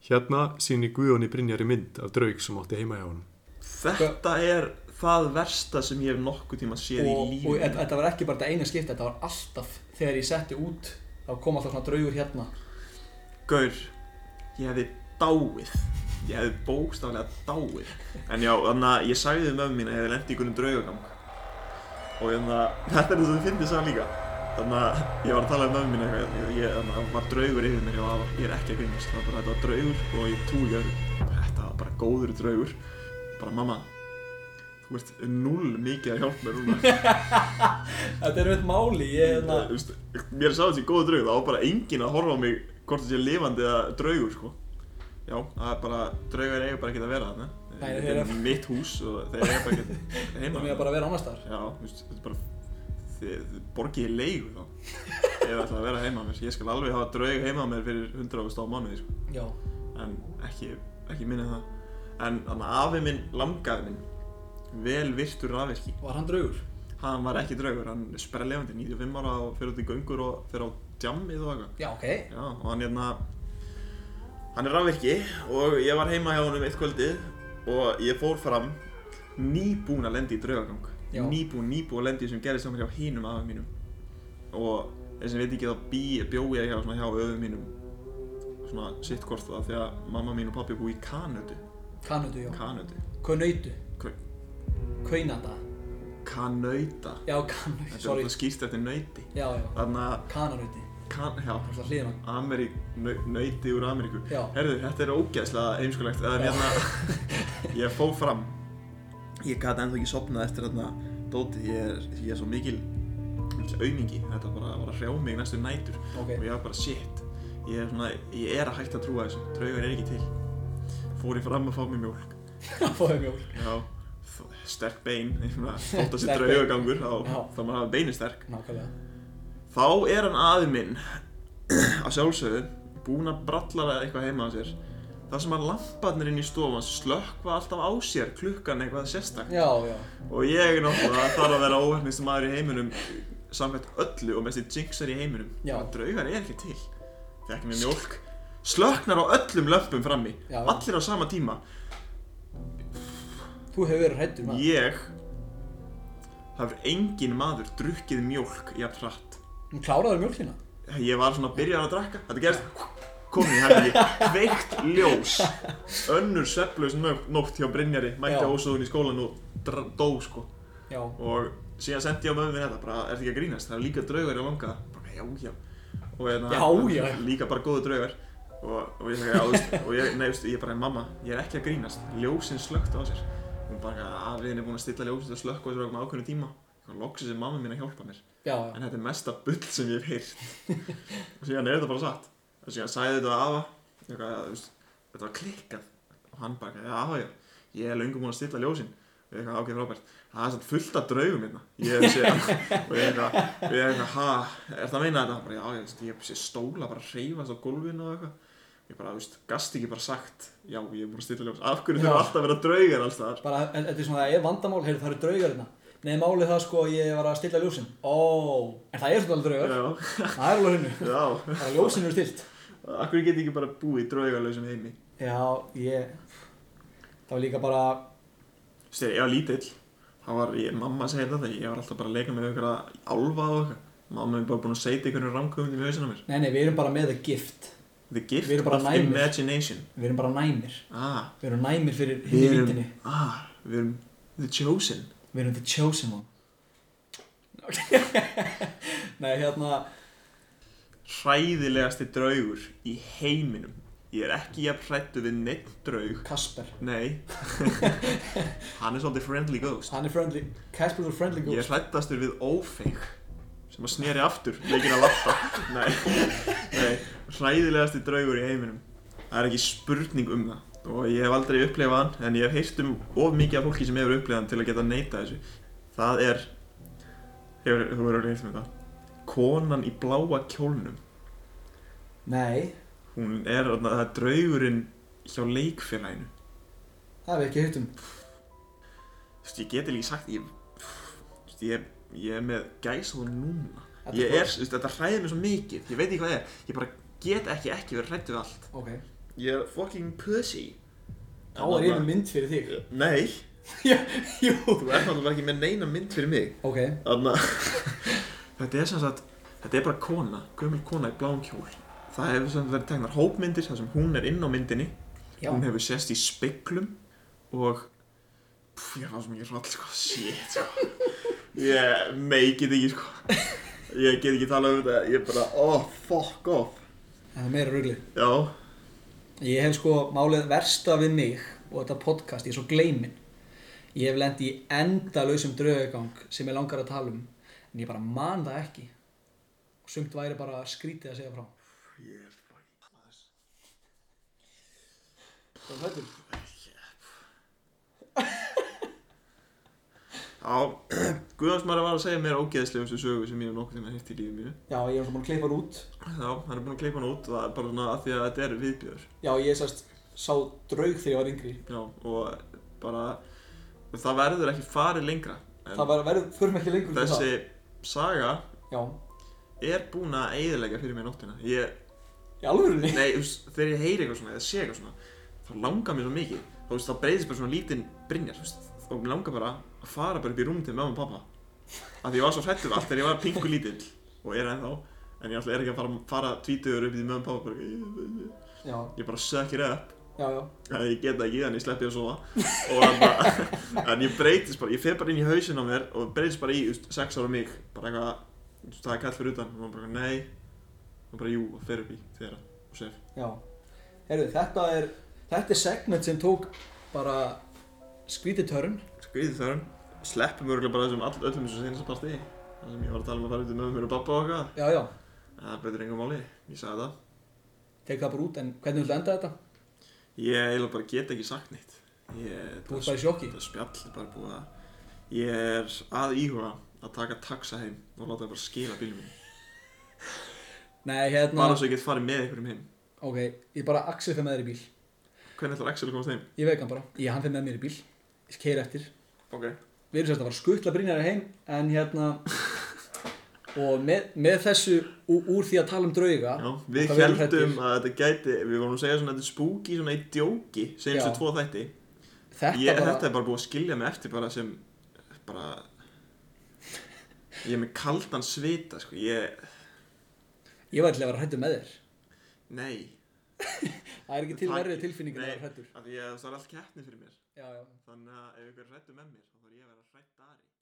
Speaker 3: Hérna síni Guðjóni Brynjari mynd af draug sem átti heima hjá honum.
Speaker 4: þetta er það versta sem ég hef nokkuð tíma séð
Speaker 7: og,
Speaker 4: í lífi
Speaker 7: og þetta þetta var ekki bara þetta eina skipti þetta var alltaf þegar ég setti út þá kom alltaf svona draugur hérna
Speaker 4: Gaur, ég hefði dáið Ég hefði bókstaflega dáið En já, þannig að ég sagði við mömmu mín að ég hefði lent í einhvern draugagang Og ég þannig að, þetta er það sem þið fyndið sá líka Þannig að ég var að tala um mömmu mín eitthvað ég- Ég, þannig að það var draugur yfir mér, ég var, ég er ekki að grínast Það var bara, þetta var draugur og ég trúi ekki öðru Þetta var bara góður draugur Bara, mamma, þú ert null mikið að hjálpa mér núna
Speaker 7: þetta er mitt máli ég,
Speaker 4: Hérna,
Speaker 7: hérna,
Speaker 4: þú veist, mér sá þessi góða draug, það var bara enginn að horfa á mig hvort það sé lifandi eða draugur, sko. Já, það er bara, draugar eiga bara ekki að vera þarna.
Speaker 7: Nei,
Speaker 4: Þetta
Speaker 7: þeir
Speaker 4: er
Speaker 7: eru-
Speaker 4: mitt hús og þeir eiga bara ekki að heima.
Speaker 7: ég er bara að vera annars staðar
Speaker 4: Já, þú veist, þetta er bara, þið, þið borgið í leigu þá. Ef það ætla að vera heima á mér, ég skal alveg hafa draug heima á mér fyrir 100.000 á mánuði, sko.
Speaker 7: já,
Speaker 4: En ekki, ekki minna en það. En þannig að afi minn, langaði minn, vel virtur rafvirki
Speaker 7: var hann draugur
Speaker 4: hann var ekki draugur, hann er sprellefandi 95 ára og fyrir út í göngur og fyrir á djammið og eitthvað
Speaker 7: já, ok,
Speaker 4: Já, og hann hérna hann er rafvirki og ég var heima hjá honum eitt kvöldið og ég fór fram nýbúin að lenda í draugagang
Speaker 7: Já.
Speaker 4: nýbúin, nýbúin að lenda í sem gerðist hjá mér hjá hinum afa mínum og þeir sem veit ekki þá bí, bjói ég hjá, svona, hjá öfum mínum svona sitt hvort það því að mamma mín og pappi búi í Kanödu
Speaker 7: kanötu, já
Speaker 4: Kanödu,
Speaker 7: kanötu,
Speaker 4: Kau-
Speaker 7: kaunata
Speaker 4: Kanöta
Speaker 7: já, kanötu,
Speaker 4: þetta er
Speaker 7: sorry
Speaker 4: alltaf skýrst eftir nöyti
Speaker 7: já, já,
Speaker 4: þannig að
Speaker 7: kananöti
Speaker 4: kan, já,
Speaker 7: alltaf hliðan
Speaker 4: Amerík, nöyti úr Ameríku
Speaker 7: Já.
Speaker 4: Herðu, þetta er ógeðslega heimskulegt Það er
Speaker 7: Já.
Speaker 4: hérna Ég fó fram Ég gat ennþá ekki sopnað eftir þarna Dótið, ég er, ég er svo mikil mikil aumingi, þetta bara var að hrjá mig næstu nætur
Speaker 7: Ok.
Speaker 4: og ég var bara shit ég er, svona, ég er að hægt að trúa þessu draugar er ekki til fór ég fram að fá mér mjólk
Speaker 7: hann fóði mjól
Speaker 4: já, þ- sterk bein ég meina, þótt að sé
Speaker 7: Sterk bein.
Speaker 4: draugagangur þá,
Speaker 7: Já.
Speaker 4: þá maður hafa beinu sterk
Speaker 7: nákvæmlega,
Speaker 4: Þá er hann aði minn að sjálfsögðu búinn að brallara eitthvað heima á sér þar sem að lamparnir inn í stofan slökkva alltaf á sér klukkan eitthvað sérstak
Speaker 7: já, já
Speaker 4: og ég náttúrulega þarf að vera óhefnist maður í heiminum samkvæmt öllu og mest í jinxar í heiminum
Speaker 7: Já.
Speaker 4: að draugar er ekki til fekk mér mjólk slöknar á öllum lömpum frammi
Speaker 7: Já.
Speaker 4: allir á sama tíma
Speaker 7: þú hefur verið hrættur maður
Speaker 4: ég það hefur engin maður drukkið mjólk jafn hratt
Speaker 7: hún kláraði mjólkina
Speaker 4: ég var svona að byrja að drakka þetta gerist kom í herbergi, veikt ljós önnur sveflaus nótt nótt hjá Brynjari mætti
Speaker 7: Já.
Speaker 4: ósóðun í skólan og dr- dó sko
Speaker 7: Já.
Speaker 4: og síðan sendi ég á mömmu minn þetta bara, er þetta ekki að grínast, það er líka draugar í langa bara, já, já og hérna,
Speaker 7: Já, já.
Speaker 4: líka bara góðu draugar og, og ég sagði, já, þú veist, og ég, nei, þú veist, ég bara, mamma, ég er ekki að grínast ljósin slökkt á sér hún bara, að við erum búin að stilla ljósin og slökk á sér á einhverjum ákveðnum tíma og loksins er mamma mín að hjálpa mér
Speaker 7: Já, já.
Speaker 4: en þetta er mesta bull sem ég hef heyrt og síðan er þetta bara satt og síðan sagði þetta afa eitthvað, þú veist, þetta var klikkað og hann bara, já, afa, já ég er löngu búin að stilla ljósin og ég eitthvað ákveð frábært það er samt fullt af draugum hérna ég hef séð og ég eitthvað, og ég eitthvað ha, er það að meina þetta? Hann bara, já, ég, veist, ég hef séð stóla bara hreyfast á gólfinu og eitthvað ég bara, þú veist, gast ekki bara sagt já, ég er búin að stilla ljós af hverju þurfa
Speaker 7: Já.
Speaker 4: alltaf að vera draugar alls þar
Speaker 7: bara, en- þetta er svona, það er vandamál, heyrðu, það eru draugar hérna Nei, málið það sko, ég var að stilla ljósin Ó, en það er svona alveg draugar
Speaker 4: já,
Speaker 7: Það er alveg hennu
Speaker 4: já,
Speaker 7: Það er ljósin eru stilt
Speaker 4: af hverju get ég ekki bara búið í draugarlausum heimi
Speaker 7: Já, ég Það var líka bara,
Speaker 4: Þú veist, þegar ég var lítill, þá var ég, mamma segir þetta, ég var alltaf bara að leika með einhverja álfa og eitthvað. Mamma er bara búin að segja einhverjum rangöfundum í hausinn á mér.
Speaker 7: nei, nei, við erum bara með the gift
Speaker 4: The gift
Speaker 7: Við erum bara
Speaker 4: of
Speaker 7: næmir.
Speaker 4: imagination.
Speaker 7: Við erum bara næmir
Speaker 4: Ah,
Speaker 7: Við erum næmir fyrir
Speaker 4: við
Speaker 7: hinni
Speaker 4: erum,
Speaker 7: vindinni
Speaker 4: ah, við erum the chosen.
Speaker 7: Við erum the chosen one Nei, hérna
Speaker 4: Hræðilegasti draugur í heiminum. Ég er ekki jafn hrættu við neitt draug.
Speaker 7: Kasper
Speaker 4: Nei. Hann er svolítið friendly ghost.
Speaker 7: Hann er friendly Kasper er friendly
Speaker 4: Ég
Speaker 7: ghost
Speaker 4: er hrættastur við ófeig sem að sneri aftur, leikin að lappa. Nei. Nei, hræðilegasti draugur í heiminum. Það er ekki spurning um það og ég hef aldrei upplifað hann en ég hef heyrt um of mikið af fólki sem hefur upplifað hann til að geta neita þessu. Það er, hefur, þú verður að heyrt um þetta, konan í bláa kjólnum.
Speaker 7: Nei,
Speaker 4: Hún er, þarna- það er draugurinn hjá leikfélaginu.
Speaker 7: það hef ég ekki hýrt um
Speaker 4: Þú veist, ég get ekki sagt, ég, þú veist, ég, ég er með gæsað núna.
Speaker 7: Þetta
Speaker 4: Ég
Speaker 7: bara-
Speaker 4: er, þú veist, þetta hræðir mig svo mikið, ég veit ekki hvað það er. Ég bara get ekki ekki verið hrættu við allt.
Speaker 7: Ok,
Speaker 4: Ég er fucking pussy.
Speaker 7: þá er ég með mynd fyrir þig
Speaker 9: Nei,
Speaker 7: Já, Jú
Speaker 9: þú ert náttúrulega ekki með neina mynd fyrir mig
Speaker 7: Ok,
Speaker 9: Þarna,
Speaker 4: Þetta er sem sagt, þetta er bara kona, gömul kona í bláum kjól. Það hefur sem sagt verið tegnar hópmyndir þar sem hún er inn á myndinni.
Speaker 7: já
Speaker 4: Hún hefur sést í speglum og... Pff, ég er alveg mikið hrall, sko, shit, sko. Ég meikið ekki, sko. Ég get ekki talað um þetta, ég er bara, oh, fuck off.
Speaker 7: Það er meira rugli
Speaker 4: Já,
Speaker 7: Ég hef sko málið versta við mig og þetta podcast, ég er svo gleyminn. Ég hef lendi í endalausum draugagang sem ég langar að tala um en ég bara man það ekki. Og sumt væri bara skrítið að segja frá.
Speaker 4: já, Guðjónsmæri var að segja mér ógeðslegustu sögu sem ég hef nokkuð tíma hirt í lífið mínu.
Speaker 7: Já, ég er svona búin að klippa hann út.
Speaker 4: Já, hann er búinn að kleipa hann út og það er bara svona að því að þetta er viðbjör
Speaker 7: Já, ég sast, sá draug þegar ég var yngri.
Speaker 4: Já, og bara það verður ekki farið lengra en
Speaker 7: Það var, verður, förum ekki lengur í
Speaker 4: þessi
Speaker 7: það.
Speaker 4: saga
Speaker 7: Já,
Speaker 4: er búin að eiðilega fyrir mér nóttina ég,
Speaker 7: í alvörunni.
Speaker 4: Nei, þú veist, þegar ég heyri eitthvað svona eða sé eitthvað svona þá langar mér svo mikið þá, þú veist, þá breyðist bara svona lítinn brinjar þú veist, og mér langar bara að fara bara upp í rúm til mamma og pappa af því ég var svo hrættur allt þegar ég var pingu lítill og er ennþá en ég alltaf er ekki að fara, fara tvítugur upp í mamma og pappa bara,
Speaker 7: Já,
Speaker 4: ég bara sökir upp
Speaker 7: já, já.
Speaker 4: að ég geta ekki þannig slepp ég að sofa og þannig að ég breytist bara, ég fer bara inn í hausinn á mér og breytist bara í you know, sex ára mig bara eitthvað, you know, það er kall fyrir utan og maður bara eitthvað, nei og bara jú, og fer upp í þeirra og sef
Speaker 7: Já, heyrðu, þetta er, þetta er segment sem tók bara skrítið törn.
Speaker 4: skrýði þörn, sleppum örgulega bara þessum all, öllum þessum senast partí það sem ég var að tala um að fara út með mér og babba og eitthvað
Speaker 7: Já, já,
Speaker 4: en það breytir engum máli, ég sagði það
Speaker 7: tek það bara út, en hvernig viltu enda þetta?
Speaker 4: ég eiginlega bara get ekki sagt neitt ég,
Speaker 7: Þú ert bara í sjokki.
Speaker 4: þetta spjall er bara búið að ég er að íhuga að taka taxa heim og láta það bara skila bílum minn
Speaker 7: Nei, hérna...
Speaker 4: bara svo ég get farið með einhverjum heim
Speaker 7: Ok, ég bara Axel fyrir með þér í bíl
Speaker 4: hvernig ætlar Axel að komast heim?
Speaker 7: Ég veik hann bara, ég hann fyrir með mér í bíl Ég keir eftir
Speaker 4: ok
Speaker 7: Við erum sérst að fara að skutla Brynjari heim En hérna Og með, með þessu ú, úr því að tala um drauga
Speaker 4: Já, við
Speaker 7: hvað við erum
Speaker 4: heldum
Speaker 7: hræddir.
Speaker 4: að þetta gæti við vorum að segja svona að þetta er spooky svona í djóki segjum
Speaker 7: Já.
Speaker 4: svo tvo þætti
Speaker 7: Þetta
Speaker 4: ég,
Speaker 7: bara
Speaker 4: þetta er bara búið að skilja mig eftir bara sem bara ég er með kaldan svita sko ég
Speaker 7: Ég var til að vera hættu með þér
Speaker 4: nei
Speaker 7: Það er ekki til verri tilfinning en
Speaker 4: Nei,
Speaker 7: að vera hræddur.
Speaker 4: af því að það er allt keppni fyrir mér
Speaker 7: Já, já.
Speaker 4: Þannig að ef ykkur er hrættu með mér þá þarf ég að vera hrætt Ari